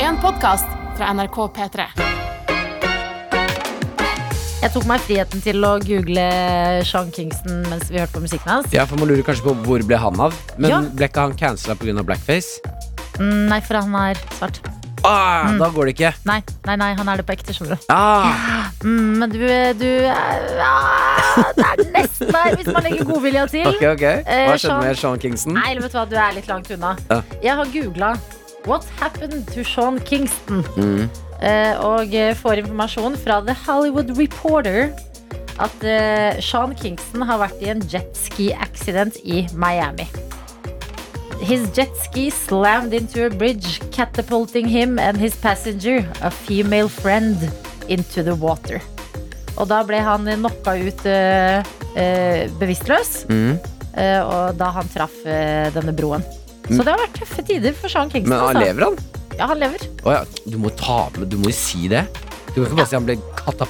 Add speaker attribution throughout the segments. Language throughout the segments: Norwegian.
Speaker 1: en podkast fra NRK P3.
Speaker 2: Jeg tok meg friheten til å google Sean Kingston mens vi hørte på musikken hans.
Speaker 3: Ja, for Man lurer kanskje på hvor ble han av. Men
Speaker 2: Ja.
Speaker 3: ble ikke han cancela pga. blackface?
Speaker 2: Mm, Nei, for han er svart.
Speaker 3: Ah,
Speaker 2: Mm.
Speaker 3: Da går det ikke.
Speaker 2: Nei, nei, nei, han er det på ekte, skjønner du.
Speaker 3: Ah,
Speaker 2: Mm, men du, du er- ah, Det er nesten der, hvis man legger godvilja til.
Speaker 3: ok, ok
Speaker 2: Eh,
Speaker 3: Hva skjedde
Speaker 2: Sean-
Speaker 3: med Sean Kingston?
Speaker 2: Nei, eller vet du hva, du er litt langt unna.
Speaker 3: Ja.
Speaker 2: Jeg har googla 'What happened to Sean Kingston?'
Speaker 3: Mm.
Speaker 2: eh, og eh, får informasjon fra The Hollywood Reporter at eh, Sean Kingston har vært i en jetski accident i Miami. His jet ski slammed into a bridge, catapulting him and his passenger, a female friend, into the water. Og da ble han knocka ut eh, eh, bevisstløs,
Speaker 3: Mm.
Speaker 2: eh, og da han traff eh, denne broen. Så det har vært tøffe tider for Sean Kingston.
Speaker 3: Mm. Men han
Speaker 2: altså.
Speaker 3: lever, han?
Speaker 2: Ja, han lever.
Speaker 3: Å ja, du må ta med Du må jo si det. Du kan ikke bare si han ble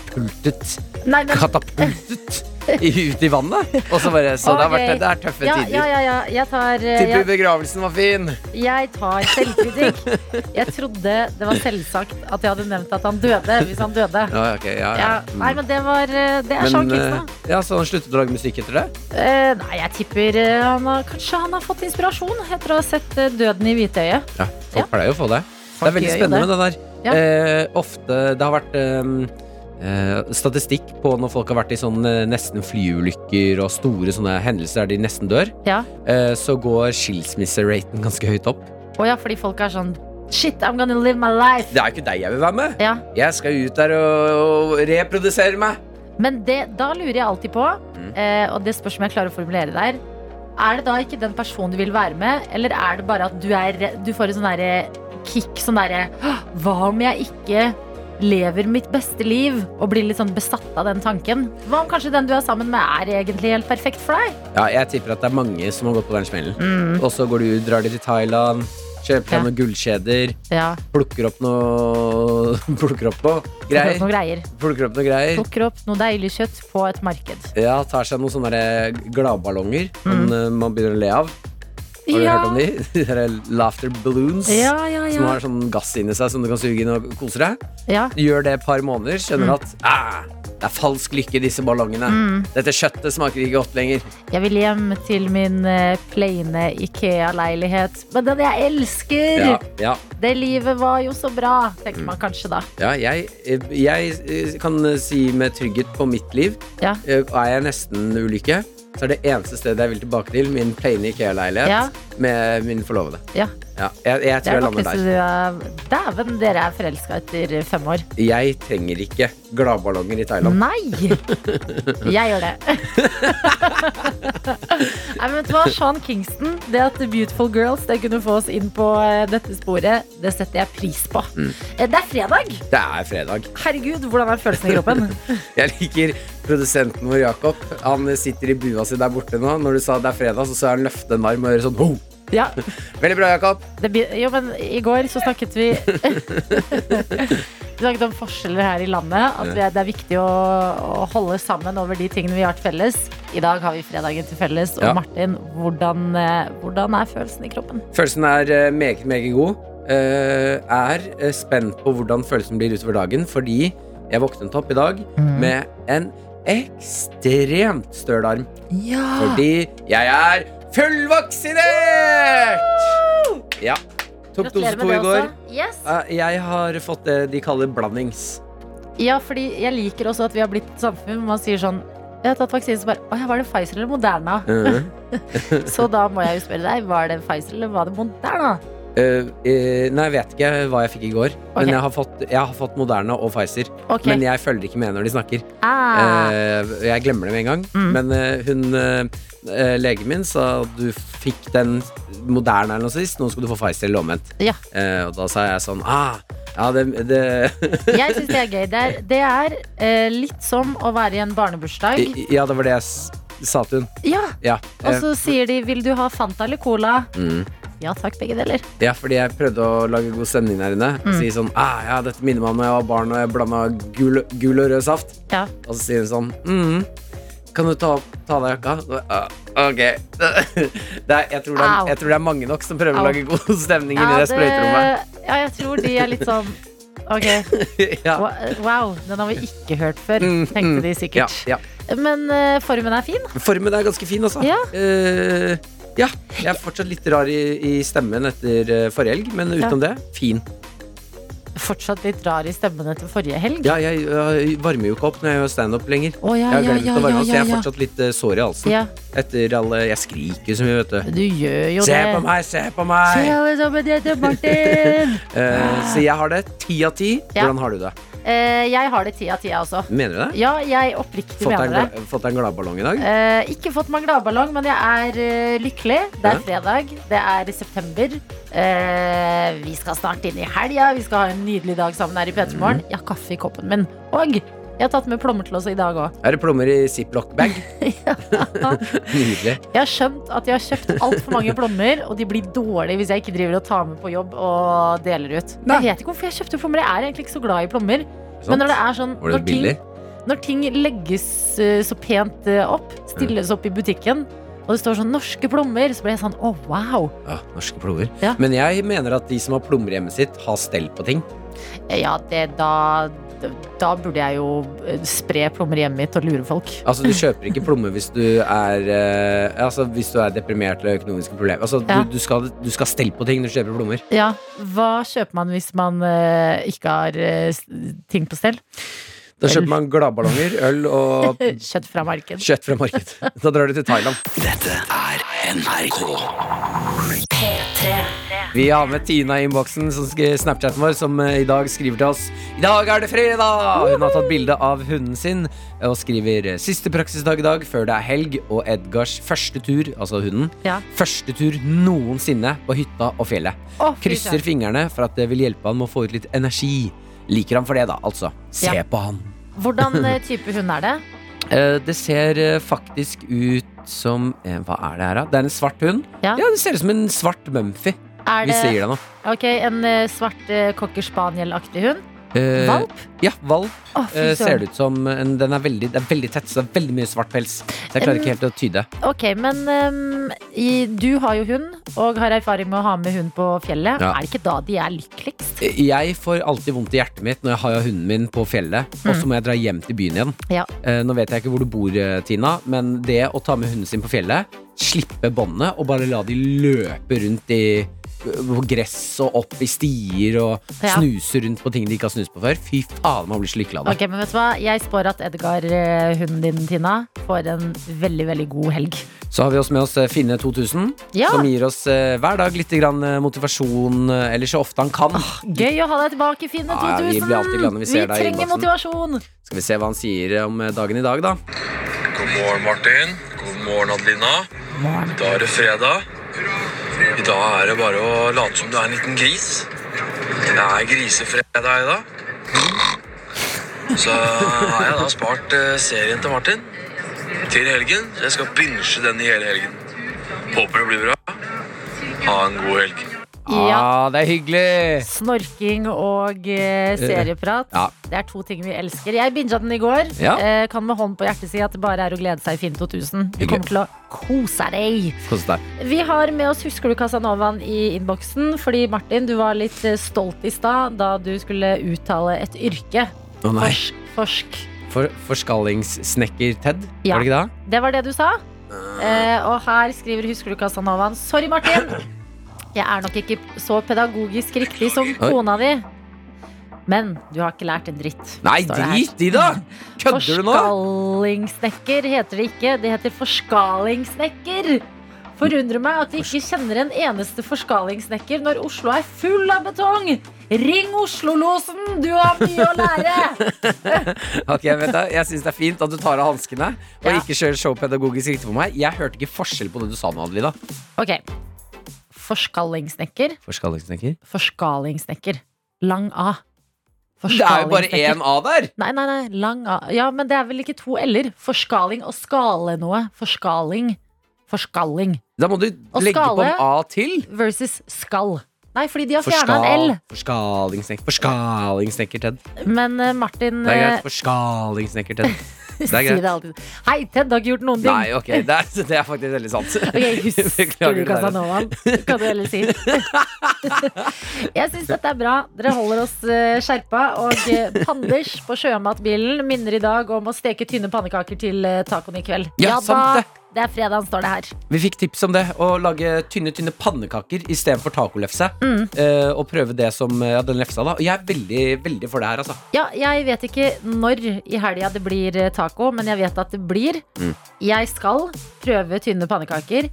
Speaker 3: katapultet.
Speaker 2: Nei, men-
Speaker 3: Katapultet i- ut i vannet. Og så bare Så det har vært det er tøffe
Speaker 2: ja,
Speaker 3: tider.
Speaker 2: Ja, ja, ja. Jeg tar, eh,
Speaker 3: Tipper
Speaker 2: jeg,
Speaker 3: begravelsen var fin.
Speaker 2: jeg tar selvkritikk. Jeg trodde det var selvsagt at jeg hadde nevnt at han døde, hvis han døde.
Speaker 3: Ja, ok, ja, ja.
Speaker 2: Ja, nei, men det var eh, Det er Sean
Speaker 3: Men, eh,
Speaker 2: Kingston.
Speaker 3: ja, Så han sluttet å lage musikk etter det?
Speaker 2: Eh, nei, jeg tipper eh, han har, Kanskje han har fått inspirasjon etter å ha sett eh, Døden i hvitøyet.
Speaker 3: Ja, folk pleier jo å få det. Det er veldig
Speaker 2: gjør jo
Speaker 3: spennende, det der.
Speaker 2: Ja.
Speaker 3: Eh, ofte Det har vært eh, eh, statistikk på når folk har vært i sånn eh, nesten flyulykker og store sånne hendelser der de nesten dør,
Speaker 2: Ja.
Speaker 3: eh, så går skilsmisseraten ganske høyt opp.
Speaker 2: Å ja, fordi folk er sånn Shit, I'm gonna live my life.
Speaker 3: Det er ikke deg jeg vil være med.
Speaker 2: Ja.
Speaker 3: Jeg skal ut der og, og reprodusere meg.
Speaker 2: Men det, da lurer jeg alltid på,
Speaker 3: Mm.
Speaker 2: eh, og det spørs om jeg klarer å formulere der Er det da ikke den personen du vil være med, eller er det bare at du, er, re- du får en sånn derre kick sånn derre «Åh, Hva om jeg ikke lever mitt beste liv og blir litt sånn besatt av den tanken? Hva om kanskje den du er sammen med, er egentlig helt perfekt for deg?
Speaker 3: Ja, jeg tipper at det er mange som har gått på den smellen. Og så går de ut, drar de til Thailand,
Speaker 2: Mm.
Speaker 3: kjøper seg
Speaker 2: Ja.
Speaker 3: noen gullkjeder,
Speaker 2: Ja,
Speaker 3: plukker opp noe Plukker opp
Speaker 2: plukker
Speaker 3: noe
Speaker 2: opp
Speaker 3: greier.
Speaker 2: noen greier.
Speaker 3: Plukker opp noe greier.
Speaker 2: Plukker opp noe deilig kjøtt på et marked.
Speaker 3: Ja, tar seg noen sånne der eh, gladballonger som eh, man begynner å le av. Har du
Speaker 2: Mm. ja.
Speaker 3: hørt om de? De der laughter balloons.
Speaker 2: Ja, ja,
Speaker 3: Som
Speaker 2: ja.
Speaker 3: har sånn gass inni seg som du kan suge inn og kose deg.
Speaker 2: ja.
Speaker 3: Gjør det et par måneder,
Speaker 2: Mm.
Speaker 3: skjønner at ah, det er falsk lykke, i disse ballongene.
Speaker 2: Mm.
Speaker 3: Dette kjøttet smaker ikke godt lenger.
Speaker 2: Jeg vil hjem til min eh, plaine Ikea-leilighet. Men den jeg elsker!
Speaker 3: Ja, ja,
Speaker 2: Det livet var jo så bra,
Speaker 3: Mm.
Speaker 2: tenker man kanskje da.
Speaker 3: ja jeg, eh, jeg eh, kan si med trygghet på mitt liv
Speaker 2: Ja.
Speaker 3: eh, Er jeg nesten ulykke, så er det eneste stedet jeg vil tilbake til, min plaine Ikea-leilighet
Speaker 2: Ja.
Speaker 3: med min forlovede.
Speaker 2: Ja,
Speaker 3: Ja, jeg,
Speaker 2: det er
Speaker 3: jeg tror jeg
Speaker 2: det
Speaker 3: lander der.
Speaker 2: vakreste du er. eh, Dæven, dere er forelska etter fem år.
Speaker 3: Jeg trenger ikke gladballonger i Thailand.
Speaker 2: Nei! Jeg gjør det. Nei, men vet du hva, Sean Kingston, det at Beautiful Girls det kunne få oss inn på eh, dette sporet, det setter jeg pris på.
Speaker 3: Mm.
Speaker 2: Eh, Det er fredag!
Speaker 3: Det er fredag.
Speaker 2: Herregud, hvordan er følelsen i kroppen?
Speaker 3: Jeg liker produsenten vår, Jakob. Han sitter i bua si der borte nå. Når du sa det er fredag, så så jeg han løfte en arm og gjøre sånn ho!
Speaker 2: Ja,
Speaker 3: Veldig bra, Jakob.
Speaker 2: det, blir- jo, men i går så snakket vi Vi snakket om forskjeller her i landet. At vi- det er viktig å, å holde sammen over de tingene vi har til felles. I dag har vi fredagen til felles. Og
Speaker 3: Ja.
Speaker 2: Martin, hvordan, eh, hvordan er følelsen i kroppen?
Speaker 3: Følelsen er eh, meget, meget god. Eh, er eh, spent på hvordan følelsen blir utover dagen, fordi jeg våknet opp i dag med en ekstremt støl arm.
Speaker 2: Ja!
Speaker 3: Fordi jeg er fullvaksinert! Ja. Tok dose to i går.
Speaker 2: Yes.
Speaker 3: Eh, Jeg har fått det de kaller blandings.
Speaker 2: Ja, fordi jeg liker også at vi har blitt et samfunn hvor man sier sånn jeg har tatt vaksine, så bare Å ja, var det Pfizer eller Moderna? Så da må jeg jo spørre deg, var det Pfizer eller var det Moderna?
Speaker 3: Eh, eh, nei, jeg vet ikke hva jeg fikk i går.
Speaker 2: Ok.
Speaker 3: Men jeg har, fått, jeg har fått Moderna og Pfizer.
Speaker 2: Ok.
Speaker 3: Men jeg følger ikke med når de snakker.
Speaker 2: ah.
Speaker 3: Eh, jeg glemmer det med en gang.
Speaker 2: Mm.
Speaker 3: Men eh, hun eh, eh, legen min sa du fikk den Moderna eller noe sist, nå skal du få Pfizer eller omvendt.
Speaker 2: Ja.
Speaker 3: Eh, og da sa jeg sånn ah, ja, det, det
Speaker 2: Jeg syns det er gøy. Det er, det er eh, litt som å være i en barnebursdag.
Speaker 3: Ja, det var det jeg s- sa til hun.
Speaker 2: Ja,
Speaker 3: Ja.
Speaker 2: Og
Speaker 3: eh,
Speaker 2: så sier de 'vil du ha Fanta eller Cola'?
Speaker 3: mm.
Speaker 2: Ja takk, begge deler.
Speaker 3: Ja, fordi jeg prøvde å lage god stemning der inne.
Speaker 2: Mm.
Speaker 3: Og si sånn ah, ja, dette minner meg om da jeg var barn og jeg blanda gul, gul og rød saft.
Speaker 2: Ja.
Speaker 3: Og så sier hun sånn mm, Kan du ta, ta av deg jakka? Og jeg, «Ah, Ok. Det er, jeg, tror det er,
Speaker 2: Au.
Speaker 3: jeg tror det er mange nok som prøver
Speaker 2: Au.
Speaker 3: å lage god stemning inni det sprøyterommet.
Speaker 2: ja, jeg tror de er litt sånn Ok,
Speaker 3: Ja.
Speaker 2: wa- wow, den har vi ikke hørt før,
Speaker 3: Mm,
Speaker 2: tenkte
Speaker 3: mm,
Speaker 2: de sikkert.
Speaker 3: Ja, ja.
Speaker 2: Men eh, formen er fin.
Speaker 3: Formen er ganske fin, altså.
Speaker 2: Ja.
Speaker 3: Eh, ja. Jeg er fortsatt litt rar i, i stemmen etter eh, forrige helg, men utenom det, fin.
Speaker 2: Fortsatt litt rar i stemmen etter forrige helg.
Speaker 3: Ja, jeg, jeg varmer jo ikke opp når jeg gjør standup lenger.
Speaker 2: Å, ja,
Speaker 3: Jeg har
Speaker 2: ja,
Speaker 3: glemt
Speaker 2: ja,
Speaker 3: å varme
Speaker 2: ja,
Speaker 3: opp, så
Speaker 2: ja,
Speaker 3: jeg er
Speaker 2: ja.
Speaker 3: fortsatt litt eh, sår i halsen.
Speaker 2: ja.
Speaker 3: Etter alle Jeg skriker så mye, vet du.
Speaker 2: Du gjør jo
Speaker 3: Se
Speaker 2: det.
Speaker 3: på meg, se på
Speaker 2: Se
Speaker 3: meg!
Speaker 2: alle sammen, jeg heter Martin.
Speaker 3: Eh, så jeg har det ti av ti.
Speaker 2: Ja.
Speaker 3: Hvordan har du det?
Speaker 2: Eh, jeg har det ti av ti, jeg også.
Speaker 3: Mener du det?
Speaker 2: Ja, jeg oppriktig
Speaker 3: Fått deg
Speaker 2: mener
Speaker 3: en,
Speaker 2: det.
Speaker 3: gla- fått deg en gladballong i dag?
Speaker 2: Eh, ikke fått meg gladballong, men jeg er eh, lykkelig. Det
Speaker 3: Ja.
Speaker 2: er fredag, det er i september. Eh, vi skal snart inn i helga, vi skal ha en nydelig dag sammen her i P3 Morgen.
Speaker 3: Mm.
Speaker 2: Jeg har kaffe i koppen min. Og jeg har tatt med plommer til oss i dag òg.
Speaker 3: Er det plommer i ziplock-bag? Nydelig.
Speaker 2: Jeg har skjønt at jeg har kjøpt altfor mange plommer, og de blir dårlige hvis jeg ikke driver og tar med på jobb og deler ut.
Speaker 3: Nei.
Speaker 2: Jeg vet ikke hvorfor jeg kjøpte plommer, jeg er egentlig ikke så glad i plommer. Men
Speaker 3: Sant?
Speaker 2: når det er sånn
Speaker 3: Var det
Speaker 2: når ting,
Speaker 3: billig?
Speaker 2: når ting legges eh, så pent eh, opp, stilles opp i butikken, og det står sånn 'norske plommer', så blir jeg sånn 'å, wow'.
Speaker 3: Ja, norske plommer.
Speaker 2: Ja.
Speaker 3: Men jeg mener at de som har plommer hjemme sitt, har stell på ting.
Speaker 2: Ja, det, da, da burde jeg jo eh, spre plommer i hjemmet mitt og lure folk.
Speaker 3: Altså, du kjøper ikke plommer hvis du er eh, Altså, hvis du er deprimert eller har økonomiske problemer. Altså,
Speaker 2: Ja.
Speaker 3: du, du, skal, du skal stelle på ting når du kjøper plommer.
Speaker 2: Ja, Hva kjøper man hvis man eh, ikke har eh, s- ting på stell?
Speaker 3: Da
Speaker 2: Øl.
Speaker 3: kjøper man gladballonger, øl og
Speaker 2: Kjøtt fra marked.
Speaker 3: kjøtt fra marked. Da drar du til Thailand. Dette er NRK. Vi har med Tina i innboksen, som sk- Snapchaten vår, som eh, i dag skriver til oss I dag er det fredag! Hun har tatt bilde av hunden sin eh, og skriver siste praksisdag i dag før det er helg og Edgars første tur, altså hunden,
Speaker 2: Ja.
Speaker 3: første tur noensinne på hytta og fjellet.
Speaker 2: Å, fy
Speaker 3: Krysser
Speaker 2: søren.
Speaker 3: fingrene for at det vil hjelpe han med å få ut litt energi. Liker han for det, da, altså. Se
Speaker 2: Ja.
Speaker 3: på han.
Speaker 2: Hvordan eh, type hund er det?
Speaker 3: Eh, Det ser eh, faktisk ut som eh, Hva er det her, da? Det er en svart hund.
Speaker 2: Ja.
Speaker 3: Ja, det ser ut som en svart Mumphy.
Speaker 2: Er
Speaker 3: Vi
Speaker 2: det
Speaker 3: sier det nå.
Speaker 2: ok, en eh, svart eh, cocker spaniel-aktig hund?
Speaker 3: Eh,
Speaker 2: Valp?
Speaker 3: Ja, valp.
Speaker 2: Å, fy
Speaker 3: eh, ser
Speaker 2: søren.
Speaker 3: det ut som en, den er veldig, Det er veldig tett, så det er veldig mye svart pels. Så jeg klarer
Speaker 2: Em,
Speaker 3: ikke helt å tyde.
Speaker 2: Ok, men ehm, i, du har jo hund, og har erfaring med å ha med hund på fjellet.
Speaker 3: Ja.
Speaker 2: Er det ikke da de er lykkeligst?
Speaker 3: Eh, Jeg får alltid vondt i hjertet mitt når jeg har hunden min på fjellet, og
Speaker 2: Mm.
Speaker 3: så må jeg dra hjem til byen igjen.
Speaker 2: Ja.
Speaker 3: Eh, Nå vet jeg ikke hvor du bor, eh, Tina, men det å ta med hunden sin på fjellet, slippe båndet og bare la de løpe rundt i eh, på gress og opp i stier og
Speaker 2: Ja.
Speaker 3: snuse rundt på ting de ikke har snust på før. Fy faen, man blir så lykkelig av det.
Speaker 2: Ok, men vet du hva? Jeg spår at Edgar, eh, hunden din, Tina, får en veldig, veldig god helg.
Speaker 3: Så har vi også med oss eh, Finne 2000,
Speaker 2: Ja.
Speaker 3: som gir oss eh, hver dag litt grann eh, motivasjon, eh, eller så ofte han kan.
Speaker 2: Gøy å ha deg tilbake, Finne
Speaker 3: Ja,
Speaker 2: 2000!
Speaker 3: ja, vi blir alltid glad når vi ser deg i
Speaker 2: trenger
Speaker 3: innboksen.
Speaker 2: motivasjon!
Speaker 3: Skal vi se hva han sier om eh, dagen i dag, da.
Speaker 4: God morgen, Martin. God morgen, Adelina. Da er det fredag. I dag er det bare å late som du er en liten gris. Det er grisefredag i dag. Så har jeg da spart eh, serien til Martin til helgen. Så jeg skal binge den i hele helgen. Håper det blir bra. Ha en god helg.
Speaker 2: Ja.
Speaker 3: Ah, det er hyggelig!
Speaker 2: Snorking og eh, serieprat.
Speaker 3: Ja.
Speaker 2: Det er to ting vi elsker. Jeg binga den i går.
Speaker 3: Ja.
Speaker 2: Eh, kan med hånd på hjertet si at det bare er å glede seg i Finn 2000. Du
Speaker 3: Hyggelig.
Speaker 2: kommer til å kose deg.
Speaker 3: Kos deg.
Speaker 2: Vi har med oss Husker du Casanovaen i innboksen? Fordi Martin, du var litt eh, stolt i stad da du skulle uttale et yrke.
Speaker 3: Å nei.
Speaker 2: Forsk. forsk.
Speaker 3: For, forskallingssnekker Ted,
Speaker 2: Ja.
Speaker 3: var det ikke det?
Speaker 2: Det var det du sa. Eh, og her skriver Husker du Casanovaen. Sorry, Martin. Jeg er nok ikke så pedagogisk riktig som kona di. Men du har ikke lært en dritt.
Speaker 3: Nei,
Speaker 2: står det her.
Speaker 3: drit i det! Kødder du nå?
Speaker 2: Forskalingssnekker heter det ikke. Det heter forskalingssnekker. Forundrer meg at de ikke kjenner en eneste forskalingssnekker når Oslo er full av betong. Ring Oslo-losen, du har mye å lære!
Speaker 3: Ok, vet du, Jeg syns det er fint at du tar av hanskene og
Speaker 2: Ja.
Speaker 3: ikke kjører showpedagogisk riktig for meg. Jeg hørte ikke forskjell på det du sa nå, Adelina.
Speaker 2: Ok. Forskalingssnekker.
Speaker 3: Forskallingssnekker?
Speaker 2: Forskalingssnekker. Lang A.
Speaker 3: Det er jo bare én A der!
Speaker 2: Nei, nei, nei. Lang A. Ja, men det er vel ikke to l-er. Forskaling og skale noe. Forskaling. Forskalling.
Speaker 3: Da må du
Speaker 2: Og
Speaker 3: legge på
Speaker 2: skale.
Speaker 3: en A til.
Speaker 2: Versus skall. Nei, fordi de har fjerna en L.
Speaker 3: Forskal, forskalingssnekker Forskalingssnekker Ted.
Speaker 2: Men eh, Martin
Speaker 3: Det er
Speaker 2: eh,
Speaker 3: greit. Forskalingssnekker Ted. Det er greit.
Speaker 2: Si det alltid. Hei, Ted har ikke gjort noen ting.
Speaker 3: Nei, ok, det er, det er faktisk veldig sant.
Speaker 2: Ok, husker
Speaker 3: Beklager
Speaker 2: du
Speaker 3: det der.
Speaker 2: Casanovaen? Kan du heller si. Jeg syns dette er bra. Dere holder oss eh, skjerpa. Og eh, Panders på sjømatbilen minner i dag om å steke tynne pannekaker til eh, tacoen i kveld.
Speaker 3: Ja, sant det.
Speaker 2: Det er fredagen, står det her.
Speaker 3: Vi fikk tips om det, å lage tynne tynne pannekaker istedenfor tacolefse.
Speaker 2: Mm.
Speaker 3: eh, og prøve det som ja, den lefsa, da. Og jeg er veldig, veldig for det her, altså.
Speaker 2: Ja, jeg vet ikke når i helga det blir eh, taco, men jeg vet at det blir.
Speaker 3: Mm.
Speaker 2: Jeg skal prøve tynne pannekaker.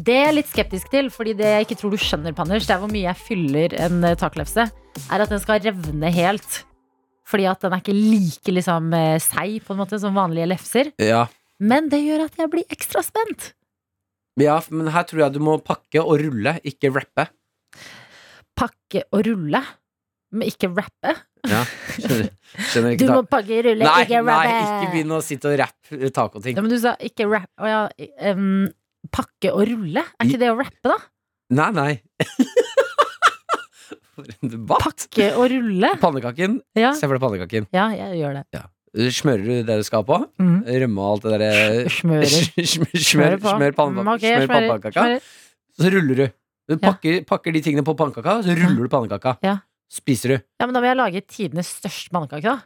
Speaker 2: Det er jeg litt skeptisk til, fordi det jeg ikke tror du skjønner, Panners, det er hvor mye jeg fyller en eh, tacolefse, er at den skal revne helt. Fordi at den er ikke like liksom, eh, seig på en måte som vanlige lefser.
Speaker 3: Ja.
Speaker 2: Men det gjør at jeg blir ekstra spent.
Speaker 3: ja, men her tror jeg du må pakke og rulle, ikke rappe.
Speaker 2: Pakke og rulle, men ikke rappe.
Speaker 3: Ja, skjønner, skjønner
Speaker 2: Du
Speaker 3: ikke
Speaker 2: må
Speaker 3: ta-
Speaker 2: pakke, rulle,
Speaker 3: Nei,
Speaker 2: ikke
Speaker 3: nei,
Speaker 2: rappe.
Speaker 3: ikke begynn å sitte og rappe tacoting.
Speaker 2: Ja, men du sa ikke rap Å ja, em, pakke og rulle? Er ikke det å rappe, da?
Speaker 3: Nei, nei. For en debatt!
Speaker 2: Pakke og rulle?
Speaker 3: Pannekaken.
Speaker 2: Ja,
Speaker 3: Se for deg pannekaken.
Speaker 2: ja jeg gjør det.
Speaker 3: Smører du det du skal ha på?
Speaker 2: Mm.
Speaker 3: Rømme og alt det derre
Speaker 2: Smører.
Speaker 3: Smør, smør,
Speaker 2: Eh, på.
Speaker 3: smør
Speaker 2: Mm,
Speaker 3: pannepa-
Speaker 2: ok, jeg
Speaker 3: smør
Speaker 2: smører,
Speaker 3: pannekaka.
Speaker 2: smører.
Speaker 3: Så ruller du. Du
Speaker 2: Ja.
Speaker 3: pakker, pakker de tingene på pannekaka, så ruller du pannekaka.
Speaker 2: Ja.
Speaker 3: Spiser du.
Speaker 2: Ja, men da må jeg lage tidenes største pannekake, da.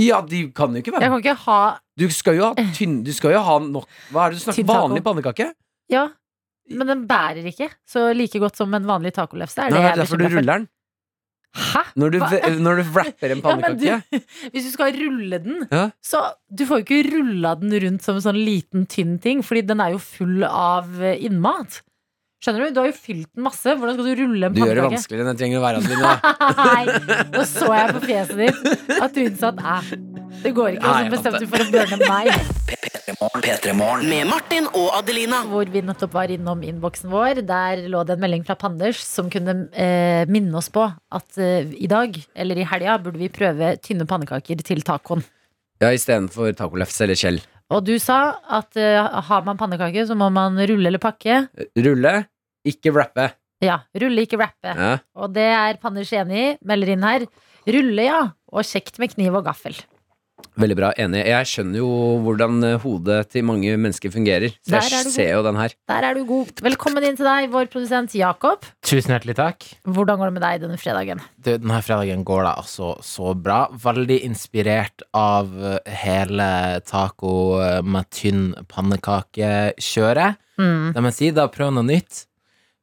Speaker 3: Ja, de kan jo ikke
Speaker 2: Jeg
Speaker 3: være
Speaker 2: kan ikke ha
Speaker 3: Du skal jo ha tynn Du skal jo ha nok Hva er det du snakker
Speaker 2: Tynn taco.
Speaker 3: Vanlig pannekake?
Speaker 2: Ja, men den bærer ikke så like godt som en vanlig tacolefse. Er
Speaker 3: Nei,
Speaker 2: det
Speaker 3: det
Speaker 2: jeg
Speaker 3: er
Speaker 2: er
Speaker 3: derfor du
Speaker 2: bekymret for.
Speaker 3: ruller den.
Speaker 2: Hæ?
Speaker 3: Når du,
Speaker 2: Hva?
Speaker 3: v- når du wrapper en
Speaker 2: Ja, men
Speaker 3: pannekake.
Speaker 2: du, hvis du skal rulle den,
Speaker 3: Ja.
Speaker 2: så Du får jo ikke rulla den rundt som en sånn liten, tynn ting, fordi den er jo full av eh, innmat. Skjønner du? Du har jo fylt den masse. Hvordan skal du rulle en
Speaker 3: Du gjør det
Speaker 2: pannekake?
Speaker 3: vanskeligere enn det trenger å være. Adelina.
Speaker 2: Nei, nå så jeg på fjeset ditt at du innså at eh, det går ikke. Og
Speaker 3: Nei,
Speaker 2: så bestemte du for å burne meg.
Speaker 5: Med Martin og Adelina.
Speaker 2: Hvor vi nettopp var innom innboksen vår. Der lå det en melding fra Panders som kunne eh, minne oss på at eh, i dag, eller i helga, burde vi prøve tynne pannekaker til tacoen.
Speaker 3: Ja, istedenfor tacolefse eller skjell.
Speaker 2: Og du sa at eh, har man pannekake, så må man rulle eller pakke.
Speaker 3: Rulle, ikke wrappe.
Speaker 2: Ja, rulle, ikke rappe.
Speaker 3: Ja.
Speaker 2: Og det er Panners enig i. Melder inn her. Rulle, ja. Og kjekt med kniv og gaffel.
Speaker 3: Veldig bra, enig. Jeg skjønner jo hvordan eh, hodet til mange mennesker fungerer. Så
Speaker 2: Der er
Speaker 3: jeg
Speaker 2: du
Speaker 3: ser jo den her.
Speaker 2: Der er du god. Velkommen inn til deg, vår produsent Jakob.
Speaker 6: Tusen hjertelig takk.
Speaker 2: Hvordan går det med deg denne fredagen?
Speaker 6: Du, denne fredagen går da altså så bra. Veldig inspirert av eh, hele taco eh, med tynn pannekake-kjøret.
Speaker 2: Mm.
Speaker 6: La meg si da, prøv noe nytt.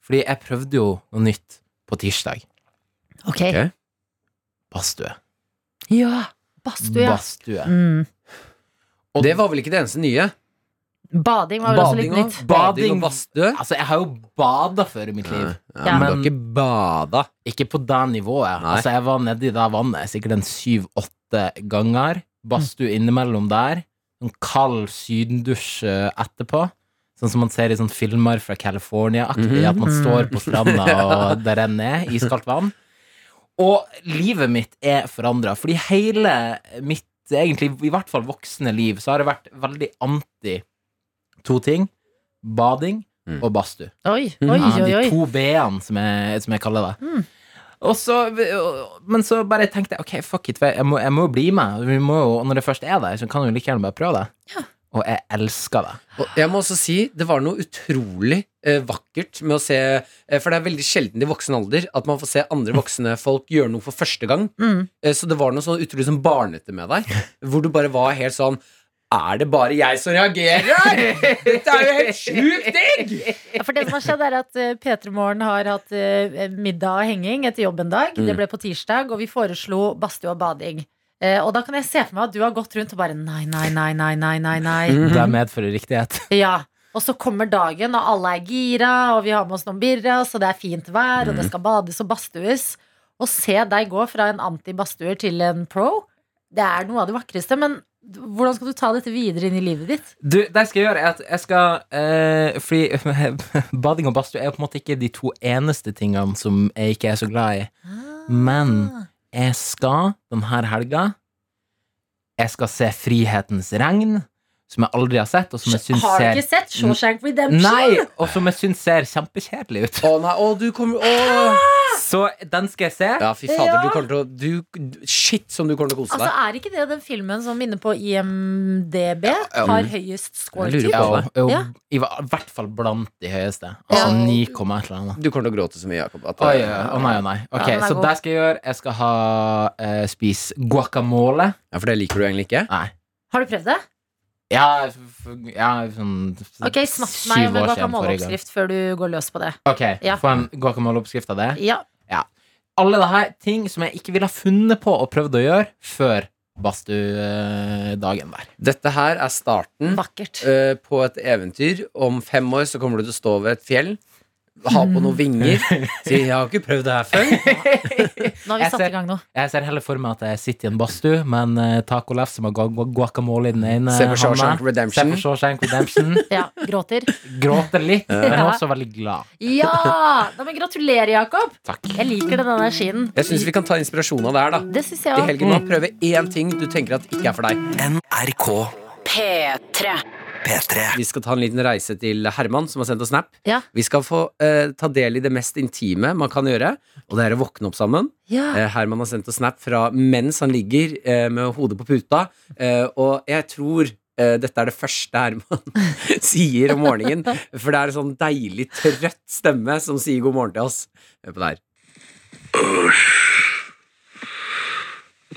Speaker 6: Fordi jeg prøvde jo noe nytt på tirsdag.
Speaker 2: Ok.
Speaker 3: Ok.
Speaker 6: Badstue.
Speaker 2: Ja. Badstue, ja.
Speaker 6: Badstue.
Speaker 2: Mm.
Speaker 6: Og-
Speaker 3: Det var vel ikke det eneste nye?
Speaker 2: Bading var vel også litt
Speaker 3: Bading og,
Speaker 2: nytt.
Speaker 3: bading
Speaker 6: Bading.
Speaker 3: og badstue?
Speaker 6: Altså, jeg har jo bada før i mitt
Speaker 3: Ja,
Speaker 6: liv.
Speaker 3: men du har
Speaker 6: Men-
Speaker 3: ikke bada.
Speaker 6: Ikke på det nivået.
Speaker 3: Nei.
Speaker 6: Altså, jeg var nedi det vannet sikkert en syv-åtte ganger. Badstue innimellom der. En kald sydendusj eh, etterpå. Sånn som man ser i sånne filmer fra California-aktig,
Speaker 3: Mhm.
Speaker 6: at man står på stranda,
Speaker 3: Ja.
Speaker 6: og det renner iskaldt vann. Og livet mitt er forandra, fordi hele mitt, egentlig, i hvert fall voksne liv, så har jeg vært veldig anti to ting. Bading
Speaker 3: Mm.
Speaker 6: og badstue.
Speaker 2: Oi, oi,
Speaker 6: Ja,
Speaker 2: oi.
Speaker 6: De
Speaker 2: oi.
Speaker 6: to B-ene, som, jeg- som jeg kaller det.
Speaker 2: Mm.
Speaker 6: Og så, men så bare tenkte jeg ok, fuck it, jeg må jeg må jo bli med. Vi må jo, når det først er der, så kan jeg jo like gjerne bare prøve det. Og jeg elsker det.
Speaker 3: Og jeg må også si, det var noe utrolig eh, vakkert med å se eh, For det er veldig sjelden i voksen alder at man får se andre voksne folk gjøre noe for første gang.
Speaker 2: Mm.
Speaker 3: Eh, så det var noe sånn utrolig sånn barnete med deg, hvor du bare var helt sånn Er det bare jeg som reagerer? Dette er jo helt sjukt digg!
Speaker 2: Ja, for det som har skjedd, er at eh, P3 Morgen har hatt eh, middag og henging etter jobb en dag.
Speaker 6: Mm.
Speaker 2: Det ble på tirsdag, og vi foreslo badstue og bading. Eh, og da kan jeg se for meg at du har gått rundt og bare nei, nei, nei, nei, nei, nei. nei.
Speaker 6: Det medfører riktighet.
Speaker 2: Ja, og så kommer dagen, og alle er gira, og vi har med oss noen birra, så det er fint vær,
Speaker 6: Mm.
Speaker 2: og det skal bades og badstues. Å se deg gå fra en anti-badstuer til en pro, det er noe av det vakreste. Men hvordan skal du ta dette videre inn i livet ditt?
Speaker 6: Du, det jeg skal gjøre, er at jeg skal eh, Fordi bading og badstue er jo på en måte ikke de to eneste tingene som jeg ikke er så glad i.
Speaker 2: Ah.
Speaker 6: Men- Jeg skal denne helga Jeg skal se Frihetens regn som jeg aldri har sett, og som jeg syns
Speaker 2: Har du
Speaker 6: ser
Speaker 2: ikke sett Shawshank Redemption?
Speaker 6: Nei, og som jeg syns ser kjempekjedelig ut.
Speaker 3: Å nei, å du kommer å.
Speaker 6: Så den skal jeg se.
Speaker 3: Ja, fy fader, du kommer til å du, Shit som du kommer til å kose
Speaker 2: Altså,
Speaker 3: deg.
Speaker 2: Er ikke det den filmen som inne på IMDb
Speaker 3: ja,
Speaker 2: har
Speaker 3: mm.
Speaker 2: høyest score
Speaker 3: Jeg
Speaker 2: til?
Speaker 3: lurer
Speaker 6: Ja,
Speaker 3: på det.
Speaker 6: og, og,
Speaker 2: Ja.
Speaker 6: I hva- hvert fall blant de høyeste. Altså
Speaker 2: Ja.
Speaker 6: 9, komma et eller annet.
Speaker 3: Du kommer til å gråte så mye, Jakob. At, eh,
Speaker 6: Oi, oi, oi, ah. å nei, å nei. Ok,
Speaker 2: Ja, den er
Speaker 6: Så
Speaker 2: god.
Speaker 6: det skal jeg gjøre. Jeg skal ha eh, spise guacamole.
Speaker 3: Ja, For det liker du egentlig ikke?
Speaker 6: Nei.
Speaker 2: Har du prøvd det?
Speaker 6: Ja, f- f- ja sånn s-
Speaker 2: Ok, Snakk
Speaker 6: syv
Speaker 2: meg om en
Speaker 6: år siden forrige gang.
Speaker 2: guacamoleoppskrift før du går løs på det.
Speaker 6: Ok,
Speaker 2: Ja.
Speaker 6: Få en guacamoleoppskrift av det.
Speaker 3: Mm.
Speaker 2: Ja,
Speaker 6: Alle det her ting som jeg ikke ville ha funnet på og prøvd å gjøre før badstuedagen der.
Speaker 3: Dette her er starten
Speaker 2: Vakkert.
Speaker 3: eh, på et eventyr. Om fem år så kommer du til å stå ved et fjell, ha på noen vinger, si 'jeg har ikke prøvd det her før'.
Speaker 2: Nå har vi
Speaker 6: jeg
Speaker 2: satt
Speaker 6: ser-
Speaker 2: i gang nå.
Speaker 6: Jeg ser heller for meg at jeg sitter i en badstue med en eh, tacolef som har gua- gua- guacamole i den ene
Speaker 3: Se på
Speaker 6: hånda.
Speaker 3: Shawshank Redemption.
Speaker 6: Se på Shawshank Redemption.
Speaker 2: Ja, Gråter.
Speaker 6: Gråter litt, men
Speaker 2: Ja.
Speaker 6: også veldig glad.
Speaker 2: Ja! Nei, men gratulerer, Jakob.
Speaker 6: Takk.
Speaker 2: Jeg liker den energien.
Speaker 3: Jeg syns vi kan ta inspirasjon av det her, da.
Speaker 2: Det syns jeg
Speaker 3: I
Speaker 2: òg.
Speaker 3: helgen nå, prøve én ting du tenker at ikke er for deg.
Speaker 5: NRK
Speaker 1: P3.
Speaker 5: P3.
Speaker 3: Vi skal ta en liten reise til Herman, som har sendt oss snap.
Speaker 2: Ja.
Speaker 3: Vi skal få eh, ta del i det mest intime man kan gjøre, og det er å våkne opp sammen.
Speaker 2: Ja.
Speaker 3: Eh, Herman har sendt oss snap fra mens han ligger eh, med hodet på puta, eh, og jeg tror eh, dette er det første Herman sier om morgenen, for det er en sånn deilig trøtt stemme som sier god morgen til oss. Hør på det her.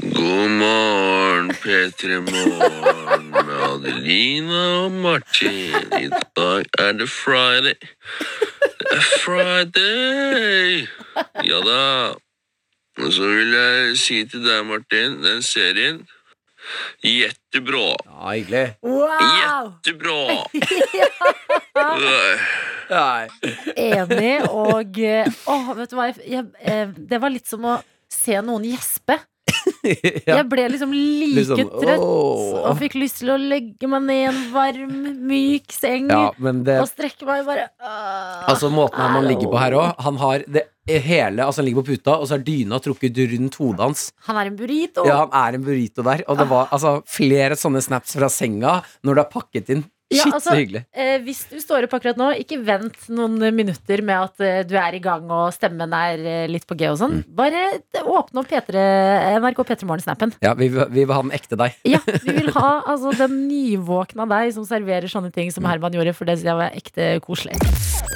Speaker 4: God morgen, P3 Morgen med Adelina og Martin. I dag er det friday. Det er friday! Ja da. Og så vil jeg si til deg, Martin, den serien Jettebra.
Speaker 3: Ja, hyggelig.
Speaker 2: Wow!
Speaker 4: Jettebra!
Speaker 3: Nei.
Speaker 2: Enig. Og eh, åh, vet du hva? Jeg, jeg, eh, det var litt som å se noen gjespe.
Speaker 3: Ja.
Speaker 2: Jeg ble liksom like
Speaker 3: Litt sånn,
Speaker 2: trøtt
Speaker 3: åh.
Speaker 2: og fikk lyst til å legge meg ned i en varm, myk seng
Speaker 3: Ja, men det
Speaker 2: og strekke meg bare ah.
Speaker 3: Altså Måten her man ligger på her òg Han har det hele Altså han ligger på puta, og så er dyna trukket rundt hodet hans.
Speaker 2: Han er en burrito.
Speaker 3: Ja, Han er en burrito der. Og det var altså flere sånne snaps fra senga når du har pakket inn.
Speaker 2: Ja,
Speaker 3: Shit,
Speaker 2: altså-
Speaker 3: så hyggelig.
Speaker 2: Eh, hvis du står opp akkurat nå, ikke vent noen minutter med at eh, du er i gang og stemmen er eh, litt på G og sånn.
Speaker 3: Mm.
Speaker 2: Bare åpne opp P3, NRK P3 Morgen-snappen.
Speaker 3: Ja, vi, vi vil ha den ekte deg.
Speaker 2: Ja, vi vil ha altså, den nyvåkna deg som serverer sånne ting som Herman gjorde, for det synes jeg var ekte koselig.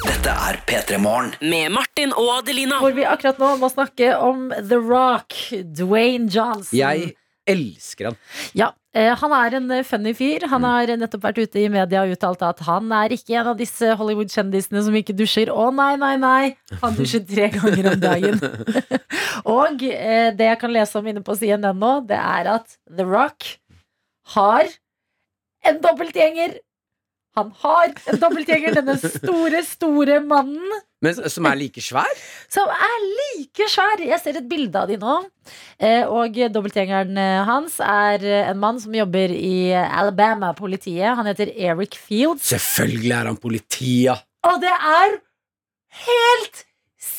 Speaker 5: Dette er P3 Morgen.
Speaker 7: Med Martin og Adelina.
Speaker 2: Hvor vi akkurat nå må snakke om The Rock, Dwayne Johnson.
Speaker 3: Jeg elsker han.
Speaker 2: Ja, eh, Han er en eh, funny fyr. Han har nettopp vært ute i media og uttalt at han er ikke en av disse Hollywood-kjendisene som ikke dusjer. Å nei, nei, nei! Han dusjer tre ganger om dagen. og eh, det jeg kan lese om inne på CNN nå, det er at The Rock har en dobbeltgjenger. Han har en dobbeltgjenger, denne store, store mannen.
Speaker 3: Men som er like svær?
Speaker 2: Som er like svær! Jeg ser et bilde av de nå. Eh, Og dobbeltgjengeren eh, hans er eh, en mann som jobber i eh, Alabama-politiet. Han heter Eric Fields.
Speaker 3: Selvfølgelig er han politi, ja.
Speaker 2: Og det er helt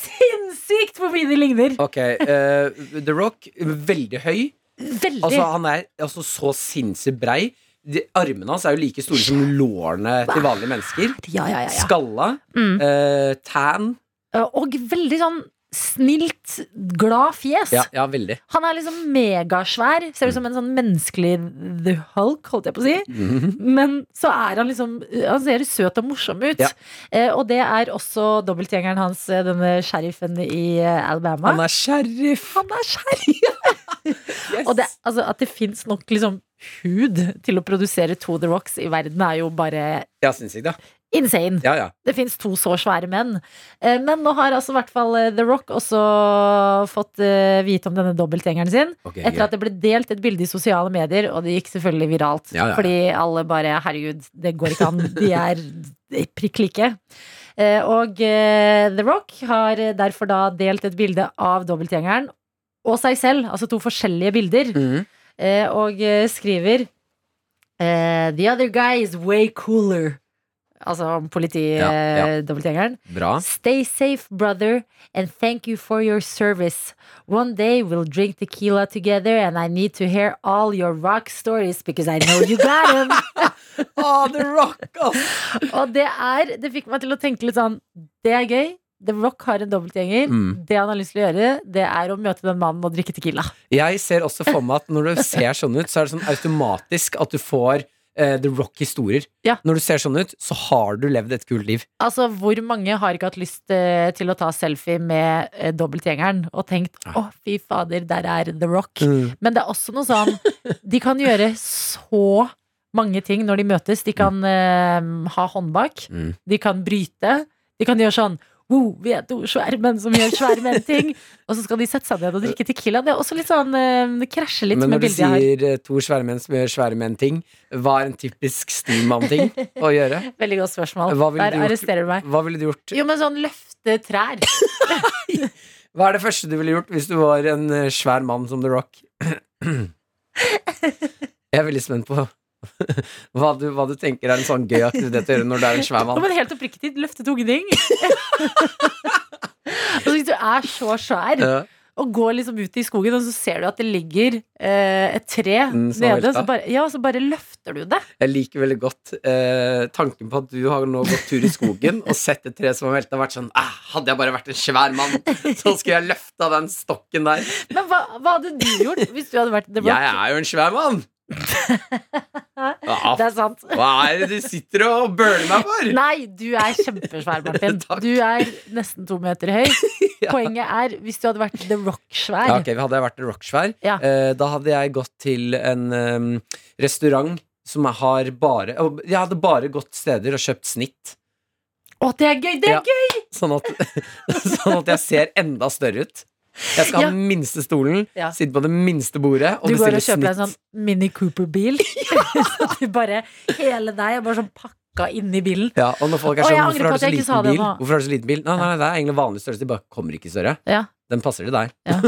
Speaker 2: sinnssykt hvor mye de ligner!
Speaker 3: Ok, eh, The Rock, veldig høy.
Speaker 2: Veldig.
Speaker 3: Altså Han er altså, så sinnssykt brei. De, armene hans er jo like store som lårene til vanlige mennesker.
Speaker 2: ja, ja, ja, ja.
Speaker 3: Skalla,
Speaker 2: Mm.
Speaker 3: eh, tan.
Speaker 2: Eh, Og veldig sånn snilt, glad fjes.
Speaker 3: Ja, ja, veldig.
Speaker 2: Han er liksom megasvær. Ser ut som en sånn menneskelig The Hulk, holdt jeg på å si. Mhm. Men så er han liksom Han ser søt og morsom ut.
Speaker 3: Ja.
Speaker 2: Eh, og det er også dobbeltgjengeren hans, eh, denne sheriffen i eh, Alabama.
Speaker 3: Han er sheriff.
Speaker 2: Han er sheriff!
Speaker 3: Yes.
Speaker 2: og det, altså, at det fins nok liksom hud til å produsere To The Rocks i verden, er jo bare
Speaker 3: Ja, sinnssykt, ja.
Speaker 2: insane.
Speaker 3: ja, ja.
Speaker 2: Det fins to så svære menn. Eh, Men nå har altså i hvert fall eh, The Rock også fått eh, vite om denne dobbeltgjengeren sin.
Speaker 3: Ok,
Speaker 2: Etter
Speaker 3: ja.
Speaker 2: at det ble delt et bilde i sosiale medier, og det gikk selvfølgelig viralt.
Speaker 3: Ja, ja, ja.
Speaker 2: Fordi alle bare 'herregud, det går ikke an', de er prikk like. Eh, Og eh, The Rock har derfor da delt et bilde av dobbeltgjengeren og seg selv, altså to forskjellige bilder,
Speaker 3: Mhm.
Speaker 2: eh, og eh, skriver eh, The other guy is way cooler. altså eh,
Speaker 3: Ja, ja.
Speaker 2: politidobbeltgjengeren.
Speaker 3: Bra.
Speaker 2: Stay safe, brother, and thank you for your service. One day we'll drink tequila together, and I need to hear all your rock stories because I know you got 'em.
Speaker 3: Ah, The Rock, ass!
Speaker 2: Og det er Det fikk meg til å tenke litt sånn Det er gøy. The Rock har en dobbeltgjenger.
Speaker 3: Mm.
Speaker 2: Det han har lyst til å gjøre, det er å møte den mannen og drikke tequila.
Speaker 3: Jeg ser også for meg at når du ser sånn ut, så er det sånn automatisk at du får eh, The Rock-historier.
Speaker 2: Ja.
Speaker 3: Når du ser sånn ut, så har du levd et kult liv.
Speaker 2: Altså, hvor mange har ikke hatt lyst eh, til å ta selfie med eh, dobbeltgjengeren og tenkt å, fy fader, der er The Rock. Men det er også noe sånn De kan gjøre så mange ting når de møtes. De kan eh, ha håndbak.
Speaker 3: Mm.
Speaker 2: De kan bryte. De kan gjøre sånn Wow, vi er to svære menn som gjør svære menn-ting. og så skal de sette seg ned og drikke Tequila. Det er også litt sånn eh, Det krasjer litt
Speaker 3: Men
Speaker 2: med
Speaker 3: når du
Speaker 2: bildet jeg har.
Speaker 3: sier eh, to svære menn som gjør svære menn-ting, hva er en typisk steammann-ting å gjøre?
Speaker 2: Veldig godt spørsmål.
Speaker 3: Hva ville
Speaker 2: Der
Speaker 3: du gjort?
Speaker 2: arresterer du meg.
Speaker 3: Hva ville du gjort?
Speaker 2: Jo, men sånn løfte trær.
Speaker 3: Hva er det første du ville gjort hvis du var en eh, svær mann som The Rock? Jeg er veldig spent på hva du, hva du tenker er en sånn gøy aktivitet å gjøre når du er en svær
Speaker 2: Ja,
Speaker 3: mann.
Speaker 2: men helt oppriktig, løfte tunge ting. altså, hvis du er så svær
Speaker 3: Ja.
Speaker 2: og går liksom ut i skogen, og så ser du at det ligger eh, et tre
Speaker 3: Mm, som har
Speaker 2: nede, og så
Speaker 3: velta.
Speaker 2: bare, ja, og så bare løfter du det.
Speaker 3: Jeg liker veldig godt eh, tanken på at du har nå gått tur i skogen og sett et tre som har velta, og vært sånn ah, Hadde jeg bare vært en svær mann, så skulle jeg løfta den stokken der.
Speaker 2: Men hva, hva hadde du gjort hvis du hadde vært The Rock?
Speaker 3: Jeg er jo en svær mann! Ja,
Speaker 2: Det er sant.
Speaker 3: hva er det du sitter og burner meg for?
Speaker 2: Nei, du er kjempesvær, Martin.
Speaker 3: Takk.
Speaker 2: Du er nesten to meter høy. Poenget er, hvis du hadde vært The Rock-svær
Speaker 3: Ja, ok, Hadde jeg vært en rocksvær,
Speaker 2: Ja.
Speaker 3: eh, da hadde jeg gått til en em, restaurant som jeg har bare og Jeg hadde bare gått steder og kjøpt snitt.
Speaker 2: Å, det er gøy! Det er
Speaker 3: Ja. Sånn at, sånn at jeg ser enda større ut. Jeg skal
Speaker 2: Ja.
Speaker 3: ha den minste stolen,
Speaker 2: Ja.
Speaker 3: sitte på det minste bordet og
Speaker 2: Du går
Speaker 3: bestille
Speaker 2: og kjøper deg
Speaker 3: snitt.
Speaker 2: en sånn Mini Cooper-bil. så du bare, hele deg er bare sånn pakka inni bilen.
Speaker 3: Ja, og når folk er
Speaker 2: Å, jeg angrer
Speaker 3: sånn, hvorfor
Speaker 2: på
Speaker 3: har
Speaker 2: at
Speaker 3: du så
Speaker 2: jeg ikke sa
Speaker 3: liten
Speaker 2: det
Speaker 3: bil?
Speaker 2: nå.
Speaker 3: Hvorfor har du så liten bil? Nei, nei, det er egentlig vanlig størrelse, de bare kommer ikke større.
Speaker 2: Ja.
Speaker 3: Den passer til deg.
Speaker 2: Ja.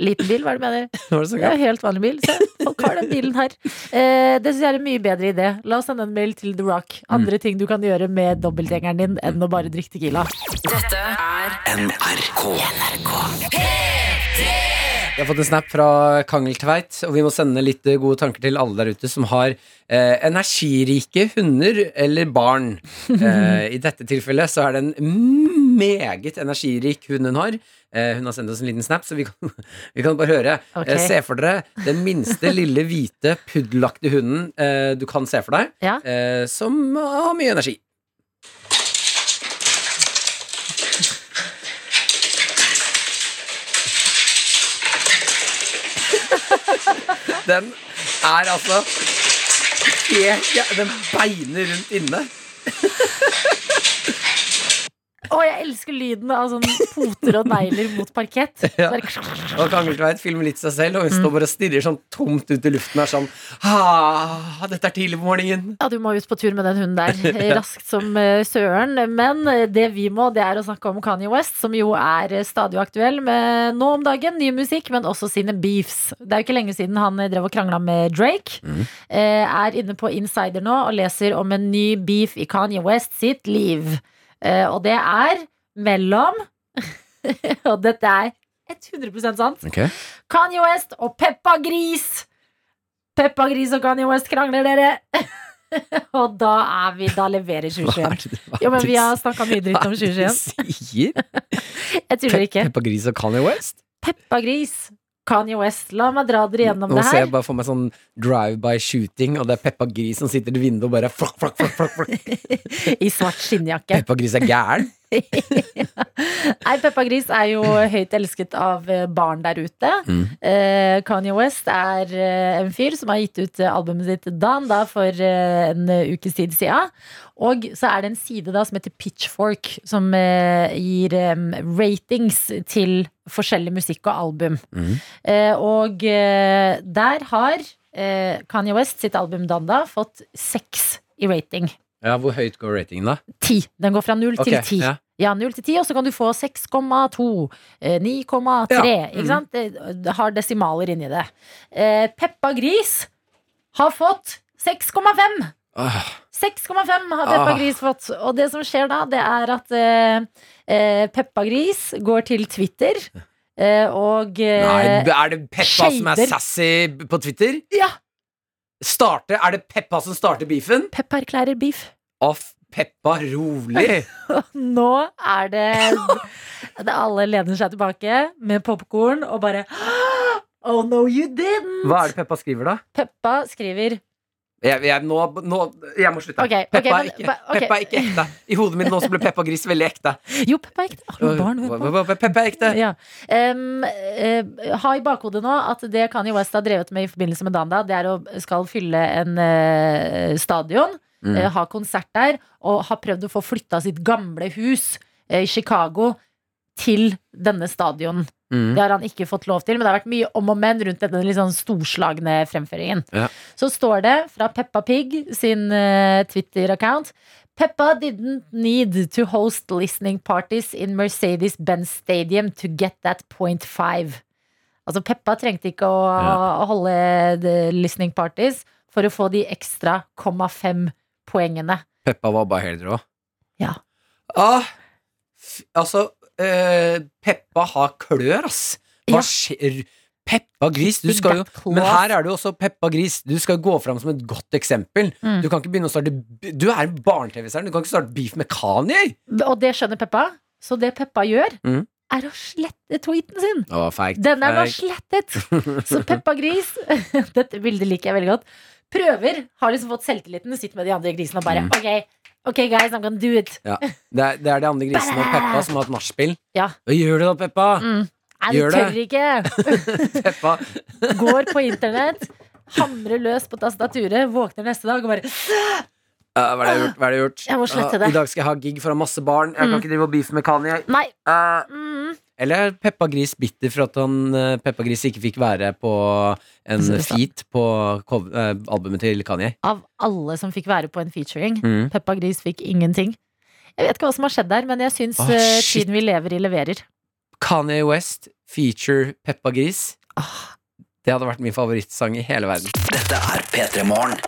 Speaker 2: Liten bil, hva er det du mener?
Speaker 3: Nå er det så
Speaker 2: Det er
Speaker 3: galt.
Speaker 2: jo helt vanlig bil. Se, folk har den bilen her. Eh, det syns jeg er en mye bedre idé. La oss sende en mail til The Rock. Andre ting du kan gjøre med dobbeltgjengeren din enn å bare drikke Tequila.
Speaker 5: NRK.
Speaker 3: Jeg har fått en snap fra Kangeltveit, og vi må sende litt eh, gode tanker til alle der ute som har eh, energirike hunder eller barn. Eh, I dette tilfellet så er det en meget energirik hund hun har. Eh, hun har sendt oss en liten snap, så vi kan, vi kan bare høre.
Speaker 2: Ok.
Speaker 3: Eh, se for dere den minste lille hvite puddelaktige hunden eh, du kan se for deg,
Speaker 2: Ja.
Speaker 3: eh, som har mye energi. Den er altså helt ja, Den beiner rundt inne.
Speaker 2: Å, jeg elsker lyden av sånne poter og negler mot parkett.
Speaker 3: Ja.
Speaker 2: Bare-
Speaker 3: Og Kangeltveit filmer litt seg selv, og hun står bare og stirrer sånn tomt ut i luften og er sånn ah, Dette er tidlig på morgenen.
Speaker 2: Ja, du må ut på tur med den hunden der, eh, raskt som eh, søren. Men eh, det vi må, det er å snakke om Kanye West, som jo er eh, stadig aktuell med nå om dagen, ny musikk, men også sine beefs. Det er jo ikke lenge siden han eh, drev og krangla med Drake. Eh, Er inne på Insider nå og leser om en ny beef i Kanye West sitt liv. Eh, Og det er mellom Og dette er 100 sant. Kanye West og Peppa Gris. Peppa Gris og Kanye West krangler, dere. og da er vi Da leverer
Speaker 3: Hva er
Speaker 2: 2021.
Speaker 3: det du- hva
Speaker 2: Jo, men
Speaker 3: er det
Speaker 2: vi har
Speaker 3: du-
Speaker 2: snakka mye dritt om
Speaker 3: hva er det
Speaker 2: 2021.
Speaker 3: du sier?
Speaker 2: Jeg tuller ikke.
Speaker 3: Peppa Gris og Kanye West?
Speaker 2: Peppa Gris, Kanye West. La meg dra dere gjennom
Speaker 3: Nå
Speaker 2: det
Speaker 3: ser
Speaker 2: her.
Speaker 3: jeg bare for meg sånn drive-by-shooting, og det er Peppa Gris som sitter i vinduet og bare flak, flak, flak, flak, flak.
Speaker 2: I svart skinnjakke.
Speaker 3: Peppa Gris er gæren.
Speaker 2: Nei, Peppa Gris er jo høyt elsket av eh, barn der ute. Eh, Kanye West er eh, en fyr som har gitt ut eh, albumet sitt Dan da, for eh, en eh, ukes tid siden. Og så er det en side da som heter Pitchfork, som eh, gir eh, ratings til forskjellig musikk og album. Eh, og eh, der har eh, Kanye West sitt album Dan da fått seks i rating.
Speaker 3: Ja, Hvor høyt går ratingen, da?
Speaker 2: Ti. Den går fra null
Speaker 3: Ok,
Speaker 2: til ti.
Speaker 3: ja.
Speaker 2: Ja, 0 til 10, og så kan du få 6,2, eh, 9,3,
Speaker 3: Ja, Mm.
Speaker 2: ikke sant? Det det har desimaler inni det. Eh, Peppa Gris har fått 6,5!
Speaker 3: Åh,
Speaker 2: 6,5 har Peppa
Speaker 3: Ah.
Speaker 2: Gris fått. Og det som skjer da, det er at eh, eh, Peppa Gris går til Twitter eh, og eh,
Speaker 3: Nei, er det Peppa som er
Speaker 2: shader.
Speaker 3: sassy på Twitter?
Speaker 2: Ja,
Speaker 3: Starte, er det Peppa som starter beefen?
Speaker 2: Peppa erklærer beef.
Speaker 3: Off Peppa, rolig!
Speaker 2: Nå er det, det Alle lener seg tilbake med popkorn og bare Oh no, you didn't!
Speaker 3: Hva er det Peppa skriver, da?
Speaker 2: Peppa skriver
Speaker 3: Jeg, jeg, nå, nå, jeg må slutte.
Speaker 2: Ok, ok,
Speaker 3: Peppa,
Speaker 2: men-
Speaker 3: er ikke,
Speaker 2: ba- ok.
Speaker 3: Peppa er ikke ekte. I hodet mitt nå så ble Peppa Gris veldig ekte.
Speaker 2: Jo, Peppa er ekte. Har du barn? Peppa?
Speaker 3: Peppa er ekte.
Speaker 2: Ja. Em, eh, ha i bakhodet nå at det Kanye West har drevet med i forbindelse med Danda, det er å skal fylle en eh, stadion,
Speaker 3: Mm.
Speaker 2: eh, ha konsert der, og har prøvd å få flytta sitt gamle hus eh, i Chicago til denne stadion.
Speaker 3: Mm.
Speaker 2: Det har han ikke fått lov til, men det har vært mye om og men rundt denne litt sånn storslagne fremføringen.
Speaker 3: Ja.
Speaker 2: Så står det fra Peppa Pig sin eh, Twitter-account Peppa didn't need to host listening parties in Mercedes-Benz Stadium to get that point five. Altså Peppa trengte ikke å, å holde the listening parties for å få de ekstra 0,5 poengene.
Speaker 3: Peppa var bare helt rå.
Speaker 2: Ja.
Speaker 3: Ah, f- altså eh, Peppa har klør, ass.
Speaker 2: Ja.
Speaker 3: Hva skjer? Peppa Gris, du
Speaker 2: Big
Speaker 3: skal jo
Speaker 2: Bad Claws.
Speaker 3: Men her er du også Peppa Gris. Du skal gå fram som et godt eksempel.
Speaker 2: Mm.
Speaker 3: Du kan ikke begynne å starte Du er en barne-TV-seer. Du kan ikke starte beef med Kanye.
Speaker 2: Og det skjønner Peppa. Så det Peppa gjør,
Speaker 3: Mm.
Speaker 2: er å slette tweeten sin.
Speaker 3: Det var feigt.
Speaker 2: Den er nå
Speaker 3: Feigt.
Speaker 2: slettet. Så Peppa Gris Dette bildet liker jeg veldig godt. Prøver. Har liksom fått selvtilliten. Sitter med de andre grisene og bare
Speaker 3: Mm.
Speaker 2: OK, ok guys, I'm gonna do it.
Speaker 3: Det er, det er de andre grisene og Peppa som har hatt nachspiel.
Speaker 2: Ja.
Speaker 3: Hva gjør du da, Peppa?
Speaker 2: Mm. Nei,
Speaker 3: Gjør
Speaker 2: du
Speaker 3: det.
Speaker 2: tør ikke. Mm.
Speaker 3: Peppa
Speaker 2: Går på internett. Hamrer løs på tastaturet, våkner neste dag og bare
Speaker 3: Eh, hva, er det jeg har gjort? hva er det jeg har gjort?
Speaker 2: Jeg må slette
Speaker 3: Eh,
Speaker 2: det.
Speaker 3: I dag skal jeg ha gig foran masse barn. Jeg kan
Speaker 2: Mm.
Speaker 3: ikke drive og beefe med Kanye.
Speaker 2: Nei.
Speaker 3: Eh,
Speaker 2: Mm.
Speaker 3: eller er Peppa Gris bitter for at han, eh, Peppa Gris ikke fikk være på en
Speaker 2: Altså, det sa-
Speaker 3: feat på cov- eh, albumet til Kanye?
Speaker 2: Av alle som fikk være på en featuring,
Speaker 3: Mm.
Speaker 2: Peppa Gris fikk ingenting. Jeg vet ikke hva som har skjedd der, men jeg syns
Speaker 3: Åh,
Speaker 2: eh,
Speaker 3: shit.
Speaker 2: tiden vi lever i, leverer.
Speaker 3: Kanye West feature Peppa Gris. Ah. Det hadde vært min favorittsang i hele verden.
Speaker 5: Dette er P3 Morgen.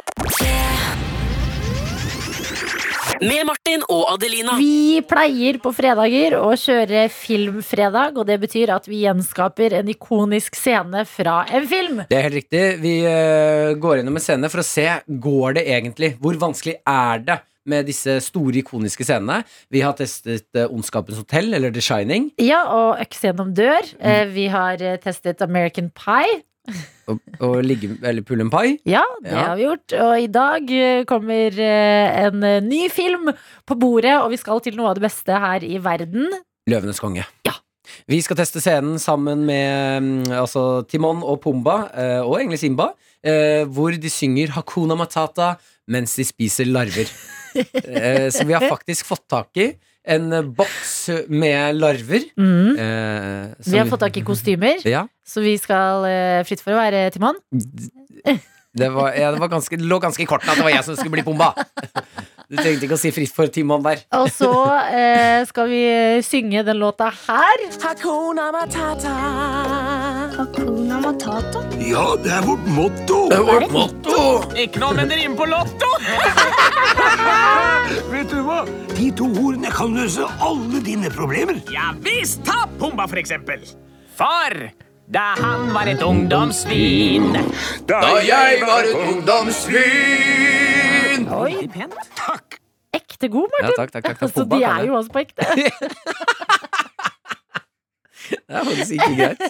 Speaker 7: Med Martin og Adelina.
Speaker 2: Vi pleier på fredager å kjøre Filmfredag, og det betyr at vi gjenskaper en ikonisk scene fra en film.
Speaker 3: Det er helt riktig. Vi eh, går gjennom en scene for å se går det egentlig. Hvor vanskelig er det med disse store, ikoniske scenene? Vi har testet eh, Ondskapens hotell, eller The Shining.
Speaker 2: Ja, og Øks gjennom dør. Eh, Vi har eh, testet American Pie.
Speaker 3: Og, og ligge, eller pull and pie.
Speaker 2: Ja, det
Speaker 3: Ja.
Speaker 2: har vi gjort. Og i dag eh, kommer eh, en eh, ny film på bordet, og vi skal til noe av det beste her i verden.
Speaker 3: Løvenes konge. Vi skal teste scenen sammen med mm, altså, Timon og Pumba, eh, og egentlig Simba, eh, hvor de synger Hakuna Matata mens de spiser larver. Eh, Så vi har faktisk fått tak i en eh, boks med larver.
Speaker 2: Mm.
Speaker 3: eh, som
Speaker 2: Vi har fått tak i kostymer,
Speaker 3: Ja.
Speaker 2: så vi skal eh, fritt for å være Timon.
Speaker 3: Det, var, ja, det, var ganske, det lå ganske i kortene at det var jeg som skulle bli bomba. Du trengte ikke å si fritt for Timon der.
Speaker 2: Og så eh, skal vi synge den låta her.
Speaker 8: Ja, det er vårt motto. Vet du hva? De to ordene kan løse alle dine problemer.
Speaker 9: Ja visst, ta Pumba for eksempel. For da han var et ungdomssvin
Speaker 8: Da jeg var et ungdomssvin
Speaker 9: Oi, pent. Takk.
Speaker 2: Ekte god, Martin.
Speaker 3: Ja, takk, takk, takk.
Speaker 2: Så de er jo også på ekte.
Speaker 3: Det er faktisk ikke greit.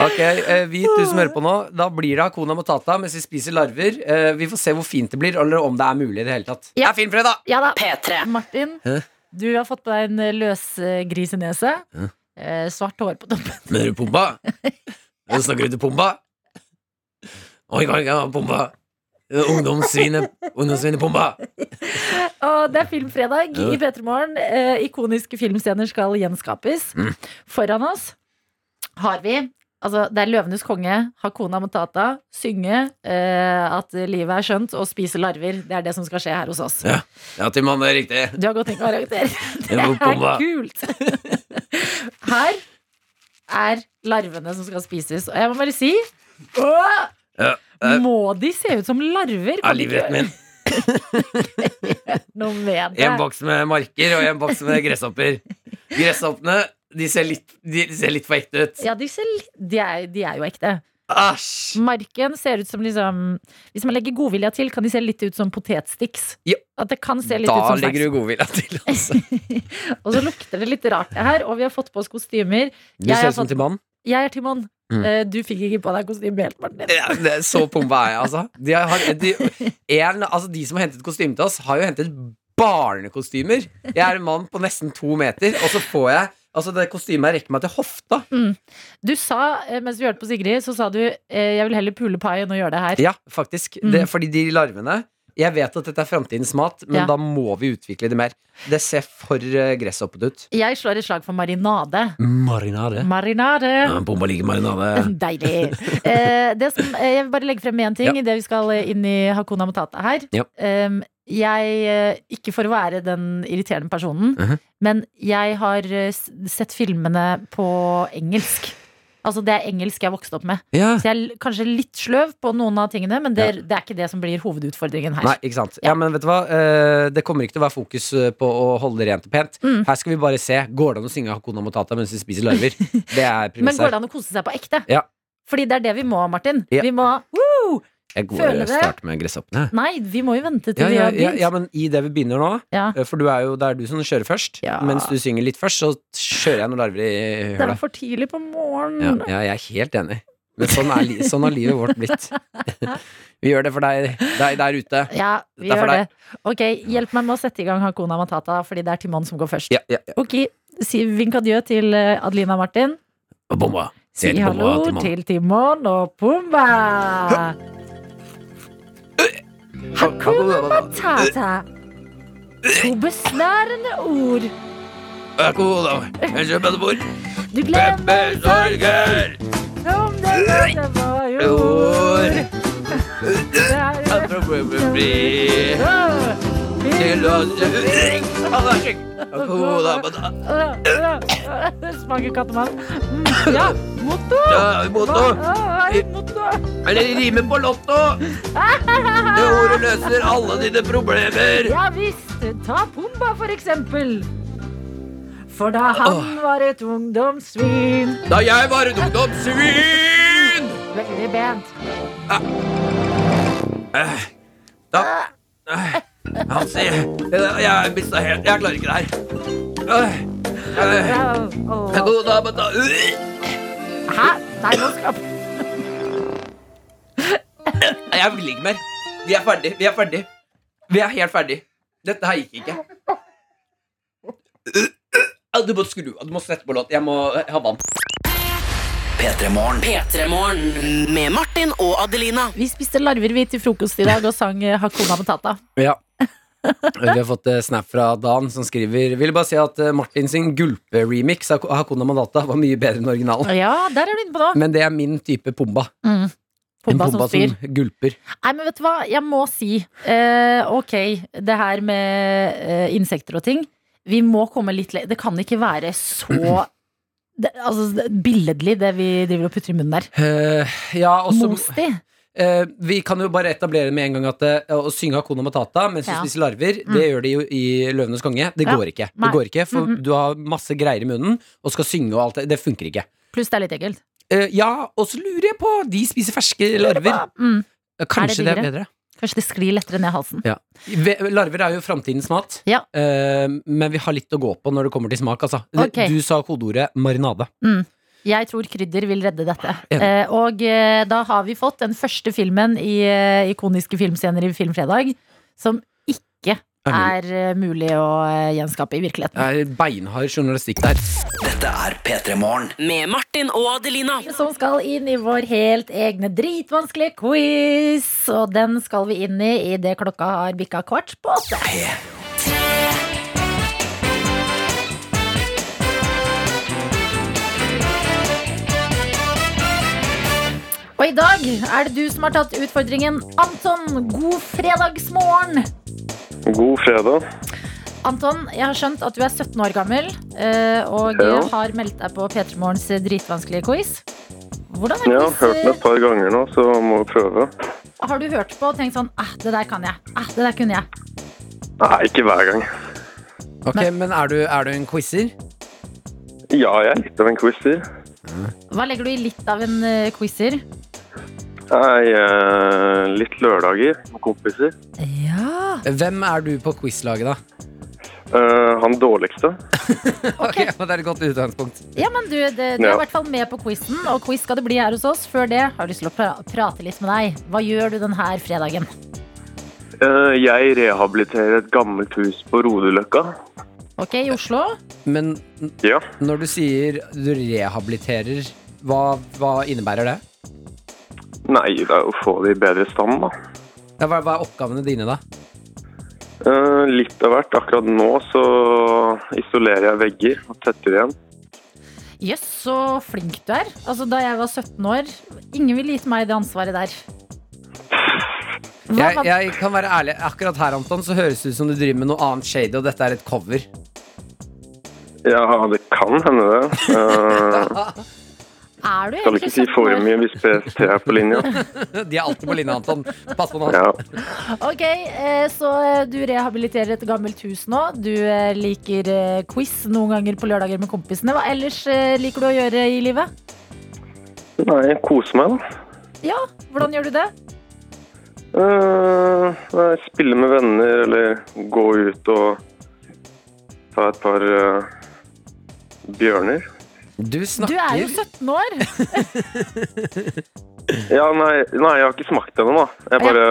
Speaker 3: Ok, eh, Vi tusen hører på nå. Da blir det Hakuna Matata mens vi spiser larver. Eh, Vi får se hvor fint det blir, eller om det er mulig i det hele tatt. Det
Speaker 2: Ja.
Speaker 3: er filmfredag!
Speaker 2: Ja da.
Speaker 7: P3.
Speaker 2: Martin,
Speaker 3: Hæ?
Speaker 2: du har fått på deg en eh, løsgrisenese. Eh, svart hår på toppen.
Speaker 3: Mener du Pumba? Jeg snakker du til Pumba? Oi, oi, oi, Pumba. Ungdomssvinet Ungdomssvinet Pumba.
Speaker 2: Og det er filmfredag i P3 Morgen. Eh, ikoniske filmscener skal gjenskapes.
Speaker 3: Mm.
Speaker 2: Foran oss har vi Altså, det er 'Løvenes konge', 'Hakuna Matata', synge eh, at livet er skjønt, og spise larver. Det er det som skal skje her hos oss.
Speaker 3: Ja, Timon, det er riktig.
Speaker 2: Du har godt tenkt å karakter. Det er
Speaker 3: må komme.
Speaker 2: kult! Her er larvene som skal spises. Og jeg må bare si Åh!
Speaker 3: Ja, eh.
Speaker 2: Må de se ut som larver? Kan
Speaker 3: Ja,
Speaker 2: de ikke-
Speaker 3: livrett min.
Speaker 2: Noe med det.
Speaker 3: En boks med marker og en boks med gresshopper. Gresshoppene de ser litt, de ser litt for ekte ut.
Speaker 2: Ja, de, ser litt, de, er, de er jo ekte.
Speaker 3: Æsj!
Speaker 2: Marken ser ut som liksom Hvis man legger godvilja til, kan de se litt ut som potetsticks.
Speaker 3: Ja.
Speaker 2: At det kan se litt ut
Speaker 3: Da
Speaker 2: som
Speaker 3: legger
Speaker 2: snacks.
Speaker 3: du godvilja til, altså.
Speaker 2: Og så lukter det litt rart, det her. Og vi har fått på oss kostymer.
Speaker 3: Du
Speaker 2: Jeg
Speaker 3: ser
Speaker 2: har
Speaker 3: ut som
Speaker 2: fått-
Speaker 3: Timon.
Speaker 2: Jeg er Timon.
Speaker 3: Mm.
Speaker 2: Eh, Du fikk ikke på deg kostyme helt, Martin.
Speaker 3: Ja, det er så pumpa er jeg, altså. De, har, de, en, altså. de som har hentet kostyme til oss, har jo hentet barnekostymer. Jeg er en mann på nesten to meter, og så får jeg Altså, det kostymet rekker meg til hofta.
Speaker 2: Du sa, eh, mens vi hørte på Sigrid, så sa du eh, 'jeg vil heller pule pai enn å gjøre det her'.
Speaker 3: Ja, faktisk.
Speaker 2: Mm.
Speaker 3: Det, fordi de larvene Jeg vet at dette er framtidens mat, men
Speaker 2: Ja.
Speaker 3: da må vi utvikle det mer. Det ser for eh, gresshoppete ut.
Speaker 2: Jeg slår et slag for marinade.
Speaker 3: Marinade.
Speaker 2: Marinade.
Speaker 3: Bomba liker marinade.
Speaker 2: Deilig. Eh, det som, eh, jeg vil bare legge frem én ting idet vi skal eh, inn i Hakuna Matata her.
Speaker 3: Ja.
Speaker 2: Em, jeg, eh, ikke for å være den irriterende personen,
Speaker 3: Mhm.
Speaker 2: men jeg har eh, s- sett filmene på engelsk. Altså Det er engelsk jeg vokste opp med.
Speaker 3: Ja.
Speaker 2: Så jeg er l- kanskje litt sløv på noen av tingene, men det er, det er ikke det som blir hovedutfordringen her.
Speaker 3: Nei, ikke sant. Ja, men vet du hva? Eh, Det kommer ikke til å være fokus eh, på å holde det rent og pent.
Speaker 2: Mm.
Speaker 3: Her skal vi bare se. Går det an å synge Hakuna Matata mens vi spiser larver? Det
Speaker 2: Men går
Speaker 3: er premisset.
Speaker 2: det an å kose seg på ekte?
Speaker 3: Ja.
Speaker 2: Fordi det er det vi må, Martin.
Speaker 3: Ja.
Speaker 2: Vi må woo!
Speaker 3: Jeg går
Speaker 2: Føler det.
Speaker 3: start med gresshoppene.
Speaker 2: Nei, vi må jo vente til
Speaker 3: Ja, ja,
Speaker 2: vi
Speaker 3: ja,
Speaker 2: har begynt.
Speaker 3: ja, men i det vi begynner nå,
Speaker 2: Ja.
Speaker 3: eh, for du er jo, det er du som kjører først.
Speaker 2: Ja.
Speaker 3: Mens du synger litt først, så kjører jeg noen larver i
Speaker 2: Det er
Speaker 3: høla.
Speaker 2: for tidlig på
Speaker 3: Ja,
Speaker 2: morgenen.
Speaker 3: ja, jeg er helt enig. Men sånn, er, li- sånn har livet vårt blitt. Vi gjør det for deg, deg der ute.
Speaker 2: Ja, vi
Speaker 3: Det er
Speaker 2: gjør
Speaker 3: for
Speaker 2: det.
Speaker 3: deg.
Speaker 2: Ok, Hjelp meg med å sette i gang Hakuna Matata, fordi det er Timon som går først.
Speaker 3: Ja, ja, ja.
Speaker 2: Ok, si vink adjø til eh, Adelina og Martin.
Speaker 3: Og Bomba.
Speaker 2: Si
Speaker 3: Til Pumba
Speaker 2: hallo
Speaker 3: og Timon.
Speaker 2: til Timon og Pumba! Hakuna Matata. To besnærende ord.
Speaker 3: Hakuna. Jeg kjøper et bord.
Speaker 2: Du glemmer
Speaker 3: Sorger!
Speaker 2: om det meste var jord.
Speaker 3: Ord.
Speaker 2: Det er jo
Speaker 3: Til oss. Hakuna Matata.
Speaker 2: Det smaker kattemann. Mm, Ja, motto!
Speaker 3: Ja, motto.
Speaker 2: Hva- hva er ditt motto?
Speaker 3: Eller rime på lotto. Det ordet løser alle dine problemer.
Speaker 2: Ja visst, ta Pumba for eksempel. For da han var et ungdomssvin
Speaker 3: Da jeg var et ungdomssvin
Speaker 2: Veldig bent.
Speaker 3: Da Eh, Han sier eh, Jeg mista helt Jeg klarer ikke det her. Eh, eh,
Speaker 2: Ja, og-
Speaker 3: Hakuna Matata.
Speaker 2: Hæ? Nei, nå skal
Speaker 3: Nei, Jeg vil ikke mer. Vi er ferdig. Vi er ferdig. Vi er helt ferdig. Dette her gikk ikke. Eh, Du må skru av. Du må sette på låt. Jeg må eh, ha vann.
Speaker 5: P3morgen.
Speaker 7: P3-morgen med Martin og Adelina.
Speaker 2: Vi spiste larver vi til frokost i dag og sang eh, Hakuna Matata.
Speaker 3: Ja. Vi har fått eh, snap fra Dan som skriver Vil bare si at eh, Martin sin gulperemix av Hakuna Mandata var mye bedre enn originalen.
Speaker 2: Ja, der er du inne på noe.
Speaker 3: Men det er min type pomba.
Speaker 2: Pumba
Speaker 3: en
Speaker 2: som spyr.
Speaker 3: gulper.
Speaker 2: Nei, men vet du hva? Jeg må si eh, Ok, det her med eh, insekter og ting Vi må komme litt le- Det kan ikke være så det, altså, det er billedlig det vi driver og putter i munnen der
Speaker 3: Eh, ja, og så
Speaker 2: Mos de
Speaker 3: eh, Vi kan jo bare etablere med en gang at eh, å synge Hakuna Matata mens
Speaker 2: Ja.
Speaker 3: du spiser larver,
Speaker 2: Mm.
Speaker 3: det gjør de jo i Løvenes konge. Det
Speaker 2: Ja.
Speaker 3: går ikke.
Speaker 2: Nei.
Speaker 3: Det går ikke, For
Speaker 2: Mhm.
Speaker 3: du har masse greier i munnen og skal synge og alt det. Det funker ikke.
Speaker 2: Pluss det er litt ekkelt
Speaker 3: Eh, ja, og så lurer jeg på De spiser ferske larver.
Speaker 2: mm.
Speaker 3: Eh, Kanskje det er
Speaker 2: diggere?
Speaker 3: bedre.
Speaker 2: Kanskje det sklir lettere ned halsen
Speaker 3: Ve- Larver er jo framtidens mat,
Speaker 2: Ja.
Speaker 3: Eh, men vi har litt å gå på når det kommer til smak. Altså.
Speaker 2: Ok.
Speaker 3: Du sa kodeordet marinade.
Speaker 2: Jeg tror krydder vil redde dette.
Speaker 3: Enig.
Speaker 2: Eh, og eh, da har vi fått den første filmen i eh, ikoniske filmscener i Filmfredag som ikke
Speaker 3: Er
Speaker 2: er eh, mulig å eh, gjenskape i virkeligheten.
Speaker 3: Det er beinhard journalistikk der.
Speaker 5: Dette er P3morgen.
Speaker 7: Med Martin og Adelina.
Speaker 2: Som skal inn i vår helt egne dritvanskelige quiz. Og den skal vi inn i idet klokka har bikka kvart på åtte. Og i dag er det du som har tatt utfordringen. Anton, god fredagsmorgen!
Speaker 10: God fredag.
Speaker 2: Anton, jeg har skjønt at du er 17 år gammel eh, og
Speaker 10: Ja.
Speaker 2: har meldt deg på P3 Morgens dritvanskelige quiz. Hvordan er
Speaker 10: Jeg har
Speaker 2: quiz-
Speaker 10: hørt den et par ganger nå, så jeg må prøve.
Speaker 2: Har du hørt på og tenkt sånn ah, det der kan jeg. Ah, det der kunne jeg.
Speaker 10: Nei, ikke hver gang.
Speaker 3: Ok, Men er du, er du en quizer?
Speaker 10: Ja, jeg er litt av en quizer.
Speaker 2: Hva legger du i litt av en eh, quizer?
Speaker 10: Jeg er eh, litt lørdager med kompiser.
Speaker 3: Hvem er du på quizlaget, da?
Speaker 10: Eh, han dårligste.
Speaker 3: Ok, og Det er et godt utgangspunkt.
Speaker 2: Ja, men du, det, du er
Speaker 10: Ja.
Speaker 2: i hvert fall med på quizen, og quiz skal det bli her hos oss. Før det har jeg lyst til å pra prate litt med deg. Hva gjør du denne fredagen?
Speaker 10: Eh, jeg rehabiliterer et gammelt hus på Rodeløkka.
Speaker 2: Ok, i Oslo?
Speaker 3: Men
Speaker 10: Ja.
Speaker 3: når du sier du rehabiliterer, hva, hva innebærer det?
Speaker 10: Nei, det er å få det i bedre stand, da.
Speaker 3: Ja, hva, hva er oppgavene dine, da?
Speaker 10: Eh, litt av hvert. Akkurat nå så isolerer jeg vegger og tetter igjen.
Speaker 2: Jøss, så flink du er. Altså, Da jeg var 17 år Ingen ville gitt meg det ansvaret der. Hva,
Speaker 3: Jeg, jeg kan være ærlig, Akkurat her Anton, så høres det ut som du driver med noe annet shady, og dette er et cover.
Speaker 10: Ja, det kan hende det. Eh,
Speaker 2: er du
Speaker 10: skal
Speaker 2: egentlig
Speaker 10: ikke si
Speaker 2: 17
Speaker 10: for
Speaker 2: år?
Speaker 10: mye hvis PST er på linja.
Speaker 3: De er alltid på linja, Anton. Pass på nå.
Speaker 10: Ja.
Speaker 2: Ok, eh, så eh, du rehabiliterer et gammelt hus nå. Du eh, liker eh, quiz noen ganger på lørdager med kompisene. Hva ellers eh, liker du å gjøre i livet?
Speaker 10: Nei, kose meg, da.
Speaker 2: Ja, hvordan gjør du det?
Speaker 10: Eh, nei, spille med venner, eller gå ut og ta et par eh, bjørner.
Speaker 3: Du
Speaker 2: Du er jo
Speaker 3: snakker
Speaker 2: 17 år. Mhm.
Speaker 10: Ja, nei, nei, jeg har ikke smakt det ennå, da. Jeg bare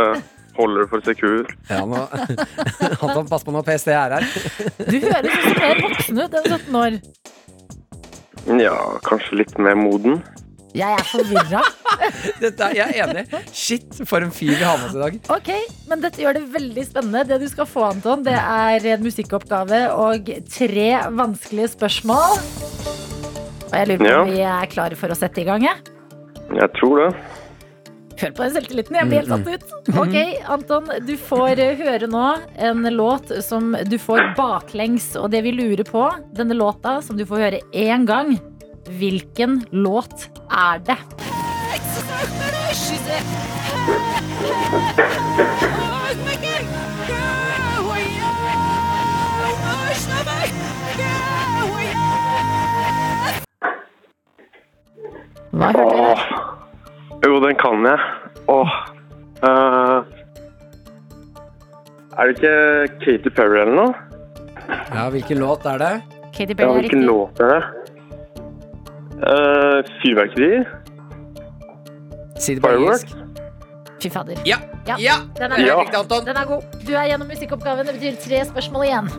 Speaker 10: holder det for sekur.
Speaker 3: ja, nå. Anton, pass på nå. PST er her.
Speaker 2: Du høres også mer voksen ut enn 17 år.
Speaker 10: Ja, kanskje litt mer moden.
Speaker 2: Jeg er forvirra.
Speaker 3: Dette er, jeg er enig. Shit, for en fyr vi har med oss i dag.
Speaker 2: Ok, men dette gjør det veldig spennende. Det du skal få, Anton, det er en musikkoppgave og tre vanskelige spørsmål. Og jeg lurer på om
Speaker 10: Ja.
Speaker 2: vi er klare for å sette i gang, jeg.
Speaker 10: Jeg tror det.
Speaker 2: Hør på den selvtilliten, jeg blir helt satt ut. Ok, Anton, du får eh, høre nå en låt som du får baklengs. Og det vi lurer på, denne låta som du får høre én gang, hvilken låt er det? Hva hørte du?
Speaker 10: Åh. Jo, den kan jeg. Åh. Eh, er det ikke Katy Perry eller noe?
Speaker 3: Ja, Hvilken låt er det?
Speaker 2: Katy
Speaker 10: Ja,
Speaker 2: Perry er
Speaker 10: hvilken
Speaker 2: riktig.
Speaker 10: låt er det? Eh, Fyrverkeri?
Speaker 3: Si det på
Speaker 10: Firework?
Speaker 3: engelsk.
Speaker 2: Fy fader.
Speaker 3: Ja.
Speaker 2: Ja.
Speaker 3: ja.
Speaker 2: Den er,
Speaker 3: Det er
Speaker 10: Ja.
Speaker 2: god.
Speaker 3: riktig, Anton.
Speaker 2: den er god. Du er gjennom musikkoppgaven. Det betyr tre spørsmål igjen.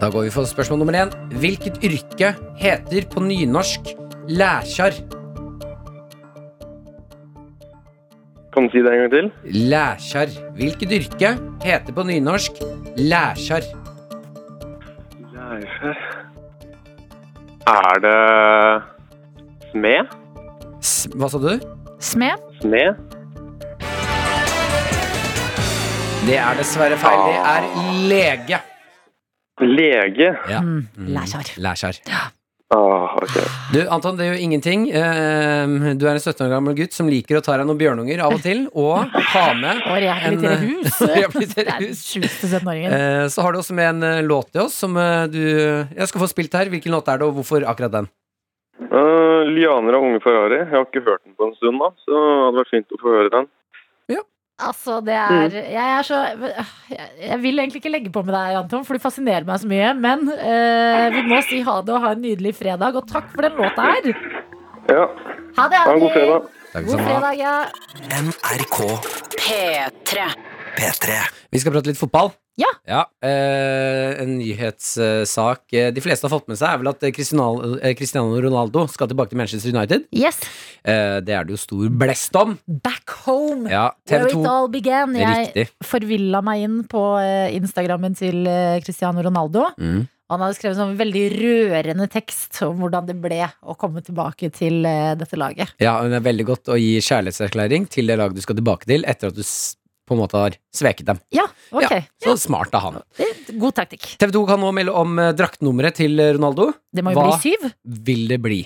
Speaker 3: Da går vi for spørsmål nummer én. Hvilket yrke heter på nynorsk lækjar?
Speaker 10: Kan du si det en gang til?
Speaker 3: Lækjar. Hvilket yrke heter på nynorsk lækjar?
Speaker 10: Leirskjær. Er det smed?
Speaker 3: S- Hva sa du?
Speaker 2: Smed.
Speaker 10: Smed?
Speaker 3: Det er dessverre feil. Det er lege.
Speaker 10: Lege?
Speaker 3: Ja.
Speaker 2: Mm. Lækjar.
Speaker 3: Lækjar.
Speaker 10: Ah, ok.
Speaker 3: Du, Anton, det gjør ingenting. Eh, Du er en 17 år gammel gutt som liker å ta deg noen bjørnunger av og til, og ha med
Speaker 2: Og rehabilitere
Speaker 3: en, eh,
Speaker 2: hus.
Speaker 3: rehabilitere
Speaker 2: Det er den
Speaker 3: hus.
Speaker 2: sjukeste 17-åringen.
Speaker 3: Eh, Så har du også med en eh, låt til oss som eh, du Jeg skal få spilt her. Hvilken låt er det, og hvorfor akkurat den?
Speaker 10: Eh, Lianer av unge Ferrari. Jeg har ikke hørt den på en stund, da, så det hadde vært fint å få høre den.
Speaker 2: Altså, det
Speaker 10: Mm.
Speaker 2: er Jeg er så jeg, jeg vil egentlig ikke legge på med deg, Anton, for du fascinerer meg så mye. Men eh, vi må si ha det og ha en nydelig fredag. Og takk for den låta her.
Speaker 10: Ja,
Speaker 2: Ha det.
Speaker 10: ha en god
Speaker 2: Harry.
Speaker 10: fredag.
Speaker 2: God fredag, ja.
Speaker 5: NRK
Speaker 7: P3.
Speaker 5: P3
Speaker 3: Vi skal prate litt fotball.
Speaker 2: Ja.
Speaker 3: eh, en nyhetssak eh, de fleste har fått med seg, er vel at eh, Cristiano eh, Cristiano Ronaldo skal tilbake til Manchester United.
Speaker 2: Yes.
Speaker 3: Eh, det er det jo stor blest om.
Speaker 2: Back home.
Speaker 3: Ja,
Speaker 2: Where it
Speaker 3: TV2
Speaker 2: all began. Jeg
Speaker 3: Riktig.
Speaker 2: forvilla meg inn på eh, Instagrammen til eh, Cristiano Ronaldo.
Speaker 3: Mm.
Speaker 2: Og han hadde skrevet sånn veldig rørende tekst om hvordan det ble å komme tilbake til eh, dette laget.
Speaker 3: Ja, men det er veldig godt å gi kjærlighetserklæring til det laget du skal tilbake til, etter at du s- på en måte har sveket dem.
Speaker 2: Ja, ok.
Speaker 3: Så smart av han.
Speaker 2: Det- God taktikk.
Speaker 3: TV2 kan nå melde om eh, draktnummeret til eh, Ronaldo.
Speaker 2: Det må jo
Speaker 3: Hva?
Speaker 2: bli syv.
Speaker 3: Vil det bli?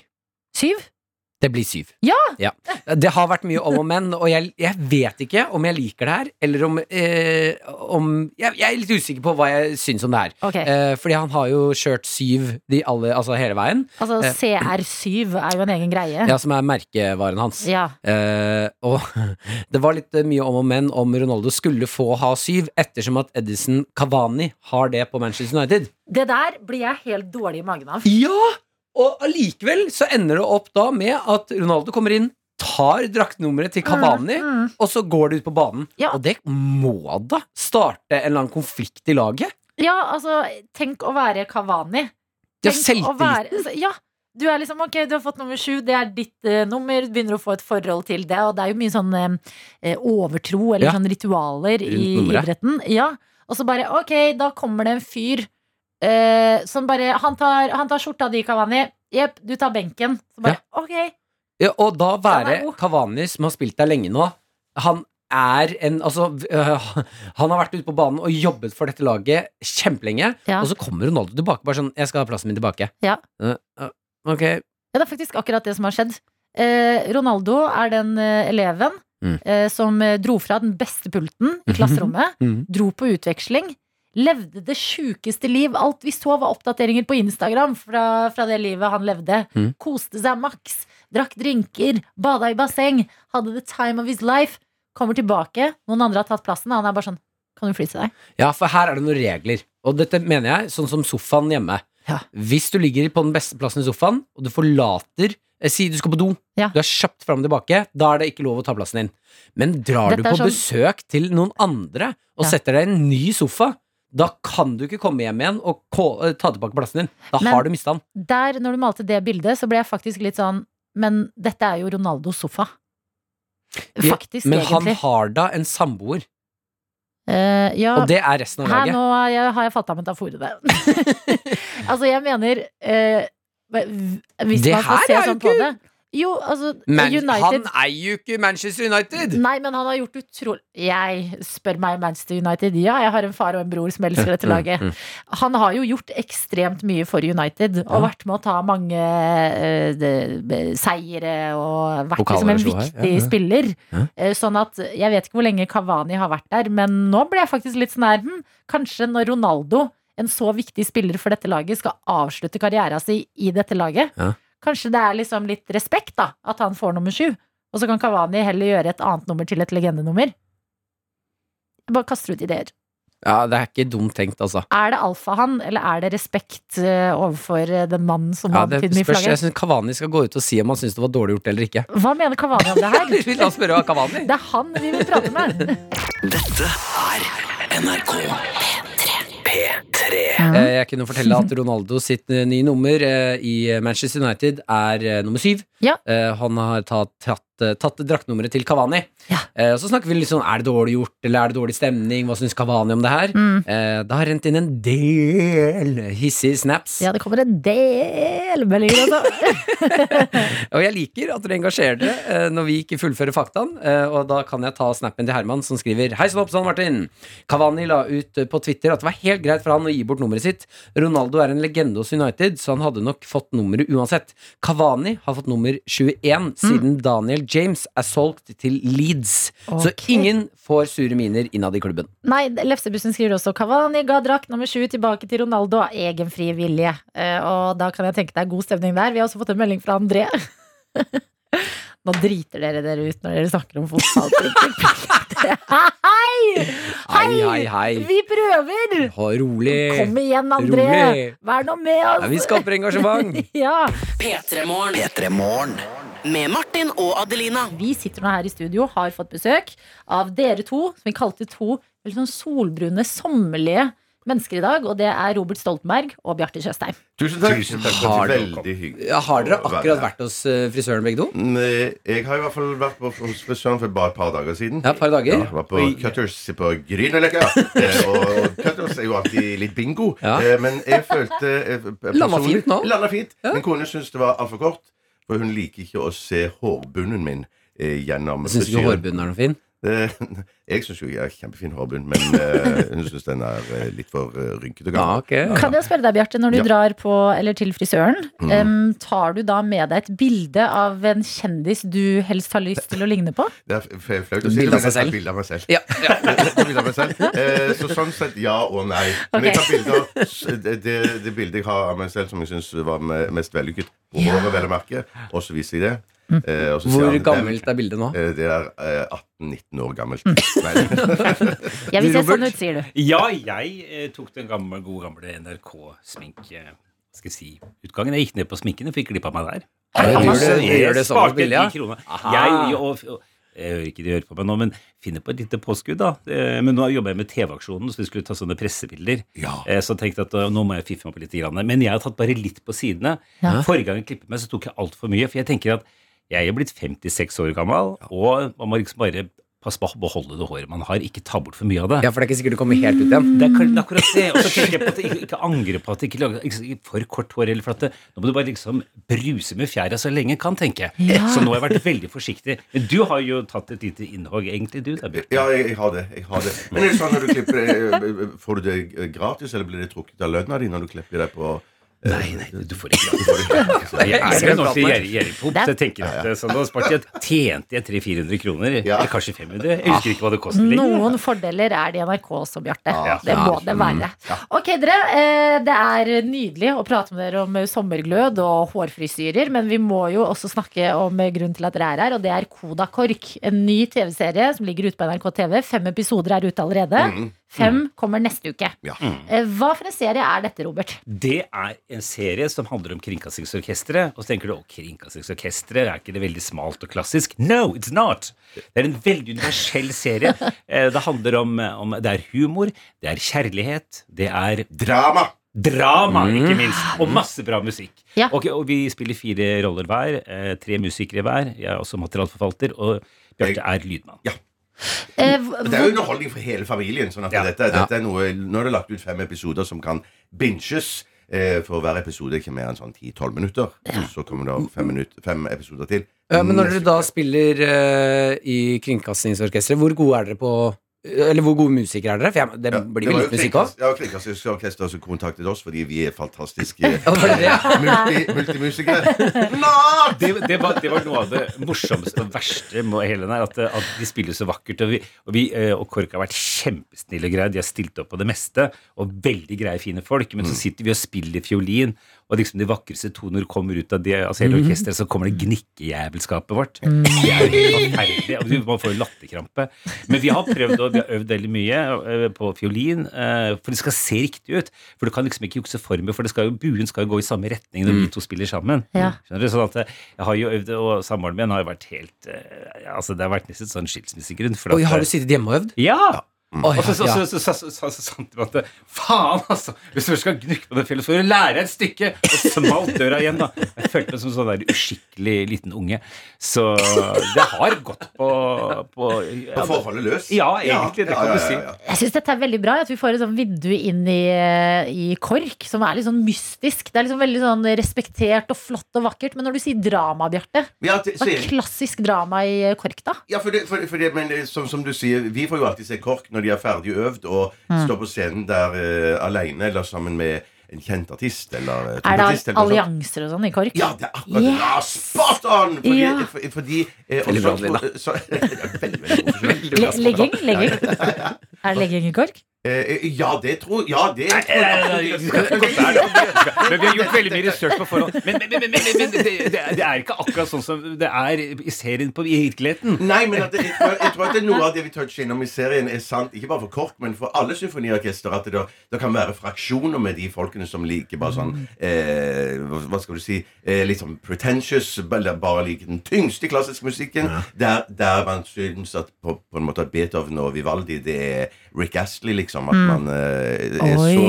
Speaker 2: Syv?
Speaker 3: Det blir syv.
Speaker 2: Ja!
Speaker 3: Ja. Det har vært mye om og men, og jeg, jeg vet ikke om jeg liker det her, eller om, eh, om jeg, jeg er litt usikker på hva jeg syns om det her.
Speaker 2: Ok.
Speaker 3: Eh, fordi han har jo kjørt syv de alle, altså hele veien,
Speaker 2: Altså,
Speaker 3: Eh.
Speaker 2: CR7 er jo en egen greie.
Speaker 3: ja, som er merkevaren hans.
Speaker 2: Ja.
Speaker 3: Eh, og det var litt eh, mye om og men om Ronaldo skulle få ha syv, ettersom at Edison Cavani har det på Manchester United.
Speaker 2: Det der blir jeg helt dårlig i magen av.
Speaker 3: Ja! Og allikevel så ender det opp da med at Ronaldo kommer inn, tar draktnummeret til Cavani,
Speaker 2: Mm.
Speaker 3: og så går det ut på banen.
Speaker 2: Ja.
Speaker 3: Og det må da starte en eller annen konflikt i laget?
Speaker 2: Ja, altså, tenk å være Kavani.
Speaker 3: Ja,
Speaker 2: Tenk å
Speaker 3: selvtillit.
Speaker 2: være, altså, ja, du er liksom Ok, du har fått nummer sju, det er ditt eh, nummer. Du begynner å få et forhold til det, og det er jo mye sånn eh, overtro eller
Speaker 3: Ja.
Speaker 2: sånn ritualer i
Speaker 3: Rundt nummeret.
Speaker 2: idretten. Ja. Og så bare Ok, da kommer det en fyr eh, som bare han tar, han tar skjorta di, Kavani. Jepp, du tar benken. Så bare Ok.
Speaker 3: Ja, og da være
Speaker 2: Den er god.
Speaker 3: Cavani, som har spilt der lenge nå Han er en Altså, øh, han har vært ute på banen og jobbet for dette laget kjempelenge,
Speaker 2: Ja.
Speaker 3: og så kommer Ronaldo tilbake bare sånn 'Jeg skal ha plassen min tilbake'.
Speaker 2: Ja.
Speaker 3: Øh, øh, ok.
Speaker 2: Ja, det er faktisk akkurat det som har skjedd. Eh, Ronaldo er den eh, eleven
Speaker 3: Mm.
Speaker 2: eh, som eh, dro fra den beste pulten i klasserommet.
Speaker 3: Mhm.
Speaker 2: Dro på utveksling. Levde det sjukeste liv. Alt vi så, var oppdateringer på Instagram fra, fra det livet han levde.
Speaker 3: Mm.
Speaker 2: Koste seg maks. Drakk drinker. Bada i basseng. Hadde the time of his life. Kommer tilbake. Noen andre har tatt plassen. og Han er bare sånn Kan du flytte deg?
Speaker 3: Ja, for her er det noen regler. Og dette mener jeg sånn som sofaen hjemme.
Speaker 2: Ja.
Speaker 3: Hvis du ligger på den beste plassen i sofaen, og du forlater eh, Si du skal på do,
Speaker 2: Ja.
Speaker 3: du er kjapt fram og tilbake, da er det ikke lov å ta plassen din. Men drar
Speaker 2: Dette
Speaker 3: du
Speaker 2: er
Speaker 3: på
Speaker 2: sånn-
Speaker 3: besøk til noen andre og
Speaker 2: Ja.
Speaker 3: setter deg i en ny sofa, da kan du ikke komme hjem igjen og ko- eh, ta tilbake plassen din. Da
Speaker 2: Men-
Speaker 3: har du mista den.
Speaker 2: Der, når du malte det bildet, så ble jeg faktisk litt sånn Men dette er jo Ronaldos sofa.
Speaker 3: Ja,
Speaker 2: Faktisk,
Speaker 3: Men han
Speaker 2: egentlig.
Speaker 3: har da en samboer,
Speaker 2: Eh, ja,
Speaker 3: og det er resten av
Speaker 2: her
Speaker 3: laget.
Speaker 2: nå har jeg, har jeg fatta metaforen der. altså, jeg mener eh, hva- Hvis
Speaker 3: Det
Speaker 2: man skal
Speaker 3: her
Speaker 2: se
Speaker 3: er jo
Speaker 2: sånn på
Speaker 3: ikke-
Speaker 2: det Jo, altså,
Speaker 3: Men han
Speaker 2: United
Speaker 3: eier jo ikke Manchester United!
Speaker 2: Nei, men han har gjort utrolig Jeg spør meg Manchester United. Ja, jeg har en far og en bror som elsker dette laget.
Speaker 3: Mm.
Speaker 2: Han har jo gjort ekstremt mye for United, og vært med å ta mange eh, de- de- seire og vært
Speaker 3: Pokaler
Speaker 2: liksom en
Speaker 3: og så her,
Speaker 2: viktig
Speaker 3: ja, ja.
Speaker 2: spiller.
Speaker 3: Ja.
Speaker 2: Eh, Sånn at jeg vet ikke hvor lenge Kavani har vært der, men nå ble jeg faktisk litt sånn her hm, Kanskje når Ronaldo, en så viktig spiller for dette laget, skal avslutte karrieren sin i dette laget.
Speaker 3: Ja.
Speaker 2: Kanskje det er liksom litt respekt, da, at han får nummer sju. Og så kan Kavani heller gjøre et annet nummer til et legendenummer. Jeg bare kaster ut ideer.
Speaker 3: Ja, det er ikke dumt tenkt, altså.
Speaker 2: Er det alfahann, eller er det respekt eh, overfor eh, den mannen som
Speaker 3: Ja,
Speaker 2: vant
Speaker 3: det
Speaker 2: tiden i
Speaker 3: spørs, jeg
Speaker 2: flagget?
Speaker 3: synes Kavani skal gå ut og si om han syns det var dårlig gjort eller ikke.
Speaker 2: Hva mener Kavani om det her?
Speaker 3: La oss spørre Kavani.
Speaker 2: Det er han vi vil prate med.
Speaker 5: Dette er NRK P3.
Speaker 3: Eh, Jeg kunne fortelle at Ronaldo sitt eh, nye nummer eh, i Manchester United er eh, nummer syv.
Speaker 2: Ja.
Speaker 3: Eh, Han har tatt, tatt, eh, tatt draktnummeret til Kavani.
Speaker 2: Ja.
Speaker 3: Eh, Så snakker vi litt sånn er det dårlig gjort, eller er det dårlig stemning, hva syns Kavani om det her?
Speaker 2: Mm.
Speaker 3: Eh, Det har rent inn en del hissige snaps.
Speaker 2: Ja, det kommer en del meldinger også.
Speaker 3: Og jeg liker at dere engasjerer dere eh, når vi ikke fullfører faktaen. eh, Og da kan jeg ta snappen til Herman, som skriver Hei sann, oppsann, Martin. Kavani la ut eh, på Twitter at det var helt greit for han å gi bort nummeret sitt. Ronaldo er en legende hos United, så han hadde nok fått nummeret uansett. Kavani har fått nummer
Speaker 2: Mm.
Speaker 3: 21 siden Daniel James er solgt til Leeds. Så
Speaker 2: Ok.
Speaker 3: ingen får sure miner innad i klubben.
Speaker 2: Nei, Lefsebussen skriver også Kavani ga drakt nummer sju tilbake til Ronaldo av egen fri vilje. Eh, Og da kan jeg tenke det er god stemning der. Vi har også fått en melding fra André. Nå driter dere dere ut når dere snakker om fotball. Hei!
Speaker 3: Hei, hei, hei.
Speaker 2: Vi prøver!
Speaker 3: Ha rolig.
Speaker 2: Kom igjen, André!
Speaker 3: Rolig.
Speaker 2: Vær nå med oss!
Speaker 3: Ja, vi skaper engasjement.
Speaker 2: Ja.
Speaker 7: P3-morgen.
Speaker 5: P3 Morgen.
Speaker 7: Med Martin og Adelina.
Speaker 2: Vi sitter nå her i studio, har fått besøk av dere to, som vi kalte to veldig sånn solbrune, sommerlige mennesker i dag. Og det er Robert Stoltenberg og Bjarte Tjøstheim.
Speaker 11: Tusen takk.
Speaker 3: Har
Speaker 11: Har
Speaker 3: du-
Speaker 11: Veldig hyggelig.
Speaker 3: Ja, har dere akkurat vært hos eh, frisøren begge to?
Speaker 11: Mm, Jeg har i hvert fall vært på- hos frisøren for bare et par dager siden.
Speaker 3: Ja, et par dager.
Speaker 11: Ja, jeg var på Cutters på Grünerløkka. Eh, Og og Cutters er jo alltid litt bingo.
Speaker 3: Ja.
Speaker 11: Eh, Men jeg følte eh,
Speaker 3: Landa
Speaker 11: personlig-
Speaker 3: fint nå.
Speaker 11: Landa fint. Min kone syns det var altfor kort, for hun liker ikke å se hårbunnen min eh, gjennom
Speaker 3: Syns du ikke
Speaker 11: frisyren.
Speaker 3: hårbunnen er noe fin?
Speaker 11: Eh, Jeg syns jo jeg er kjempefin hårbunn, men eh, hun syns den er eh, litt for eh, rynkete. Ja,
Speaker 2: Kan jeg spørre deg, Bjarte, når du
Speaker 11: Ja.
Speaker 2: drar på, eller til frisøren,
Speaker 11: Mm.
Speaker 2: em, tar du da med deg et bilde av en kjendis du helst har lyst til å ligne på?
Speaker 11: Det er f- f- flaut å
Speaker 3: Bilde
Speaker 11: si det,
Speaker 3: av
Speaker 11: men
Speaker 3: seg
Speaker 11: jeg tar
Speaker 3: selv.
Speaker 11: bilde av meg selv.
Speaker 3: Ja,
Speaker 11: Jeg tar bilde av meg selv. Eh, Så sånn sett ja og nei. Men jeg tar
Speaker 2: Ok.
Speaker 11: bilde av s- det, det, det bildet jeg har av meg selv som jeg syns var me- mest vellykket, på
Speaker 2: Ja. Mm.
Speaker 11: håret, vel å merke, og så viser jeg det. Eh, og så
Speaker 3: Hvor
Speaker 11: sier han,
Speaker 3: gammelt
Speaker 11: "Hvem?"
Speaker 3: er bildet nå?
Speaker 11: Eh, Det er eh, 18-19 år gammelt.
Speaker 2: Mm.
Speaker 11: Nei.
Speaker 2: Jeg vil se sånn ut, sier du.
Speaker 12: Ja, jeg eh, tok den gamle, gode gamle NRK-sminke... Skal jeg si utgangen. Jeg gikk ned på sminken og fikk glipp av meg der.
Speaker 3: Ja, du gjør det-
Speaker 12: Jeg
Speaker 3: du gjør det såpass
Speaker 12: sparte
Speaker 3: billig, ja.
Speaker 12: 10 kroner.
Speaker 3: Aha.
Speaker 12: Jeg, og, og, jeg hører ikke de hører på meg nå, men finner på et lite påskudd, da. Eh, Men nå jobber jeg med TV-aksjonen, så vi skulle ta sånne pressebilder. Eh, Så tenkte jeg at eh, nå må jeg fiffe meg på litt. Grann. Men jeg har tatt bare litt på sidene.
Speaker 2: Ja.
Speaker 12: Forrige gang jeg klippet meg, så tok jeg altfor mye. For jeg tenker at jeg er blitt 56 år gammel, og man må liksom bare passe på å beholde det håret man har. Ikke ta bort for mye av det.
Speaker 3: Ja, for det er ikke sikkert du kommer helt ut igjen.
Speaker 12: Det er akkur- det er akkurat det. Og så tenker jeg på at jeg ikke, ikke angre på at jeg ikke lager ikke for kort hår. Eller for at det, nå må du bare liksom bruse med fjæra så lenge jeg kan, tenker jeg.
Speaker 11: Ja.
Speaker 12: Så nå har jeg vært veldig forsiktig. Men du har jo tatt et lite innhogg, egentlig, du. Da, Bjørn.
Speaker 11: Ja, jeg, jeg har det. Jeg har det. Men er det sånn når du klipper eh, Får du det gratis, eller blir det trukket av lønna di når du klipper deg på eh, Nei,
Speaker 12: nei, du får det
Speaker 11: gratis.
Speaker 12: Jeg er jo en ordentlig gjerrig- gjerrigpop, så jeg tenker at eh, sånn, da sparte jeg tjente jeg 300-400 kroner, eller kanskje 500. Jeg husker ikke hva det koster lenger.
Speaker 2: Noen fordeler er det i NRK også, Bjarte.
Speaker 12: Mm. Ja.
Speaker 2: Det må
Speaker 12: Ja.
Speaker 2: det være.
Speaker 12: Mm. Ja.
Speaker 2: Ok, dere. eh, Det er nydelig å prate med dere om sommerglød og hårfrisyrer, men vi må jo også snakke om grunnen til at dere er her, og det er Koda Kork. En ny TV-serie som ligger ute på NRK TV. Fem episoder er ute allerede.
Speaker 12: Mm.
Speaker 2: Fem kommer neste uke.
Speaker 12: Mm.
Speaker 2: Eh, Hva for en serie er dette, Robert?
Speaker 12: Det er en serie som handler om Kringkastingsorkestret. Og så tenker du å, Kringkastingsorkestret, er ikke det veldig smalt og klassisk? No, it's not! Det er en veldig universell serie. Eh, Det handler om, om Det er humor, det er kjærlighet, det er
Speaker 11: Drama!
Speaker 12: Drama,
Speaker 11: Mm.
Speaker 12: ikke minst. Og masse bra musikk.
Speaker 2: Ja.
Speaker 12: Ok, og vi spiller fire roller hver. eh, Tre musikere hver. Jeg er også materialforvalter, og Bjarte er lydmann.
Speaker 2: Eh,
Speaker 11: Det er jo underholdning for hele familien. Sånn at dette, dette er noe, nå er det lagt ut fem episoder som kan binges. eh, For hver episode er ikke mer enn sånn 10-12 minutter. Så kommer det fem, minutt, fem episoder til.
Speaker 3: Ja, Eh, men når dere da spiller eh, i Kringkastingsorkestret, hvor gode er dere på Eller hvor gode musikere er dere? For jeg, det blir vel litt musikk òg?
Speaker 11: Ja, Kringkastingsorkesteret som kontaktet oss fordi vi er fantastiske multi, multimusikere.
Speaker 12: Det, det, var, det var noe av det morsomste og verste med hele den her, at, eh, at de spiller så vakkert. Og, vi, og, vi, eh, og KORK har vært kjempesnille og greie. De har stilt opp på det meste. Og veldig greie, fine folk. Men så sitter vi og spiller fiolin, og liksom de vakreste toner kommer ut av det, altså hele
Speaker 6: Mhm.
Speaker 12: orkesteret, så kommer det gnikkejævelskapet vårt. Det er jo helt forferdelig. og du- Man får jo latterkrampe. Men vi har prøvd og vi har øvd veldig mye eh, på fiolin, eh, for det skal se riktig ut. For du kan liksom ikke jukse formen, for det skal jo, buen skal jo gå i samme retning når vi to spiller sammen.
Speaker 2: Ja.
Speaker 12: Skjønner du? Sånn at eh, jeg har jo øvd, og samboeren min har jo vært helt eh, ja, Altså, det har vært nesten sånn skilsmissegrunn. for
Speaker 3: Oi,
Speaker 12: at,
Speaker 3: har
Speaker 12: eh,
Speaker 3: du sittet hjemme og øvd?
Speaker 12: Ja!
Speaker 3: Oi,
Speaker 12: Og så så-
Speaker 3: ja.
Speaker 12: så- så- så- så- så sant det var at det- Faen, altså! Hvis du først skal gnukke på det fjellet, så får du lære et stykke! Og smalt døra igjen, da. Jeg følte meg som en sånn der uskikkelig liten unge. Så det har gått på På,
Speaker 11: På forholdet løs?
Speaker 12: Ja, egentlig. Det
Speaker 11: Ja, ja,
Speaker 12: kan du
Speaker 11: ja,
Speaker 12: si.
Speaker 11: ja, ja.
Speaker 2: Jeg syns dette er veldig bra. At vi får et sånn vindu inn i, eh, i KORK som er litt sånn mystisk. Det er liksom veldig sånn respektert og flott og vakkert. Men når du sier drama, Bjarte
Speaker 11: Ja, det-
Speaker 2: Hva er
Speaker 11: sier-
Speaker 2: klassisk drama i eh, KORK, da?
Speaker 11: Ja, for det, for, for det, men det, som, som du sier, vi får jo alltid se KORK når de er ferdig øvd og
Speaker 2: Mm.
Speaker 11: står på scenen der eh, alene eller sammen med en kjent artist eller eh,
Speaker 2: Er det
Speaker 11: trompettist eller noe sånt.
Speaker 2: allianser og sånn i KORK?
Speaker 11: Ja, det er akkurat det. Ja, spot on! Fordi,
Speaker 2: Ja.
Speaker 11: for- fordi eh,
Speaker 3: Veldig bra,
Speaker 11: også-
Speaker 3: Lina.
Speaker 11: så- Ja, veldig, veldig god forsøk.
Speaker 2: Le legging? legging. Er det legging i KORK?
Speaker 11: Eh, Ja, det tror Ja, det tror jeg.
Speaker 12: Men vi har gjort veldig mye research på forhånd. Men, men, men, men, men, men det, det er- det er ikke akkurat sånn som det er i serien på i virkeligheten.
Speaker 11: Nei, men at det, jeg, tror, jeg tror at det er noe av det vi toucher innom i serien, er sant. Ikke bare for KORK, men for alle symfoniorkester. At det, da, det kan være fraksjoner med de folkene som liker bare sånn eh, hva- Hva skal du si eh, Litt sånn pretentious, eller bare liker den tyngste klassiske musikken. Der, der man syns at på, på en måte at Beethoven og Vivaldi, det er Rick Astley, liksom. At
Speaker 13: Mm.
Speaker 11: man eh, er
Speaker 13: Oi.
Speaker 11: så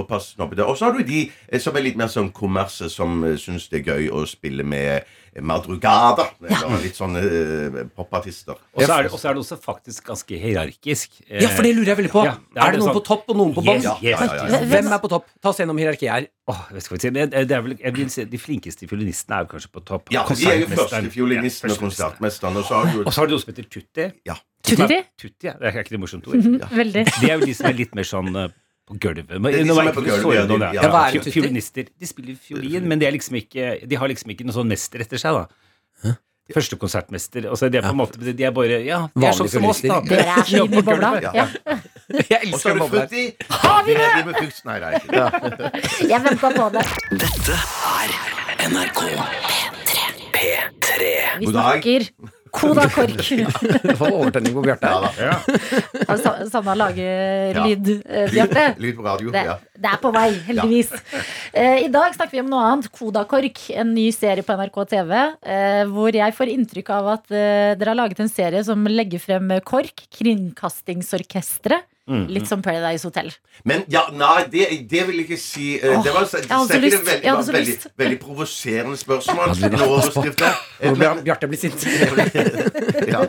Speaker 11: såpass snobbete. Og så har du de eh, som er litt mer sånn kommerse, som eh, syns det er gøy å spille med eh, madrugada. Eller litt sånne eh, popartister.
Speaker 12: Og så er, det- og så er det også faktisk ganske hierarkisk. Eh,
Speaker 3: Ja, for det lurer jeg veldig på.
Speaker 12: ja,
Speaker 3: er, det noen
Speaker 12: sånn-
Speaker 3: på topp og noen på bånn?
Speaker 12: Yes, yes, yes.
Speaker 3: Hvem er på topp? Ta oss gjennom hierarkiet her.
Speaker 12: Åh, jeg skal ikke si, men det er vel, jeg vil si, De flinkeste fiolinistene er jo kanskje på topp.
Speaker 11: Ja, de er jo
Speaker 12: Konsertmesteren.
Speaker 11: førstefiolinisten
Speaker 12: Ja,
Speaker 11: og konsertmesteren. Og så har du
Speaker 12: Og så har du noe som heter tutti.
Speaker 11: Ja.
Speaker 2: Tutti?
Speaker 12: Tutti, ja. Det er ikke det morsomt ord?
Speaker 2: Mhm, veldig.
Speaker 12: Det er jo de som er litt mer sånn eh, på gulvet. Men,
Speaker 11: Det er de
Speaker 12: nå
Speaker 11: som
Speaker 12: er
Speaker 11: er på
Speaker 12: ikke noe
Speaker 11: gulvet, ja,
Speaker 12: sånn,
Speaker 11: de-
Speaker 12: da.
Speaker 11: ja, hva er
Speaker 12: Fio-
Speaker 11: en tutti?
Speaker 12: Fiolinister. De spiller fiolin, men de, er liksom ikke, de har liksom ikke noen sånn mester etter seg, da. Første konsertmester. Altså, de er på en måte De er bare Ja, de er sånn
Speaker 11: Vanlige
Speaker 12: som oss, da.
Speaker 11: fiolinister. Dere er
Speaker 12: Ja,
Speaker 11: fine i
Speaker 12: på
Speaker 11: bobla,
Speaker 12: gulvet.
Speaker 11: ja.
Speaker 12: Jeg
Speaker 11: Og så
Speaker 12: elsker
Speaker 11: er det
Speaker 12: bobler.
Speaker 11: frutti. Har vi det? med frukt. Nei, det er ikke det.
Speaker 2: Jeg venta på det.
Speaker 5: Dette er NRK P3.
Speaker 2: Vi snakker Koda KORK.
Speaker 3: Det var overtenning på Bjarte.
Speaker 2: Altså, Sanna lager
Speaker 11: Ja.
Speaker 2: lyd, eh, Bjarte.
Speaker 11: Lyd på radio.
Speaker 2: Det,
Speaker 11: Ja.
Speaker 2: det er på vei, heldigvis. Eh, I dag snakker vi om noe annet. Kodakork, en ny serie på NRK TV. eh, hvor jeg får inntrykk av at eh, dere har laget en serie som legger frem eh, KORK, Kringkastingsorkesteret.
Speaker 11: Mm.
Speaker 2: Litt som Paradise Hotel.
Speaker 11: Men ja, nei, det, det vil jeg ikke si. Eh, Det var
Speaker 2: Åh, jeg hadde så
Speaker 11: sikkert
Speaker 2: lyst.
Speaker 11: et veldig,
Speaker 2: Jeg hadde så
Speaker 11: veldig,
Speaker 2: lyst.
Speaker 11: veldig provoserende spørsmål.
Speaker 3: Adeline,
Speaker 11: eller
Speaker 3: pass på.
Speaker 11: overskrifter. Eh,
Speaker 3: Nå blir
Speaker 11: men-
Speaker 3: Bjarte blir sint.
Speaker 11: ja.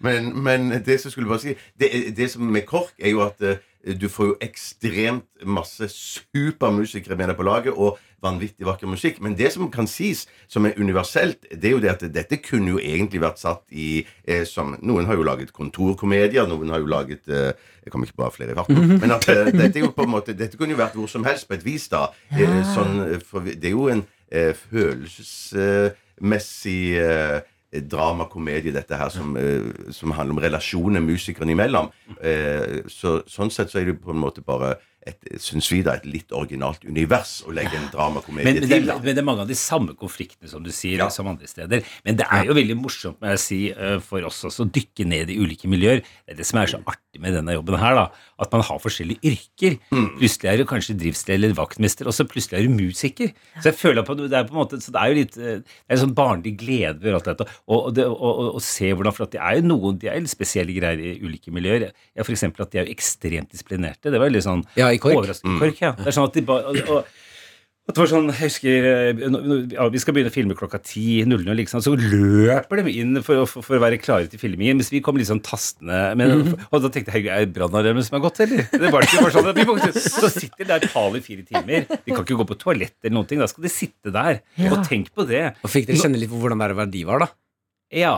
Speaker 11: men, men det som skulle jeg bare si det, det som med KORK, er jo at eh, du får jo ekstremt masse supermusikere med deg på laget, og vanvittig vakker musikk. Men det som kan sies som er universelt, det er jo det at dette kunne jo egentlig vært satt i eh, som Noen har jo laget kontorkomedier, noen har jo laget eh, Jeg kommer ikke bare flere i farten. Men at eh, dette er jo på en måte Dette kunne jo vært hvor som helst, på et vis, da. Eh,
Speaker 13: Ja.
Speaker 11: sånn, eh, for vi- det er jo en eh, følelsesmessig eh, dramakomedie, dette her, som, eh, som handler om relasjoner musikerne imellom. Eh, så, sånn sett så er det på en måte bare et, synes vi da, et litt originalt univers å legge en dramakomedie
Speaker 12: Men, men, det,
Speaker 11: til. da.
Speaker 12: men det er mange av de samme konfliktene som du sier, som andre steder. Men det er jo veldig morsomt må jeg si, eh, for oss også å dykke ned i ulike miljøer. Det er det som er så artig med denne jobben her, da. At man har forskjellige yrker.
Speaker 3: Mm.
Speaker 12: Plutselig er du kanskje drivsted eller vaktmester, og så plutselig er du musiker. Så jeg føler på, det er på en måte, så det er jo litt eh, det er en sånn barnlig glede ved alt dette. Og, og, det, og, og, og se hvordan For at det er jo noen de er litt spesielle greier i ulike miljøer. Ja, for eksempel at de er jo ekstremt disiplinerte. Det var jo litt sånn
Speaker 3: Ja, i KORK.
Speaker 12: overraskende.
Speaker 3: Mm.
Speaker 12: KORK, ja. Det er sånn at de ba, og, og, at det var sånn, jeg husker eh, nå- nå- ja, Vi skal begynne å filme klokka 10.00, liksom, så løper de inn for, å- for, for å være klare til filmingen. Mens vi kom litt sånn tastende men, Og da tenkte jeg herregud, er det brannalarmen som er gått, eller? Det var ikke bare sånn at vi må, Så sitter de der pal i fire timer. De kan ikke gå på toalett eller noen ting. Da skal de sitte der.
Speaker 3: Ja.
Speaker 12: Og tenk på det.
Speaker 3: Og fikk dere kjenne litt på hvordan det er å være diva, da?
Speaker 12: Ja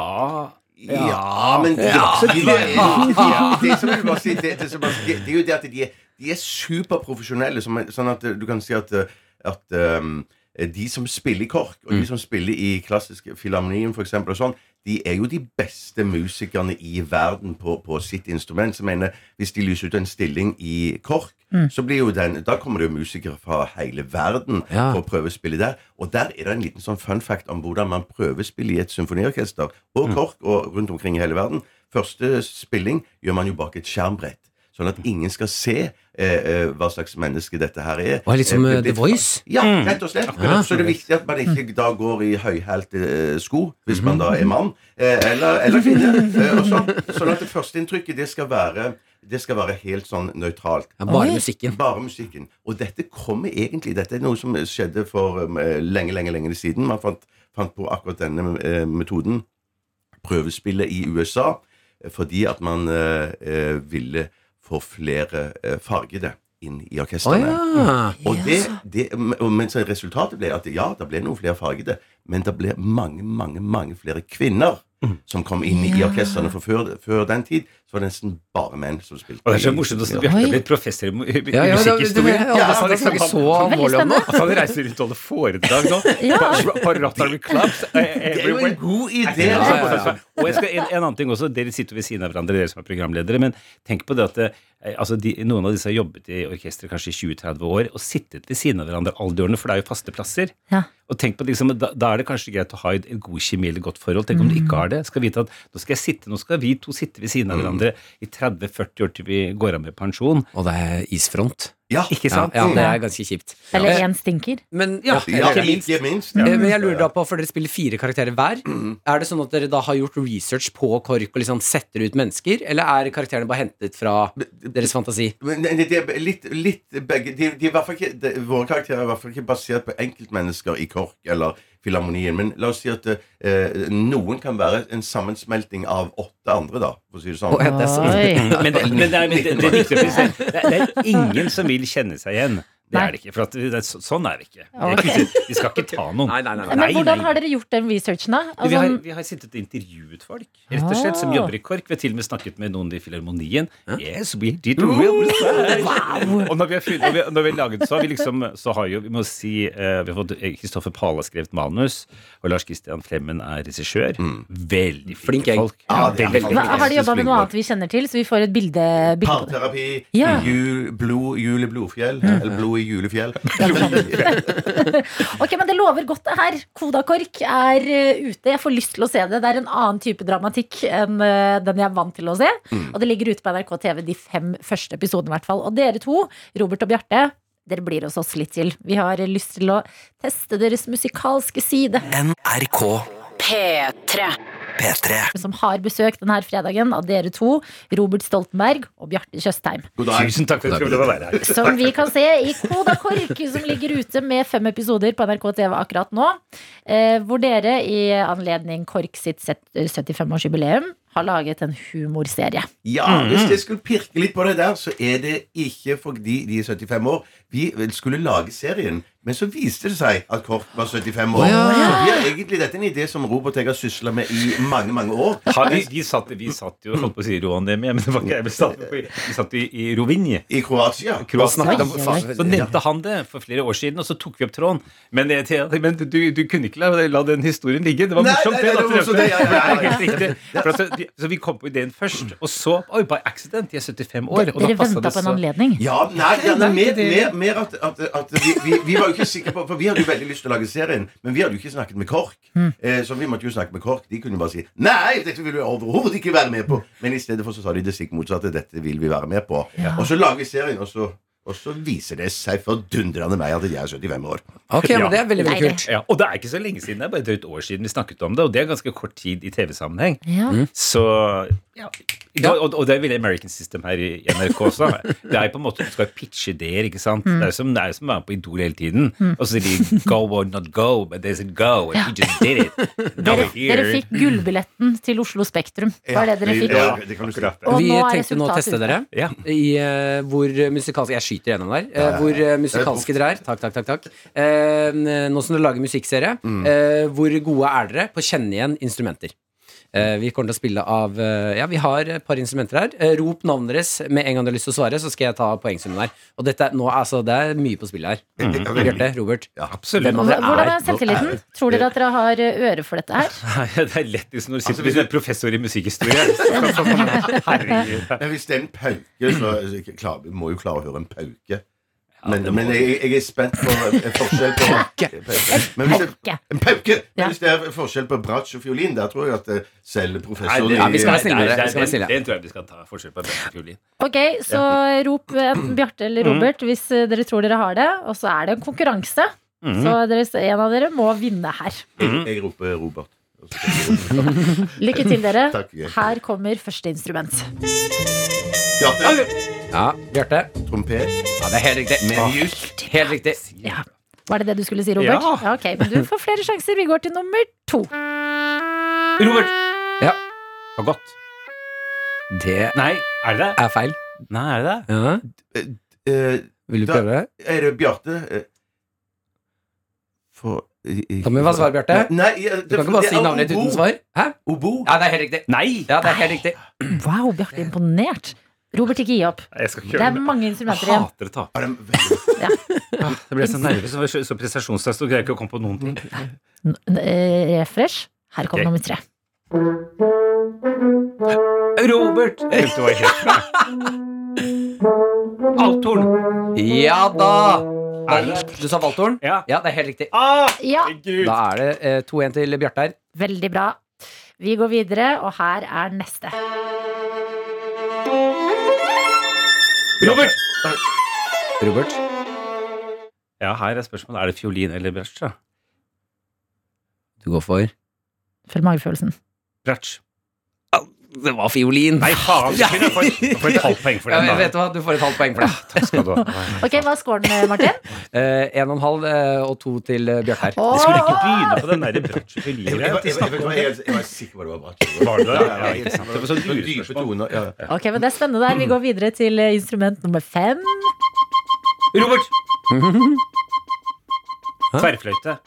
Speaker 11: Ja, men det,
Speaker 3: Ja.
Speaker 11: det, det,
Speaker 3: Ja.
Speaker 11: det, som jeg bare sier, det, det, som bare- det, det er jo det at de er, de er superprofesjonelle, som er- sånn at eh, du kan si at, eh, at ehm, de som spiller i KORK, og de som spiller i klassisk filharmonien for eksempel, og sånn, de er jo de beste musikerne i verden på, på sitt instrument. Så jeg mener, hvis de lyser ut en stilling i KORK,
Speaker 3: Mm.
Speaker 11: så blir jo den, da kommer det jo musikere fra hele verden for å prøvespille der. Og der er det en liten sånn fun fact om hvordan man prøvespiller i et symfoniorkester og
Speaker 3: Mm.
Speaker 11: KORK og rundt omkring i hele verden. Første spilling gjør man jo bak et skjermbrett. Sånn at ingen skal se eh, eh, hva slags menneske dette her er.
Speaker 3: Og er litt som,
Speaker 11: Eh,
Speaker 3: eh,
Speaker 11: det-
Speaker 3: The Voice?
Speaker 11: Ja,
Speaker 3: Mm.
Speaker 11: rett og slett.
Speaker 3: Akkurat.
Speaker 11: Så det er viktig at man ikke da går i høyhælte eh, sko, hvis man da er mann, eh, eller, eller kvinne. eh, og sånn. Sånn at det førsteinntrykket, det skal være det skal være helt sånn nøytralt.
Speaker 3: Ja, bare Oi. musikken.
Speaker 11: Bare musikken. Og dette kommer egentlig Dette er noe som skjedde for um, eh, lenge, lenge lenge siden. Man fant, fant på akkurat denne eh, metoden prøvespillet i USA eh, fordi at man eh, eh, ville få flere eh, fargede inn i orkestrene.
Speaker 3: Å ja.
Speaker 11: Og det, det, og- men så resultatet ble at ja, det ble noen flere fargede, men det ble mange, mange, mange flere kvinner som kom inn i
Speaker 12: Mm. Ja.
Speaker 11: orkestrene. For før, før den tid så var det nesten bare menn som spilte.
Speaker 12: Og det er så morsomt å se Bjarte blitt professor i mu- i
Speaker 11: Ja, ja, det- det-
Speaker 12: musikkhistorie.
Speaker 11: det- ja,
Speaker 12: han
Speaker 11: det er ikke så
Speaker 12: han-
Speaker 11: alvorlig om det.
Speaker 12: At han reiser rundt og holder foredrag nå.
Speaker 11: Ja.
Speaker 12: På- På Rotterdam Clubs. eh,
Speaker 11: Det er jo en
Speaker 12: everywhere.
Speaker 11: god
Speaker 12: Er
Speaker 11: idé!
Speaker 12: ikke det
Speaker 11: altså.
Speaker 12: sånn? Og jeg skal, en, en annen ting også, Dere sitter ved siden av hverandre, dere som er programledere. Men tenk på det at eh, altså de, noen av disse har jobbet i orkesteret kanskje i 20-30 år og sittet ved siden av hverandre alle de årene, for det er jo faste plasser. Og tenk på det, liksom, da, da er det kanskje greit å ha en, en god kjemi eller godt forhold. Tenk om du ikke har det. Skal vite at Nå skal jeg sitte, nå skal vi to sitte ved siden av hverandre i 30-40 år til vi går av med pensjon.
Speaker 3: Og det er isfront.
Speaker 11: Ja,
Speaker 12: ikke sant?
Speaker 3: Ja, ja, det er ganske kjipt.
Speaker 2: Eller
Speaker 3: Eh,
Speaker 2: én stinker.
Speaker 3: Men,
Speaker 12: Ja,
Speaker 11: Ja, ikke minst.
Speaker 3: Eh, Men jeg lurer da på, for dere spiller fire karakterer hver, er det sånn at dere da har gjort research på KORK og liksom setter ut mennesker, eller er karakterene bare hentet fra deres fantasi?
Speaker 11: Men det- det er litt, litt begge de, de er i hvert fall ikke, de, Våre karakterer er i hvert fall ikke basert på enkeltmennesker i KORK eller Filharmonien. Men la oss si at eh, noen kan være en sammensmelting av åtte andre, da, for å si det sånn.
Speaker 12: Å, ja, det er sånn. Oi. Men det- men det er- men det- det er viktig å presisere. Det er- det er ingen som vil kjenne seg igjen. Det
Speaker 2: Nei.
Speaker 12: er det ikke. For at, det, er så- sånn er det ikke.
Speaker 2: Ok.
Speaker 12: Det er ikke- Vi skal ikke ta noen.
Speaker 2: Men hvordan har dere gjort den researchen, da?
Speaker 12: Vi har,
Speaker 2: Altså,
Speaker 12: vi har sittet og intervjuet folk rett og slett, som
Speaker 2: Ah.
Speaker 12: jobber i KORK. Vi har til og med snakket med noen i Filharmonien. Yes, we did real research. Og når vi har, funnet, når vi, når vi har laget så har vi liksom så har jo, vi må si, eh, vi har fått eh, Kristoffer Pala har skrevet manus, og Lars Christian Flemmen er regissør. Veldig flinke folk.
Speaker 11: Ja, det er
Speaker 12: Veldig
Speaker 2: hva-
Speaker 12: flinke.
Speaker 2: har de jobba med noe annet vi kjenner til, så vi får et bilde? bilde på det?
Speaker 11: Parterapi,
Speaker 2: Ja.
Speaker 11: jul, blod, jul i blodfjell. Eller blod i julefjell.
Speaker 2: Ok, men Det lover godt, det her. Koda KORK er eh, ute. Jeg får lyst til å se det. Det er en annen type dramatikk enn eh, den jeg er vant til å se.
Speaker 13: Mm.
Speaker 2: Og det ligger ute på NRK TV de fem første episodene, i hvert fall. Og dere to, Robert og Bjarte, dere blir hos oss litt til. Vi har eh, lyst til å teste deres musikalske side.
Speaker 5: NRK
Speaker 2: P3.
Speaker 5: P3
Speaker 2: Som har besøk denne fredagen av dere to, Robert Stoltenberg og Bjarte Tjøstheim.
Speaker 12: Tusen takk for at du ville være her.
Speaker 2: Som vi kan se i Koda KORK, som ligger ute med fem episoder på NRK TV akkurat nå. Eh, hvor dere i anledning KORK sitt set- 75-årsjubileum har laget en humorserie.
Speaker 11: Ja, hvis
Speaker 2: Mhm.
Speaker 11: jeg skulle pirke litt på det der, så er det ikke fordi de er 75 år. Vi vel skulle lage serien, men så viste det seg at Kork var 75 år. Så vi har egentlig, dette er en idé som Robert og jeg har sysla med i mange, mange år.
Speaker 12: Ha, vi, de satt, vi satt jo holdt på å si Roandemi, men det var ikke jeg. Vi satt, vi satt i, i Rovinje.
Speaker 11: I Kroatia.
Speaker 12: Kroatia.
Speaker 11: Hva snakket han om?
Speaker 12: Så nevnte han det for flere år siden, og så tok vi opp tråden. Men, det- men du, du kunne ikke la, la den historien ligge. Det var
Speaker 11: Nei,
Speaker 12: morsomt,
Speaker 11: nei, nei, det var morsomt, det, ja, ja, ja, ja.
Speaker 12: Det er helt riktig. For altså, vi- så vi kom på ideen først, og så Oi, by accident, de er 75 år. Og da
Speaker 2: Dere
Speaker 12: passet
Speaker 2: venta
Speaker 12: det
Speaker 2: på en
Speaker 12: så-
Speaker 2: anledning?
Speaker 11: Ja, nei,
Speaker 12: Nei,
Speaker 11: nei,
Speaker 12: nei,
Speaker 11: mer,
Speaker 12: det-
Speaker 11: mer, mer at, at, at vi, vi, vi var jo ikke sikre på For vi hadde jo veldig lyst til å lage serien, men vi hadde jo ikke snakket med KORK. Eh, så vi måtte jo snakke med KORK. De kunne bare si 'Nei, dette vil vi overhodet ikke være med på'. Men i stedet for så sa de det stikk motsatte. 'Dette vil vi være med på'.
Speaker 3: Ja.
Speaker 11: Og så lager vi serien, og så, og så viser det seg fordundrende meg at jeg er 75 år.
Speaker 12: Ja, og det er ikke så lenge siden. Det er bare et drøyt år siden vi snakket om det, og det er ganske kort tid i TV-sammenheng.
Speaker 2: Ja.
Speaker 11: Mm.
Speaker 12: Så Da- og, og det er veldig American System her i NRK også. Det er jo på en måte Du skal pitche ideer, ikke sant?
Speaker 2: Mm.
Speaker 12: Det er jo som, det er jo som å være med på Idol hele tiden.
Speaker 2: Mm.
Speaker 12: Og så sier de 'go or not go', but they said 'go', and
Speaker 2: Ja.
Speaker 12: you just did it. Now
Speaker 2: Dere,
Speaker 12: we're here.
Speaker 2: dere fikk gullbilletten til Oslo Spektrum. Var det dere fikk?
Speaker 12: Ja,
Speaker 2: Og
Speaker 3: Vi
Speaker 2: nå er
Speaker 3: tenkte nå å
Speaker 2: resultatet
Speaker 3: teste
Speaker 2: ute.
Speaker 3: dere i eh, hvor musikalske Jeg skyter gjennom der. eh,
Speaker 2: Ja, ja, ja.
Speaker 3: Hvor eh, musikalske dere er. Takk, takk, takk. takk. Eh, nå som dere lager musikkserie, eh, hvor gode er dere på å kjenne igjen instrumenter? Eh, vi kommer til å spille av eh, Ja, vi har et par instrumenter her. Eh, rop navnet deres med en gang dere har lyst til å svare, så skal jeg ta poengsummen her. Og dette er- nå, altså, det er mye på spillet her. Mm. Bjarte, Robert. Hvem av dere er-
Speaker 2: Hvordan er selvtilliten? Tror dere at dere har eh, øre for dette her?
Speaker 12: Nei, det er lettis når Altså, du sitter med en professor i musikkhistorie.
Speaker 11: Men hvis det er en pauke, så så ikke klar, vi må jo klare å høre en pauke. Men,
Speaker 12: det må
Speaker 11: men jeg, jeg er spent på eh, forskjell på Men hvis det, En pauke! Men hvis det er forskjell på bratsj og fiolin, der tror jeg at eh, selv professoren
Speaker 12: det-
Speaker 11: i-
Speaker 12: Ja, vi skal være snille,
Speaker 11: Nei,
Speaker 12: dere.
Speaker 11: nei,
Speaker 12: Vi skal være snille.
Speaker 11: den-
Speaker 12: Den tror jeg vi skal ta forskjell på. Bjørn og Fiolin.
Speaker 2: Ok, så rop enten Bjarte eller
Speaker 12: Mm.
Speaker 2: Robert hvis eh, dere tror dere har det. Og så er det en konkurranse.
Speaker 11: Mm.
Speaker 2: Så dere, en av dere må vinne her.
Speaker 11: Jeg- Jeg roper Robert.
Speaker 2: Lykke til, dere.
Speaker 11: Takk, Bjarte.
Speaker 2: Her kommer første instrument.
Speaker 11: Bjarte.
Speaker 3: Ja, Bjarte.
Speaker 11: Trompet.
Speaker 3: Ja, det er helt riktig. Helt riktig.
Speaker 2: Var det det du skulle si, Robert?
Speaker 3: Ja.
Speaker 2: ok, Men du får flere sjanser. Vi går til nummer to.
Speaker 12: Robert!
Speaker 3: Ja.
Speaker 12: Var godt.
Speaker 3: Det
Speaker 12: Nei, er det
Speaker 3: er feil.
Speaker 12: Nei, er det
Speaker 3: det? Vil du prøve?
Speaker 11: Er det Bjarte? eh, For
Speaker 3: Tommy, hva svarer Bjarte?
Speaker 11: Nei, nei, ja, det-
Speaker 3: du kan ikke bare
Speaker 11: det
Speaker 3: si
Speaker 11: er
Speaker 3: navnet ditt
Speaker 11: obo.
Speaker 3: uten svar. Hæ? Ja, det er helt riktig. Ja, det er helt riktig.
Speaker 2: Wow, Bjarte. Imponert. Robert, ikke gi opp.
Speaker 12: Jeg skal ikke
Speaker 2: Det
Speaker 12: gjøre
Speaker 2: er
Speaker 12: det.
Speaker 2: mange instrumenter igjen.
Speaker 12: Hater å tape. Ah, Jeg ble så nervøs og så, så prestasjonsstress og greier ikke å komme på noen ting.
Speaker 2: N- eh, Refresh. Her
Speaker 12: Ok.
Speaker 2: kommer nummer tre.
Speaker 12: Robert! Dette var helt bra. Althorn.
Speaker 3: Ja da! Du sa Valthorn?
Speaker 12: Ja. Ah,
Speaker 3: det er helt riktig.
Speaker 2: Ja,
Speaker 3: Da er det eh, 2-1 til Bjarte her.
Speaker 2: veldig bra. Vi går videre, og her er neste.
Speaker 12: Robert!
Speaker 3: Robert?
Speaker 12: Ja, her er spørsmålet. Er det fiolin eller bratsj? da?
Speaker 3: Du går for
Speaker 2: Følg magefølelsen.
Speaker 12: Bratsj.
Speaker 3: Det var fiolin.
Speaker 12: Nei, faen! Jeg kunne fått jeg får et halvt poeng for den.
Speaker 3: Ja,
Speaker 12: da.
Speaker 3: men vet du hva, du får et halvt poeng for det.
Speaker 12: Takk skal du ha.
Speaker 2: Ok, Hva er scoren, eh, Martin?
Speaker 3: Eh, en og en halv eh, og to til eh, Bjarte her.
Speaker 2: Åh! Vi skulle ikke
Speaker 12: begynne på den derre bratsj-fiolin.
Speaker 11: Jeg, jeg, jeg, jeg, jeg, jeg, jeg var sikker på at det var bratsj.
Speaker 12: Var det det?
Speaker 11: Ja, ja, ja,
Speaker 12: Ja, ikke sant. Det var sånn
Speaker 11: Det var dype toner. Ja.
Speaker 2: Ok, men Det er spennende. der Vi går videre til eh, instrument nummer fem.
Speaker 12: Robert! Tverrfløyte.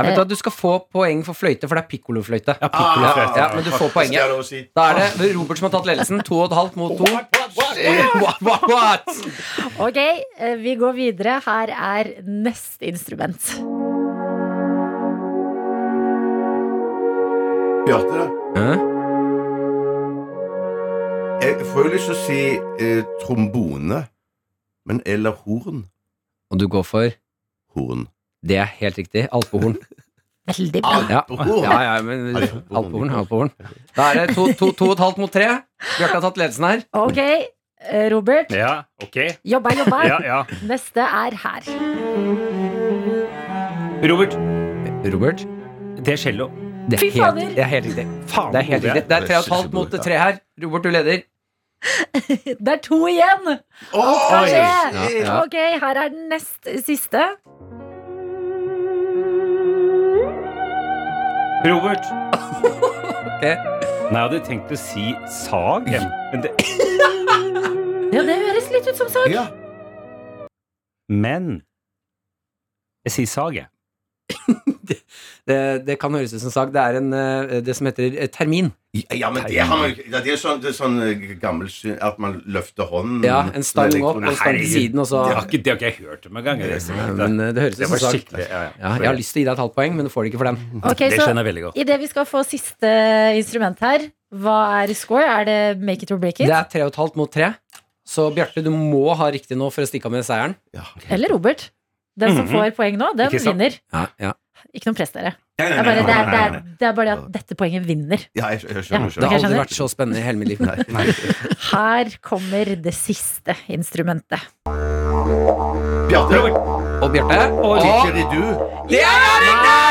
Speaker 3: Jeg vet du hva, Du skal få poeng for fløyte, for det er pikkolofløyte. Ja,
Speaker 12: piccolofløyte.
Speaker 3: Ah, ja, men du får
Speaker 11: Det er lov å
Speaker 3: poenget.
Speaker 11: si.
Speaker 3: Da er det Robert som har tatt ledelsen. To og et halvt mot to. Eh. What, what, what?
Speaker 2: Ok, eh, vi går videre. Her er neste instrument.
Speaker 11: Bjarte, jeg får jo lyst til å si eh, trombone, men eller horn.
Speaker 3: Og du går for?
Speaker 11: Horn.
Speaker 3: Det er helt riktig. Alpehorn.
Speaker 2: Veldig
Speaker 11: bra.
Speaker 3: Ja,
Speaker 11: Alpehorn?
Speaker 3: ja, ja men alpehorn, alpehorn. Da er det to, to, to og et halvt mot tre. Bjarte har tatt ledelsen her.
Speaker 2: Ok, eh, Robert.
Speaker 12: Ja, ok.
Speaker 2: Jobba, jobba.
Speaker 12: Ja, ja.
Speaker 2: Neste er her.
Speaker 12: Robert.
Speaker 3: Robert.
Speaker 12: Det er cello.
Speaker 3: Det er
Speaker 2: Fy
Speaker 3: helt,
Speaker 2: fader.
Speaker 3: det er helt riktig. Det er helt riktig. Det er tre og et halvt mot tre her. Robert, du leder.
Speaker 2: Det er to igjen. Alt
Speaker 3: Oi.
Speaker 2: kan skje.
Speaker 3: Ja, ja.
Speaker 2: Ok, her er den nest siste.
Speaker 12: Robert.
Speaker 3: Nei,
Speaker 12: jeg hadde tenkt å si sag. jeg. Men det,
Speaker 2: Ja, det høres litt ut som sag.
Speaker 12: Ja. men jeg sier sag, jeg.
Speaker 3: Det, det kan høres ut som sag. Det er en, eh, det som heter eh, termin.
Speaker 11: Ja, men det, har man, jo ikke- det er jo sånn, det er sånn eh, gammel syn at man løfter hånden
Speaker 3: Ja, en stang
Speaker 11: med
Speaker 3: opp og en stang til
Speaker 11: elektronikk.
Speaker 3: siden, og
Speaker 11: Det
Speaker 12: Det
Speaker 3: så-
Speaker 11: har
Speaker 12: har ikke, det har ikke jeg hørt om engang. Det,
Speaker 3: Men eh, det høres ut
Speaker 12: det
Speaker 3: som
Speaker 12: var
Speaker 3: sag.
Speaker 12: skikkelig. Ja, ja.
Speaker 3: Ja, jeg har lyst til å gi deg et halvt poeng, men du får Mm, det ikke for den.
Speaker 2: Ok, så Idet vi skal få siste instrument her, hva er score? Er det make it or break it?
Speaker 3: Det er tre og et halvt mot tre. Så Bjarte, du må ha riktig nå for å stikke av med seieren.
Speaker 2: Eller Robert? Den som
Speaker 3: Mhm.
Speaker 2: får poeng nå, den
Speaker 3: Ikke sant?
Speaker 2: vinner.
Speaker 3: Ja, ja.
Speaker 2: Ikke noe press, dere. Det
Speaker 3: Nei, nei,
Speaker 2: er bare det,
Speaker 3: nei, nei,
Speaker 2: er, det,
Speaker 3: nei,
Speaker 2: er, det er bare det at dette poenget vinner. Ja,
Speaker 3: Det har
Speaker 2: dere
Speaker 3: aldri
Speaker 2: skjønner?
Speaker 3: vært så spennende i hele mitt liv.
Speaker 2: Her kommer det siste instrumentet.
Speaker 11: Bjarte.
Speaker 3: Og Bjarte.
Speaker 11: Og
Speaker 3: Og-
Speaker 11: didgeridoo.
Speaker 3: Det er riktig!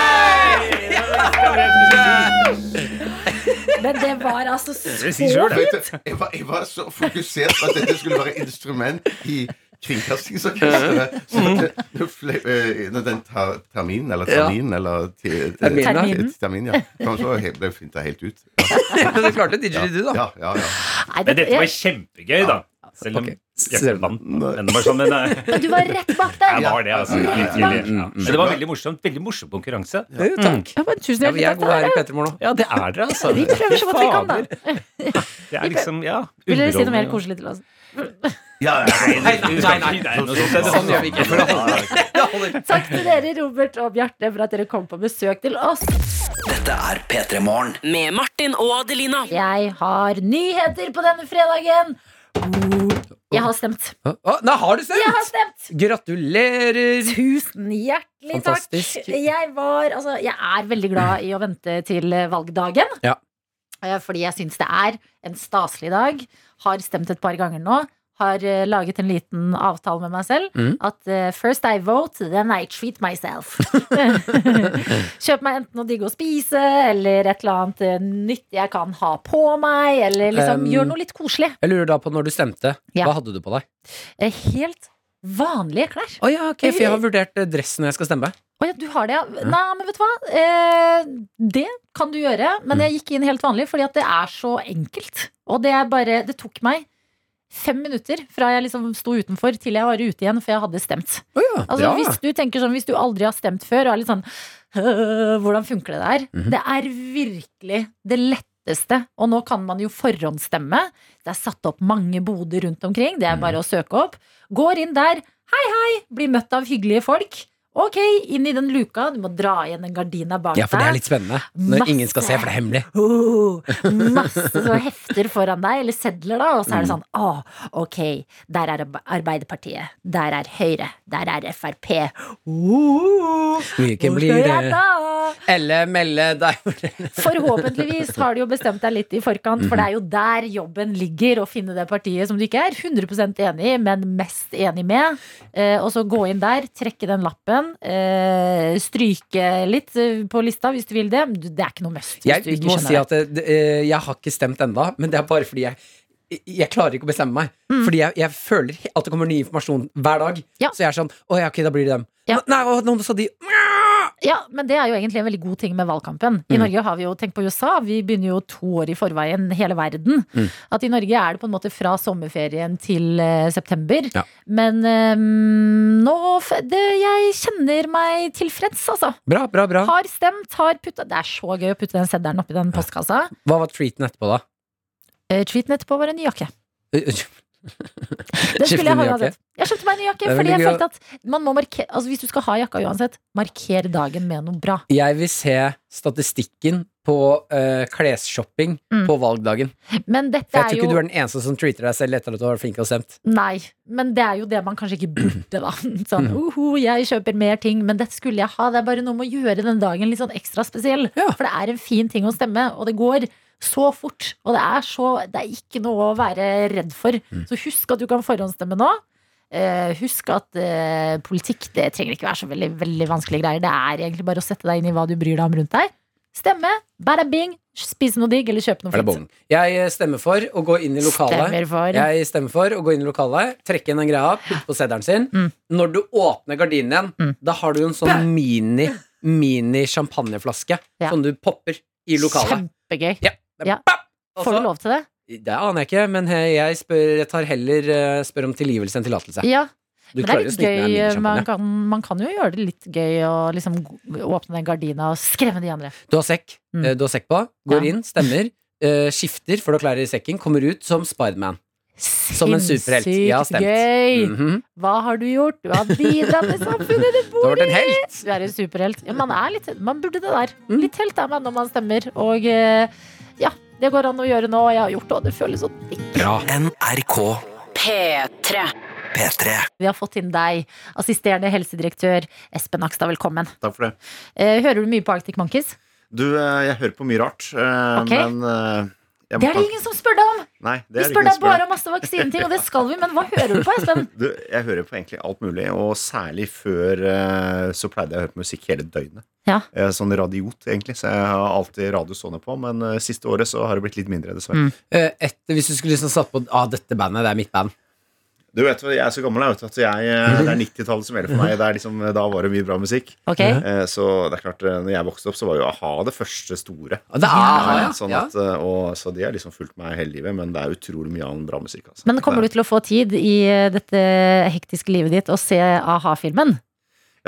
Speaker 2: Men det var altså så
Speaker 11: Jeg,
Speaker 2: fint!
Speaker 11: var- jeg var så fokusert på at dette skulle være instrument i Kringkastingsorkesteret. Så
Speaker 2: Mm.
Speaker 11: at det- fle- eh, når den tar terminen, eller terminen, eller ti- eh,
Speaker 3: Terminen, ja.
Speaker 11: terminen. terminen, ja. Kom, så he- ble fint det helt ut.
Speaker 3: Men du klarte didgeridoo, da.
Speaker 11: Ja, ja, ja.
Speaker 2: Nei, det- Men dette var jeg-
Speaker 12: kjempegøy, da. Selv om jeg ikke vant. Men det var sånn, men, eh,
Speaker 2: Men du var rett bak der!
Speaker 12: jeg var det, altså.
Speaker 2: Ja, ja, ja.
Speaker 12: Litt tidlig. Ja. Men det var veldig morsomt. Veldig morsom konkurranse.
Speaker 3: Takk.
Speaker 2: tusen hjertelig
Speaker 12: Ja, vi er
Speaker 2: takk.
Speaker 12: gode her i
Speaker 3: Petermorgen
Speaker 12: Ja, det er dere, altså.
Speaker 2: Vi prøver så godt vi kan, da.
Speaker 12: Det er liksom, ja
Speaker 2: Vil dere si noe mer
Speaker 12: underholdende.
Speaker 2: koselig til oss?
Speaker 12: Nei, nei, nei, nei. Sånn gjør vi ikke.
Speaker 2: Takk til dere, Robert og Bjarte, for at dere kom på besøk til oss.
Speaker 5: Dette er P3 Morgen.
Speaker 7: Med Martin og Adelina.
Speaker 2: Jeg har nyheter på denne fredagen. Jeg har stemt.
Speaker 3: Å, nei, har du
Speaker 2: Jeg har
Speaker 3: stemt?
Speaker 2: stemt!
Speaker 3: Gratulerer!
Speaker 2: Tusen hjertelig takk.
Speaker 3: Fantastisk.
Speaker 2: Jeg var Altså, jeg er veldig glad i å vente til valgdagen.
Speaker 3: Ja.
Speaker 2: Eh, Fordi jeg syns det er en staselig dag. Har stemt et par ganger nå. Har eh, laget en liten avtale med meg selv.
Speaker 13: Mm.
Speaker 2: At eh, first I vote, then I treat myself. Kjøp meg enten noe digg å spise, eller et eller annet eh, nytt jeg kan ha på meg. Eller liksom
Speaker 3: Um,
Speaker 2: gjør noe litt koselig.
Speaker 3: Jeg lurer da på når du stemte.
Speaker 2: Ja.
Speaker 3: Hva hadde du på deg?
Speaker 2: Eh, Helt vanlige klær.
Speaker 3: Å ja, ok, For jeg har vurdert eh, dress når jeg skal stemme.
Speaker 2: Å ja, du har det, ja. Nei, men vet du hva? Eh, det kan du gjøre,
Speaker 3: Mm.
Speaker 2: men jeg gikk inn helt vanlig fordi at det er så enkelt. Og det er bare Det tok meg fem minutter fra jeg liksom sto utenfor til jeg var ute igjen, for jeg hadde stemt. altså,
Speaker 13: bra.
Speaker 2: hvis du tenker sånn, hvis du aldri har stemt før og er litt sånn «Øh, Hvordan funker det der?
Speaker 13: Mhm.
Speaker 2: Det er virkelig det letteste. Og nå kan man jo forhåndsstemme. Det er satt opp mange boder rundt omkring.
Speaker 3: Mm.
Speaker 2: Det er bare å søke opp. Går inn der. Hei, hei! Blir møtt av hyggelige folk. Ok, inn i den luka. Du må dra igjen den gardina bak
Speaker 3: Ja, for det
Speaker 2: deg.
Speaker 3: er litt spennende. Når
Speaker 2: Masse.
Speaker 3: ingen skal se, for det er hemmelig.
Speaker 2: Oh, masse sånne hefter foran deg, eller sedler, da, og så er det
Speaker 3: Mm.
Speaker 2: sånn Å, ok, der er Arbe- Arbeiderpartiet, der er Høyre, der er Frp. Oh,
Speaker 3: Hvilken
Speaker 2: hvor
Speaker 3: blir eh,
Speaker 2: skal jeg
Speaker 3: det?
Speaker 2: da?
Speaker 3: Elle melde deg
Speaker 2: Forhåpentligvis har du jo bestemt deg litt i forkant, for det er jo
Speaker 3: Mhm.
Speaker 2: der jobben ligger, å finne det partiet som du ikke er 100 enig i, men mest enig med. Eh, og så gå inn der, trekke den lappen, eh, stryke litt eh, på lista hvis du vil det. Du, det er ikke noe must. hvis du
Speaker 3: Jeg
Speaker 2: ikke
Speaker 3: må
Speaker 2: skjønner
Speaker 3: si
Speaker 2: det.
Speaker 3: at det, det, eh, jeg har ikke stemt enda men det er bare fordi jeg jeg klarer ikke å bestemme meg,
Speaker 2: Mm.
Speaker 3: Fordi jeg, jeg føler at det kommer ny informasjon hver dag. Så jeg er sånn Å ja, ok, da blir det dem. Nei, å, noen sa de
Speaker 2: Ja, men det er jo egentlig en veldig god ting med valgkampen. I
Speaker 13: Mm.
Speaker 2: Norge har vi jo, tenk på USA, vi begynner jo to år i forveien hele verden.
Speaker 13: Mm.
Speaker 2: At i Norge er det på en måte fra sommerferien til eh, september.
Speaker 13: Ja.
Speaker 2: Men eh, nå f- det, Jeg kjenner meg tilfreds, altså.
Speaker 3: Bra, bra, bra.
Speaker 2: Har stemt, har putta Det er så gøy å putte den seddelen oppi den postkassa.
Speaker 3: Hva var treaten etterpå, da?
Speaker 2: Eh, Tweeten etterpå var en ny jakke. Den
Speaker 3: Skifte
Speaker 2: skulle jeg ha
Speaker 3: ny jakke?
Speaker 2: uansett. Jeg kjøpte meg en ny
Speaker 3: Det
Speaker 2: jakke,
Speaker 3: er
Speaker 2: fordi
Speaker 3: veldig
Speaker 2: jeg
Speaker 3: gøy å-
Speaker 2: følte at man må markere Altså hvis du skal ha jakka uansett, marker dagen med noe bra.
Speaker 3: Jeg vil se statistikken på eh, klesshopping
Speaker 2: Mm.
Speaker 3: på valgdagen.
Speaker 2: Men dette
Speaker 3: For jeg
Speaker 2: er
Speaker 3: tror
Speaker 2: jo
Speaker 3: ikke du er den eneste som treater deg selv etter at du har vært flink og stemt.
Speaker 2: Nei, men det er jo det man kanskje ikke burde, da. Sånn,
Speaker 3: Mm.
Speaker 2: uhu, jeg kjøper mer ting, men dette skulle jeg ha. Det er bare noe med å gjøre den dagen litt sånn ekstra spesiell. For det er en fin ting å stemme, og det går så fort. Og det er, så, det er ikke noe å være redd for.
Speaker 3: Mm.
Speaker 2: Så husk at du kan forhåndsstemme nå. Eh, husk at eh, politikk det trenger ikke være så veldig, veldig vanskelige greier. Det er egentlig bare å sette deg inn i hva du bryr deg om rundt deg. Stemme, bada bing, spise noe digg, eller kjøpe noe
Speaker 3: Er det
Speaker 2: fint.
Speaker 3: bong? Jeg eh, stemmer for å gå inn i lokalet.
Speaker 2: Stemmer for.
Speaker 3: Jeg stemmer for å gå inn i lokalet, trekke inn den greia, putte på seddelen sin.
Speaker 2: Mm.
Speaker 3: Når du åpner gardinen igjen, da har du en sånn mini, mini champagneflaske som du popper i lokalet.
Speaker 2: Kjempegøy.
Speaker 3: Ja.
Speaker 2: Får du lov til det?
Speaker 3: Det aner jeg ikke, men he- jeg, spør, jeg tar heller eh, spør om tilgivelse enn tillatelse.
Speaker 2: Ja.
Speaker 3: Du
Speaker 2: Men det er
Speaker 3: klarer å
Speaker 2: litt
Speaker 3: snike deg en
Speaker 2: gøy. Man
Speaker 3: minisjampanje.
Speaker 2: kan, man kan jo gjøre det litt gøy å liksom g- åpne den gardina og skremme de andre.
Speaker 3: Du har sekk,
Speaker 2: Mm.
Speaker 3: eh, du har sekk på, går inn, stemmer, eh, skifter, får du klær i sekken, kommer ut som Spiderman. Som en superhelt. Jeg har
Speaker 2: Sinnssykt
Speaker 3: stemt.
Speaker 2: gøy!
Speaker 3: Mhm.
Speaker 2: Hva har du gjort? Du har bidratt til samfunnet du
Speaker 3: Du har
Speaker 2: bor
Speaker 3: vært en
Speaker 2: i!
Speaker 3: helt.
Speaker 2: Du er en superhelt. Ja, man, er litt, man burde det der.
Speaker 3: Mm.
Speaker 2: Litt helt er man når man stemmer. Og eh, ja, det går an å gjøre nå. og Jeg har gjort det, og det føles sånn så digg.
Speaker 5: NRK
Speaker 2: P3.
Speaker 5: P3.
Speaker 2: Vi har fått inn deg, assisterende helsedirektør Espen Nakstad. Velkommen.
Speaker 14: Takk for det.
Speaker 2: Eh, Hører du mye på Arctic Monkeys?
Speaker 14: Du, eh, jeg hører på mye rart, eh,
Speaker 2: Ok.
Speaker 14: men eh, jeg må
Speaker 2: Det er det
Speaker 14: ta-
Speaker 2: ingen som spør deg om!
Speaker 14: Nei, det
Speaker 2: Vi
Speaker 14: er det
Speaker 2: spør
Speaker 14: ingen
Speaker 2: deg
Speaker 14: som
Speaker 2: bare om masse vaksineting, og det skal vi, men hva hører du på, Espen?
Speaker 14: Du, jeg hører på egentlig alt mulig, og særlig før eh, så pleide jeg å høre på musikk hele døgnet.
Speaker 2: Ja.
Speaker 14: Jeg er sånn radiot, egentlig, så jeg har alltid radio stående på, men eh, siste året så har det blitt litt mindre, dessverre.
Speaker 2: Mm.
Speaker 3: Eh, et, hvis du skulle liksom satt på ah, dette bandet, det er mitt band.
Speaker 14: Du vet, hva, Jeg er så gammel jeg, vet, at jeg, eh, det er 90-tallet som gjelder for meg. Det er liksom, da var det mye bra musikk.
Speaker 2: Ok.
Speaker 14: Eh, Så det er klart, eh, når jeg vokste opp, så var jo a-ha det første store.
Speaker 3: det er
Speaker 2: Ah,
Speaker 3: a-ha, ja.
Speaker 14: Sånn
Speaker 3: Ja.
Speaker 14: at, eh, og, så de har liksom fulgt meg hele livet, men det er utrolig mye annen bra musikk. Altså.
Speaker 2: Men kommer du til å få tid i eh, dette hektiske livet ditt og se a-ha-filmen?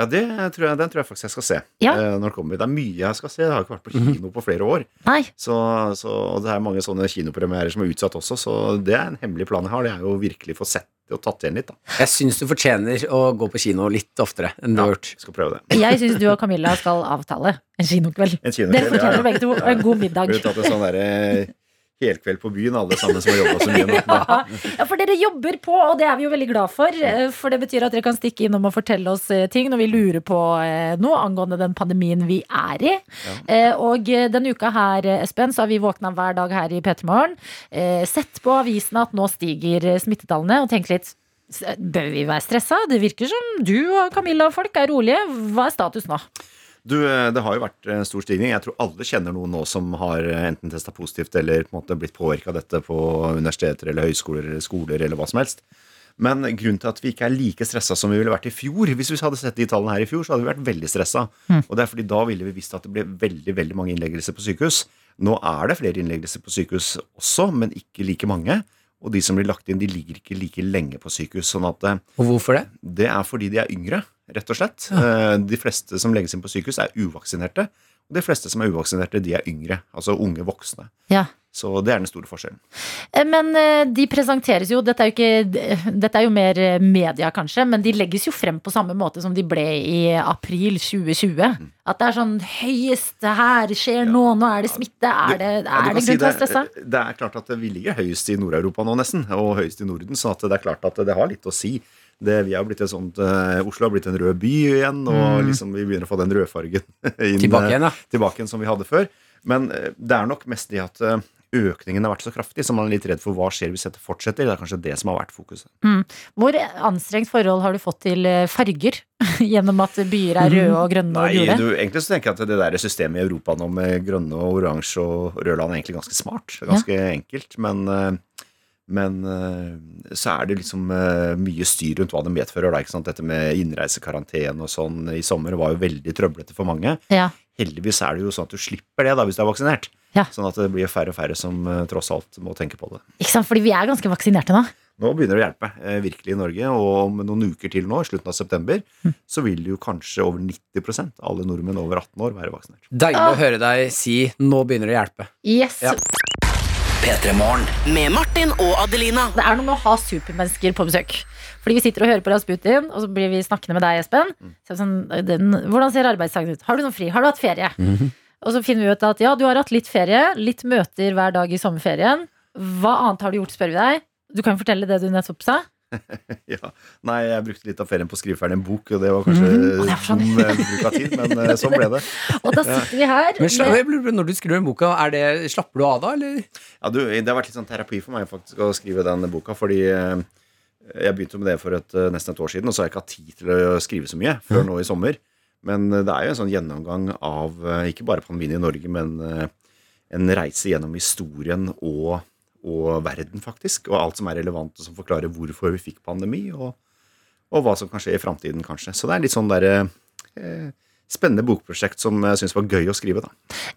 Speaker 14: Ja, det tror jeg, den tror jeg faktisk jeg skal se.
Speaker 2: Ja. Mhm.
Speaker 14: eh, Når det, kommer. det er mye jeg skal se. Jeg har ikke vært på kino på flere år.
Speaker 2: Nei.
Speaker 14: Så, så, og det er mange sånne kinopremierer som er utsatt også, så det er en hemmelig plan jeg har. Det er jo å virkelig få sett det og tatt igjen litt, da.
Speaker 3: Jeg syns du fortjener å gå på kino litt oftere enn du har gjort.
Speaker 14: Skal prøve det.
Speaker 2: Jeg syns du og Camilla skal avtale en kinokveld.
Speaker 14: En kinokveld,
Speaker 2: Dere fortjener
Speaker 14: ja, ja.
Speaker 2: begge to en god middag.
Speaker 14: Vi har tatt en sånn derre helkveld på byen, alle sammen som har jobba så mye nå.
Speaker 2: Ja, ja, for dere jobber på, og det er vi jo veldig glad for. eh, For det betyr at dere kan stikke innom og fortelle oss eh, ting når vi lurer på eh, noe angående den pandemien vi er i. Eh, Og eh, denne uka her, eh, Espen, så har vi våkna hver dag her i P3 Morgen, eh, sett på avisene at nå stiger eh, smittetallene, og tenkt litt s- eh, Bør vi være stressa? Det virker som du og Camilla og folk er rolige. Hva er status nå?
Speaker 14: Du, eh, det har jo vært en stor stigning. Jeg tror alle kjenner noen nå som har eh, enten testa positivt eller på en måte blitt påvirka av dette på universiteter eller høyskoler eller skoler eller hva som helst. Men grunnen til at vi ikke er like stressa som vi ville vært i fjor Hvis vi hadde sett de tallene her i fjor, så hadde vi vært veldig stressa.
Speaker 15: Mm.
Speaker 14: Og det er fordi da ville vi visst at det ble veldig, veldig mange innleggelser på sykehus. Nå er det flere innleggelser på sykehus også, men ikke like mange. Og de som blir lagt inn, de ligger ikke like lenge på sykehus. Sånn at eh,
Speaker 3: Og hvorfor det?
Speaker 14: det er fordi de er yngre, rett og slett. Eh, De fleste som legges inn på sykehus, er uvaksinerte. Og de fleste som er uvaksinerte, de er yngre. Altså unge voksne.
Speaker 2: Ja.
Speaker 14: Så det er den store forskjellen.
Speaker 2: Eh, Men eh, de presenteres jo Dette er jo, ikke, dette er jo mer eh, media, kanskje, men de legges jo frem på samme måte som de ble i april 2020.
Speaker 14: Mm.
Speaker 2: At det er sånn høyest her skjer nå, nå er det smitte. Er det,
Speaker 14: Ja, du
Speaker 2: er
Speaker 14: kan
Speaker 2: det
Speaker 14: si
Speaker 2: grunn til å være stressa?
Speaker 14: Det, eh, det er klart at vi ligger høyest i Nord-Europa nå, nesten. Og høyest i Norden. Så at det er klart at det har litt å si. Det, vi har blitt et sånt, eh, Oslo har blitt en rød by igjen, og
Speaker 3: Mm.
Speaker 14: liksom, vi begynner å få den rødfargen inn,
Speaker 3: Tilbake igjen,
Speaker 14: eh,
Speaker 3: ja.
Speaker 14: tilbake igjen som vi hadde før. Men eh, det er nok mest det at eh, økningen har vært så kraftig, så man er litt redd for hva skjer hvis dette fortsetter. Det er kanskje det som har vært fokuset.
Speaker 2: Mm. Hvor anstrengt forhold har du fått til eh, farger? Gjennom at byer er røde og grønne og
Speaker 14: Mm. Nei,
Speaker 2: gule?
Speaker 14: du, egentlig så tenker jeg at det der systemet i Europa nå med grønne og oransje og røde land er egentlig ganske smart. Ganske enkelt. Men eh, Men eh, så er det liksom eh, mye styr rundt hva det medfører. Da, ikke sant? Dette med innreisekarantene og sånn i sommer var jo veldig trøblete for mange.
Speaker 2: Ja.
Speaker 14: Heldigvis er det jo sånn at du slipper det da hvis du er vaksinert. Sånn at det blir færre og færre som eh, tross alt må tenke på det.
Speaker 2: Ikke sant, fordi vi er ganske vaksinerte nå.
Speaker 14: Nå begynner det å hjelpe, eh, virkelig i Norge. Og om noen uker til nå, i slutten av september, så vil jo kanskje over 90 av alle nordmenn over 18 år være vaksinert.
Speaker 3: Deilig
Speaker 2: Ah.
Speaker 3: å høre deg si 'nå begynner det å hjelpe'.
Speaker 2: Yes.
Speaker 3: Ja.
Speaker 7: Med Martin og Adelina.
Speaker 2: Det er noe med å ha supermennesker på besøk. Fordi vi sitter og hører på Rasputin, og så blir vi snakkende med deg, Espen.
Speaker 14: Mm.
Speaker 2: Så er det sånn, den, hvordan ser arbeidsdagen ut? Har du noen fri? Har du hatt ferie? Og så finner vi ut at ja, du har hatt litt ferie, litt møter hver dag i sommerferien. Hva annet har du gjort, spør vi deg. Du kan fortelle det du nettopp sa.
Speaker 14: ja. Nei, jeg brukte litt av ferien på å skrive ferdig en bok, og det var kanskje dum eh, bruk av tid, men eh, sånn ble det.
Speaker 2: Og da sitter vi her
Speaker 3: Men sla-
Speaker 2: med-
Speaker 3: jeg lurer på, Når du skriver den boka, er det, slapper du av da, eller?
Speaker 14: Ja, du, det har vært litt sånn terapi for meg faktisk å skrive den boka, fordi eh, jeg begynte med det for et, eh, nesten et år siden, og så har jeg ikke hatt tid til å skrive så mye før nå i sommer. Men eh, det er jo en sånn gjennomgang av eh, ikke bare pandemien i Norge, men eh, en reise gjennom historien og, og verden, faktisk. Og alt som er relevant, og som forklarer hvorfor vi fikk pandemi, og, og hva som kan skje i framtiden, kanskje. Så det er litt sånn derre eh, spennende bokprosjekt som jeg syns var gøy å skrive, da.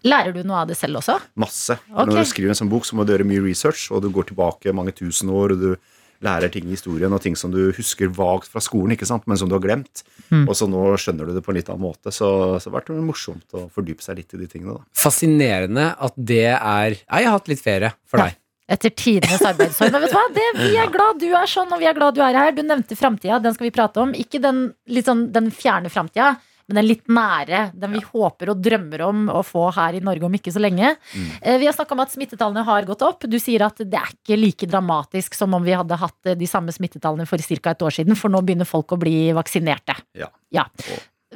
Speaker 2: Lærer du noe av det selv også?
Speaker 14: Masse.
Speaker 2: Ok.
Speaker 14: Når du skriver en sånn bok, så må du gjøre mye research, og du går tilbake mange tusen år, og du lærer ting i historien, og ting som du husker vagt fra skolen, ikke sant, men som du har glemt.
Speaker 3: Mm.
Speaker 14: Og så nå skjønner du det på en litt annen måte. Så, så det har vært morsomt å fordype seg litt i de tingene, da.
Speaker 3: Fascinerende at det er Ja, jeg har hatt litt ferie for deg.
Speaker 2: Etter tidenes arbeidsår. Men vet du hva? Det, vi er glad du er sånn, og vi er glad du er her. Du nevnte framtida, den skal vi prate om. Ikke den, litt sånn, den fjerne framtida, men den litt nære. Den vi håper og drømmer om å få her i Norge om ikke så lenge. Eh, Vi har snakka om at smittetallene har gått opp. Du sier at det er ikke like dramatisk som om vi hadde hatt eh, de samme smittetallene for ca. et år siden, for nå begynner folk å bli vaksinerte.
Speaker 14: Ja.
Speaker 2: Ja.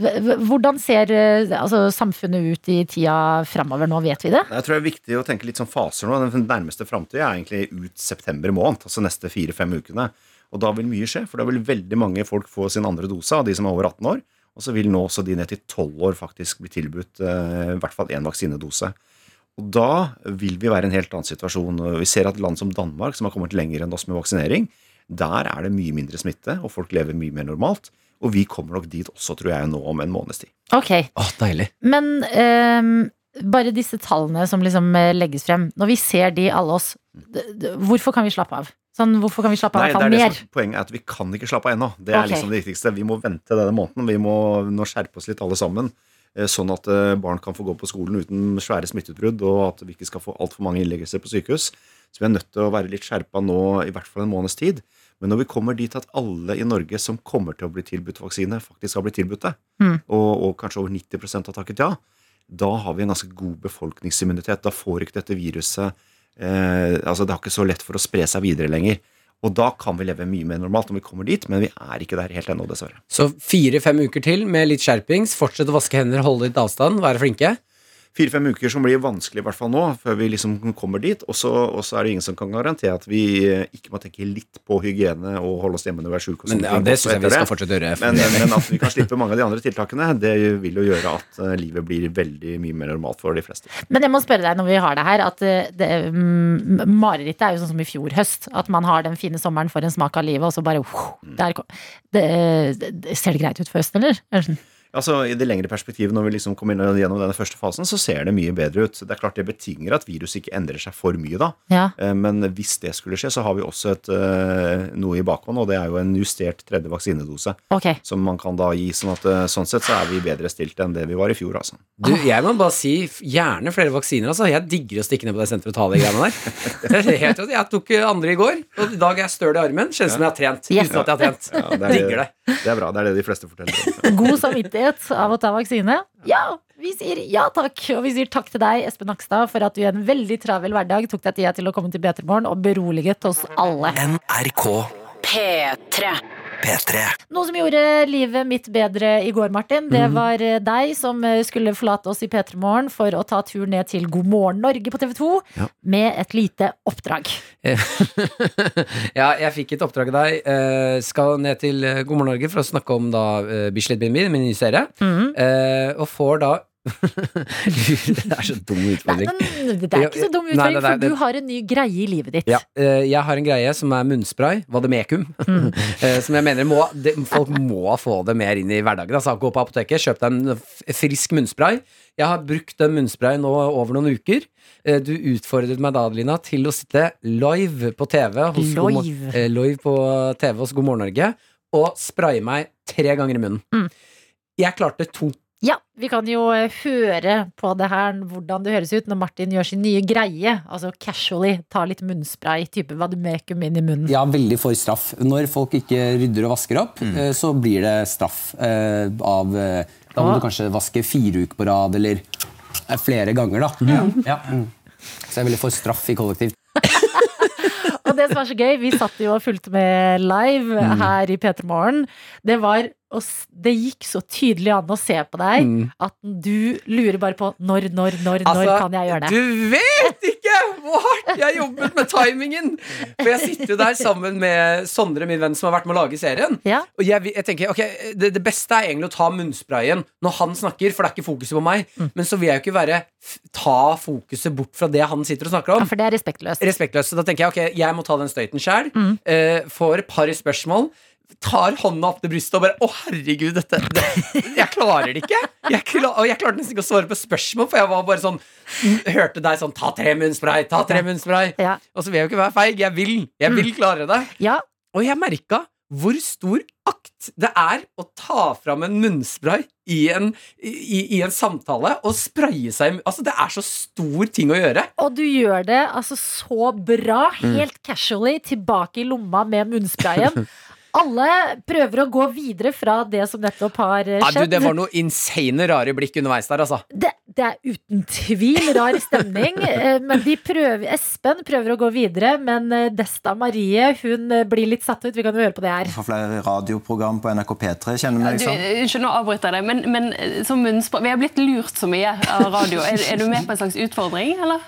Speaker 2: Hv- hv- Hvordan ser eh, altså, samfunnet ut i tida framover nå, vet vi det?
Speaker 14: Jeg tror det er viktig å tenke litt sånn faser nå. Den nærmeste framtida er egentlig ut september måned, altså neste fire-fem ukene. Og da vil mye skje, for da vil veldig mange folk få sin andre dose av de som er over 18 år. Og så vil nå også de ned til 12 år faktisk bli tilbudt eh, i hvert fall én vaksinedose. Og da vil vi være i en helt annen situasjon. Vi ser at land som Danmark, som har kommet lenger enn oss med vaksinering, der er det mye mindre smitte, og folk lever mye mer normalt. Og vi kommer nok dit også, tror jeg, nå om en måneds tid.
Speaker 2: Ok,
Speaker 3: Deilig.
Speaker 2: Men ehm, bare disse tallene som liksom eh, legges frem, når vi ser de alle oss, d- d- hvorfor kan vi slappe av? Sånn, hvorfor kan vi slappe av i hvert fall
Speaker 14: det er
Speaker 2: mer?
Speaker 14: Det som, poenget er at vi kan ikke slappe av ennå. Det er
Speaker 2: Ok.
Speaker 14: liksom det viktigste. Vi må vente denne måneden. Vi må nå skjerpe oss litt alle sammen. eh, Sånn at eh, barn kan få gå på skolen uten svære smitteutbrudd, og at vi ikke skal få altfor mange innleggelser på sykehus. Så vi er nødt til å være litt skjerpa nå i hvert fall en måneds tid. Men når vi kommer dit at alle i Norge som kommer til å bli tilbudt vaksine, faktisk har blitt tilbudt det,
Speaker 2: Hmm.
Speaker 13: Mm.
Speaker 14: og, og kanskje over 90 har takket ja, da har vi en ganske god befolkningsimmunitet. Da får ikke dette viruset eh, altså Det har ikke så lett for å spre seg videre lenger. Og da kan vi leve mye mer normalt når vi kommer dit, men vi er ikke der helt ennå, dessverre.
Speaker 3: Så fire-fem uker til med litt skjerpings. Fortsett å vaske hender, holde litt avstand, være flinke.
Speaker 14: Fire-fem uker som blir vanskelig, i hvert fall nå, før vi liksom kommer dit. Og så og så er det ingen som kan garantere at vi eh, ikke må tenke litt på hygiene og holde oss hjemme når vi er sjuke. og
Speaker 3: Men
Speaker 14: sånne
Speaker 3: ja,
Speaker 14: ting
Speaker 3: det
Speaker 14: også
Speaker 3: synes jeg vi
Speaker 14: etter det.
Speaker 3: skal fortsette å gjøre.
Speaker 14: Men, men at vi kan slippe mange av de andre tiltakene, det vil jo gjøre at eh, livet blir veldig mye mer normalt for de fleste.
Speaker 2: Men jeg må spørre deg når vi har det her, at eh, det, mm, marerittet er jo sånn som i fjor høst. At man har den fine sommeren, får en smak av livet, og så bare wow, der kom. Det, eh, det, ser det greit ut for høsten, eller? Eller sånn?
Speaker 14: Altså, I det lengre perspektivet, når vi liksom kommer inn gjennom denne første fasen, så ser det mye bedre ut. Det er klart det betinger at viruset ikke endrer seg for mye da.
Speaker 2: Ja.
Speaker 14: Eh, Men hvis det skulle skje, så har vi også et, eh, noe i bakhånd, og det er jo en justert tredje vaksinedose.
Speaker 2: Ok.
Speaker 14: Som man kan da gi. Sånn, at, eh, sånn sett så er vi bedre stilt enn det vi var i fjor, altså.
Speaker 3: Du, jeg må bare si f- gjerne flere vaksiner, altså. Jeg digger å stikke ned på det senteret og ta de greiene der. Det er helt, rått. jeg tok eh, andre i går, og i dag er jeg støl i armen. Kjennes som jeg har trent. Uten at jeg har trent.
Speaker 14: Ja, det,
Speaker 3: digger
Speaker 14: er,
Speaker 3: det.
Speaker 14: det er bra. Det er det de fleste forteller.
Speaker 2: God samvittighet av å ta vaksine? Ja! Vi sier ja takk, og vi sier takk til deg, Espen Nakstad, for at du i en veldig travel hverdag tok deg tida til å komme til Betermorgen og beroliget oss alle.
Speaker 5: NRK
Speaker 7: P3.
Speaker 5: P3.
Speaker 2: Noe som gjorde livet mitt bedre i går, Martin, det
Speaker 3: Mhm.
Speaker 2: var eh, deg som eh, skulle forlate oss i P3morgen for å ta tur ned til God morgen Norge på TV 2
Speaker 3: Ja.
Speaker 2: med et lite oppdrag.
Speaker 3: Ja, jeg fikk et oppdrag av deg. Eh, skal ned Mhm. til eh, God morgen Norge for å snakke om da eh, Bislett Bimbi, min nye serie. Eh, og får da det er så dum utfordring.
Speaker 2: Men det er ikke så dum utfordring,
Speaker 3: Nei, nei, nei,
Speaker 2: for
Speaker 3: det-
Speaker 2: du har en ny greie i livet ditt.
Speaker 3: Ja, eh, jeg har en greie som er munnspray, vademekum, eh, som jeg mener må, det, folk må få det mer inn i hverdagen. Altså, gå på apoteket, kjøp deg en f- frisk munnspray. Jeg har brukt den munnsprayen nå over noen uker. Eh, Du utfordret meg da, Adelina, til å sitte live på TV hos, God Mor-
Speaker 2: Live.
Speaker 3: eh, live på TV hos God morgen Norge og spraye meg tre ganger i munnen. Jeg klarte to.
Speaker 2: Ja, vi kan jo eh, høre på det her hvordan det høres ut når Martin gjør sin nye greie. Altså casually tar litt munnspray, type vademekum inn i munnen.
Speaker 13: Ja, veldig for straff. Når folk ikke rydder og vasker opp,
Speaker 3: Mm.
Speaker 13: eh, så blir det straff eh, av eh, Da må
Speaker 2: Ah.
Speaker 13: du kanskje vaske fire uker på rad, eller eh, flere ganger, da. Ja. Mm. Så jeg er veldig for straff i kollektiv.
Speaker 2: Og det som er så gøy, vi satt jo og fulgte med live
Speaker 13: Mm.
Speaker 2: her i P3 Morgen. Det var å s- Det gikk så tydelig an å se på deg
Speaker 3: Mm.
Speaker 2: at du lurer bare på når, når, når, når
Speaker 3: Altså,
Speaker 2: kan jeg gjøre det?
Speaker 3: Du vet ikke hvor hardt jeg jobbet med timingen! For jeg sitter jo der sammen med Sondre, min venn, som har vært med å lage serien. Og jeg, vil- jeg tenker, ok, det, det beste er egentlig å ta munnsprayen når han snakker, for det er ikke fokuset på meg.
Speaker 2: Mm.
Speaker 3: Men så vil jeg jo ikke være f- ta fokuset bort fra det han sitter og snakker om.
Speaker 2: Ja, for Mm. det er respektløst.
Speaker 3: Respektløst, Så da tenker jeg ok, jeg må ta den støyten sjæl. Eh, får et par spørsmål. Tar hånda opp til brystet og bare Å, herregud, dette det, Jeg klarer det ikke! Jeg kla- og jeg klarte nesten ikke å svare på spørsmål, for jeg var bare sånn Hørte deg sånn Ta tre munnspray! Ta tre munnspray! Og så vil jeg jo ikke være feig. Jeg vil! Jeg
Speaker 2: Mm.
Speaker 3: vil klare det. Og jeg merka hvor stor akt det er å ta fram en munnspray i en, i, i en samtale og spraye seg i mun- Altså, det er så stor ting å gjøre.
Speaker 2: Og du gjør det altså så bra,
Speaker 3: Mm.
Speaker 2: helt casually, tilbake i lomma med munnsprayen. Alle prøver å gå videre fra det som nettopp har eh,
Speaker 3: Ja, du,
Speaker 2: skjedd.
Speaker 3: det var noe insane rare blikk underveis der, altså.
Speaker 2: det, det er uten tvil rar stemning, eh, men de prøver, Espen prøver å gå videre, men eh, Desta Marie hun eh, blir litt satt ut. Vi kan jo høre på det her.
Speaker 15: Fra flere radioprogram på NRK P3, kjenner du meg
Speaker 16: Du,
Speaker 15: sånn?
Speaker 16: unnskyld, nå avbryter jeg deg, men, men eh, som munnspray Vi har blitt lurt så mye av radio. Er, er du med på en slags utfordring, eller?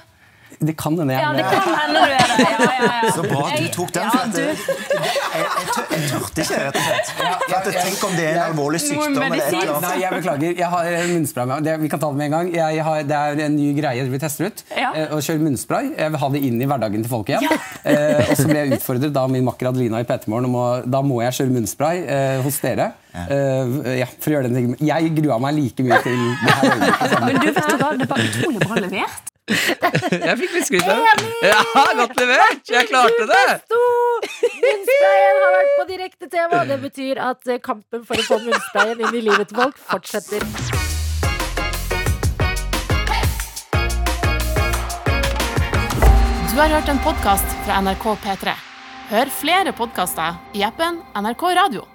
Speaker 13: Det kan hende jeg
Speaker 16: Ja,
Speaker 13: er
Speaker 16: det
Speaker 13: med.
Speaker 16: kan hende du er det. Ja, ja, ja.
Speaker 15: Så bra at du tok den, for at det- Jeg, jeg, tør, jeg turte ikke, rett og slett. For at Tenk om det er en alvorlig sykdom eller et eller annet.
Speaker 13: Nei, jeg beklager. Jeg har eh, munnspray med. Det, vi kan ta det med en gang. Jeg har, det er en ny greie vi tester ut.
Speaker 16: Ja.
Speaker 13: Eh, Å kjøre munnspray. Jeg vil ha det inn i hverdagen til folk igjen. Eh, og så ble jeg utfordret av min makker Adelina i P3morgen om å Da må jeg kjøre munnspray eh, hos dere. Eh, ja, for å gjøre den tingen. Jeg grua meg like mye til det her.
Speaker 16: Men du vet jo hva, det var utrolig bra levert.
Speaker 3: Jeg fikk litt skryt av det. Ja, godt levert! Jeg klarte det!
Speaker 2: Munnsprayen har vært på direkte tema. Det betyr at eh, kampen for å få munnsprayen inn i livet til folk fortsetter.
Speaker 1: Du har hørt en podkast fra NRK P3. Hør flere podkaster i appen NRK Radio.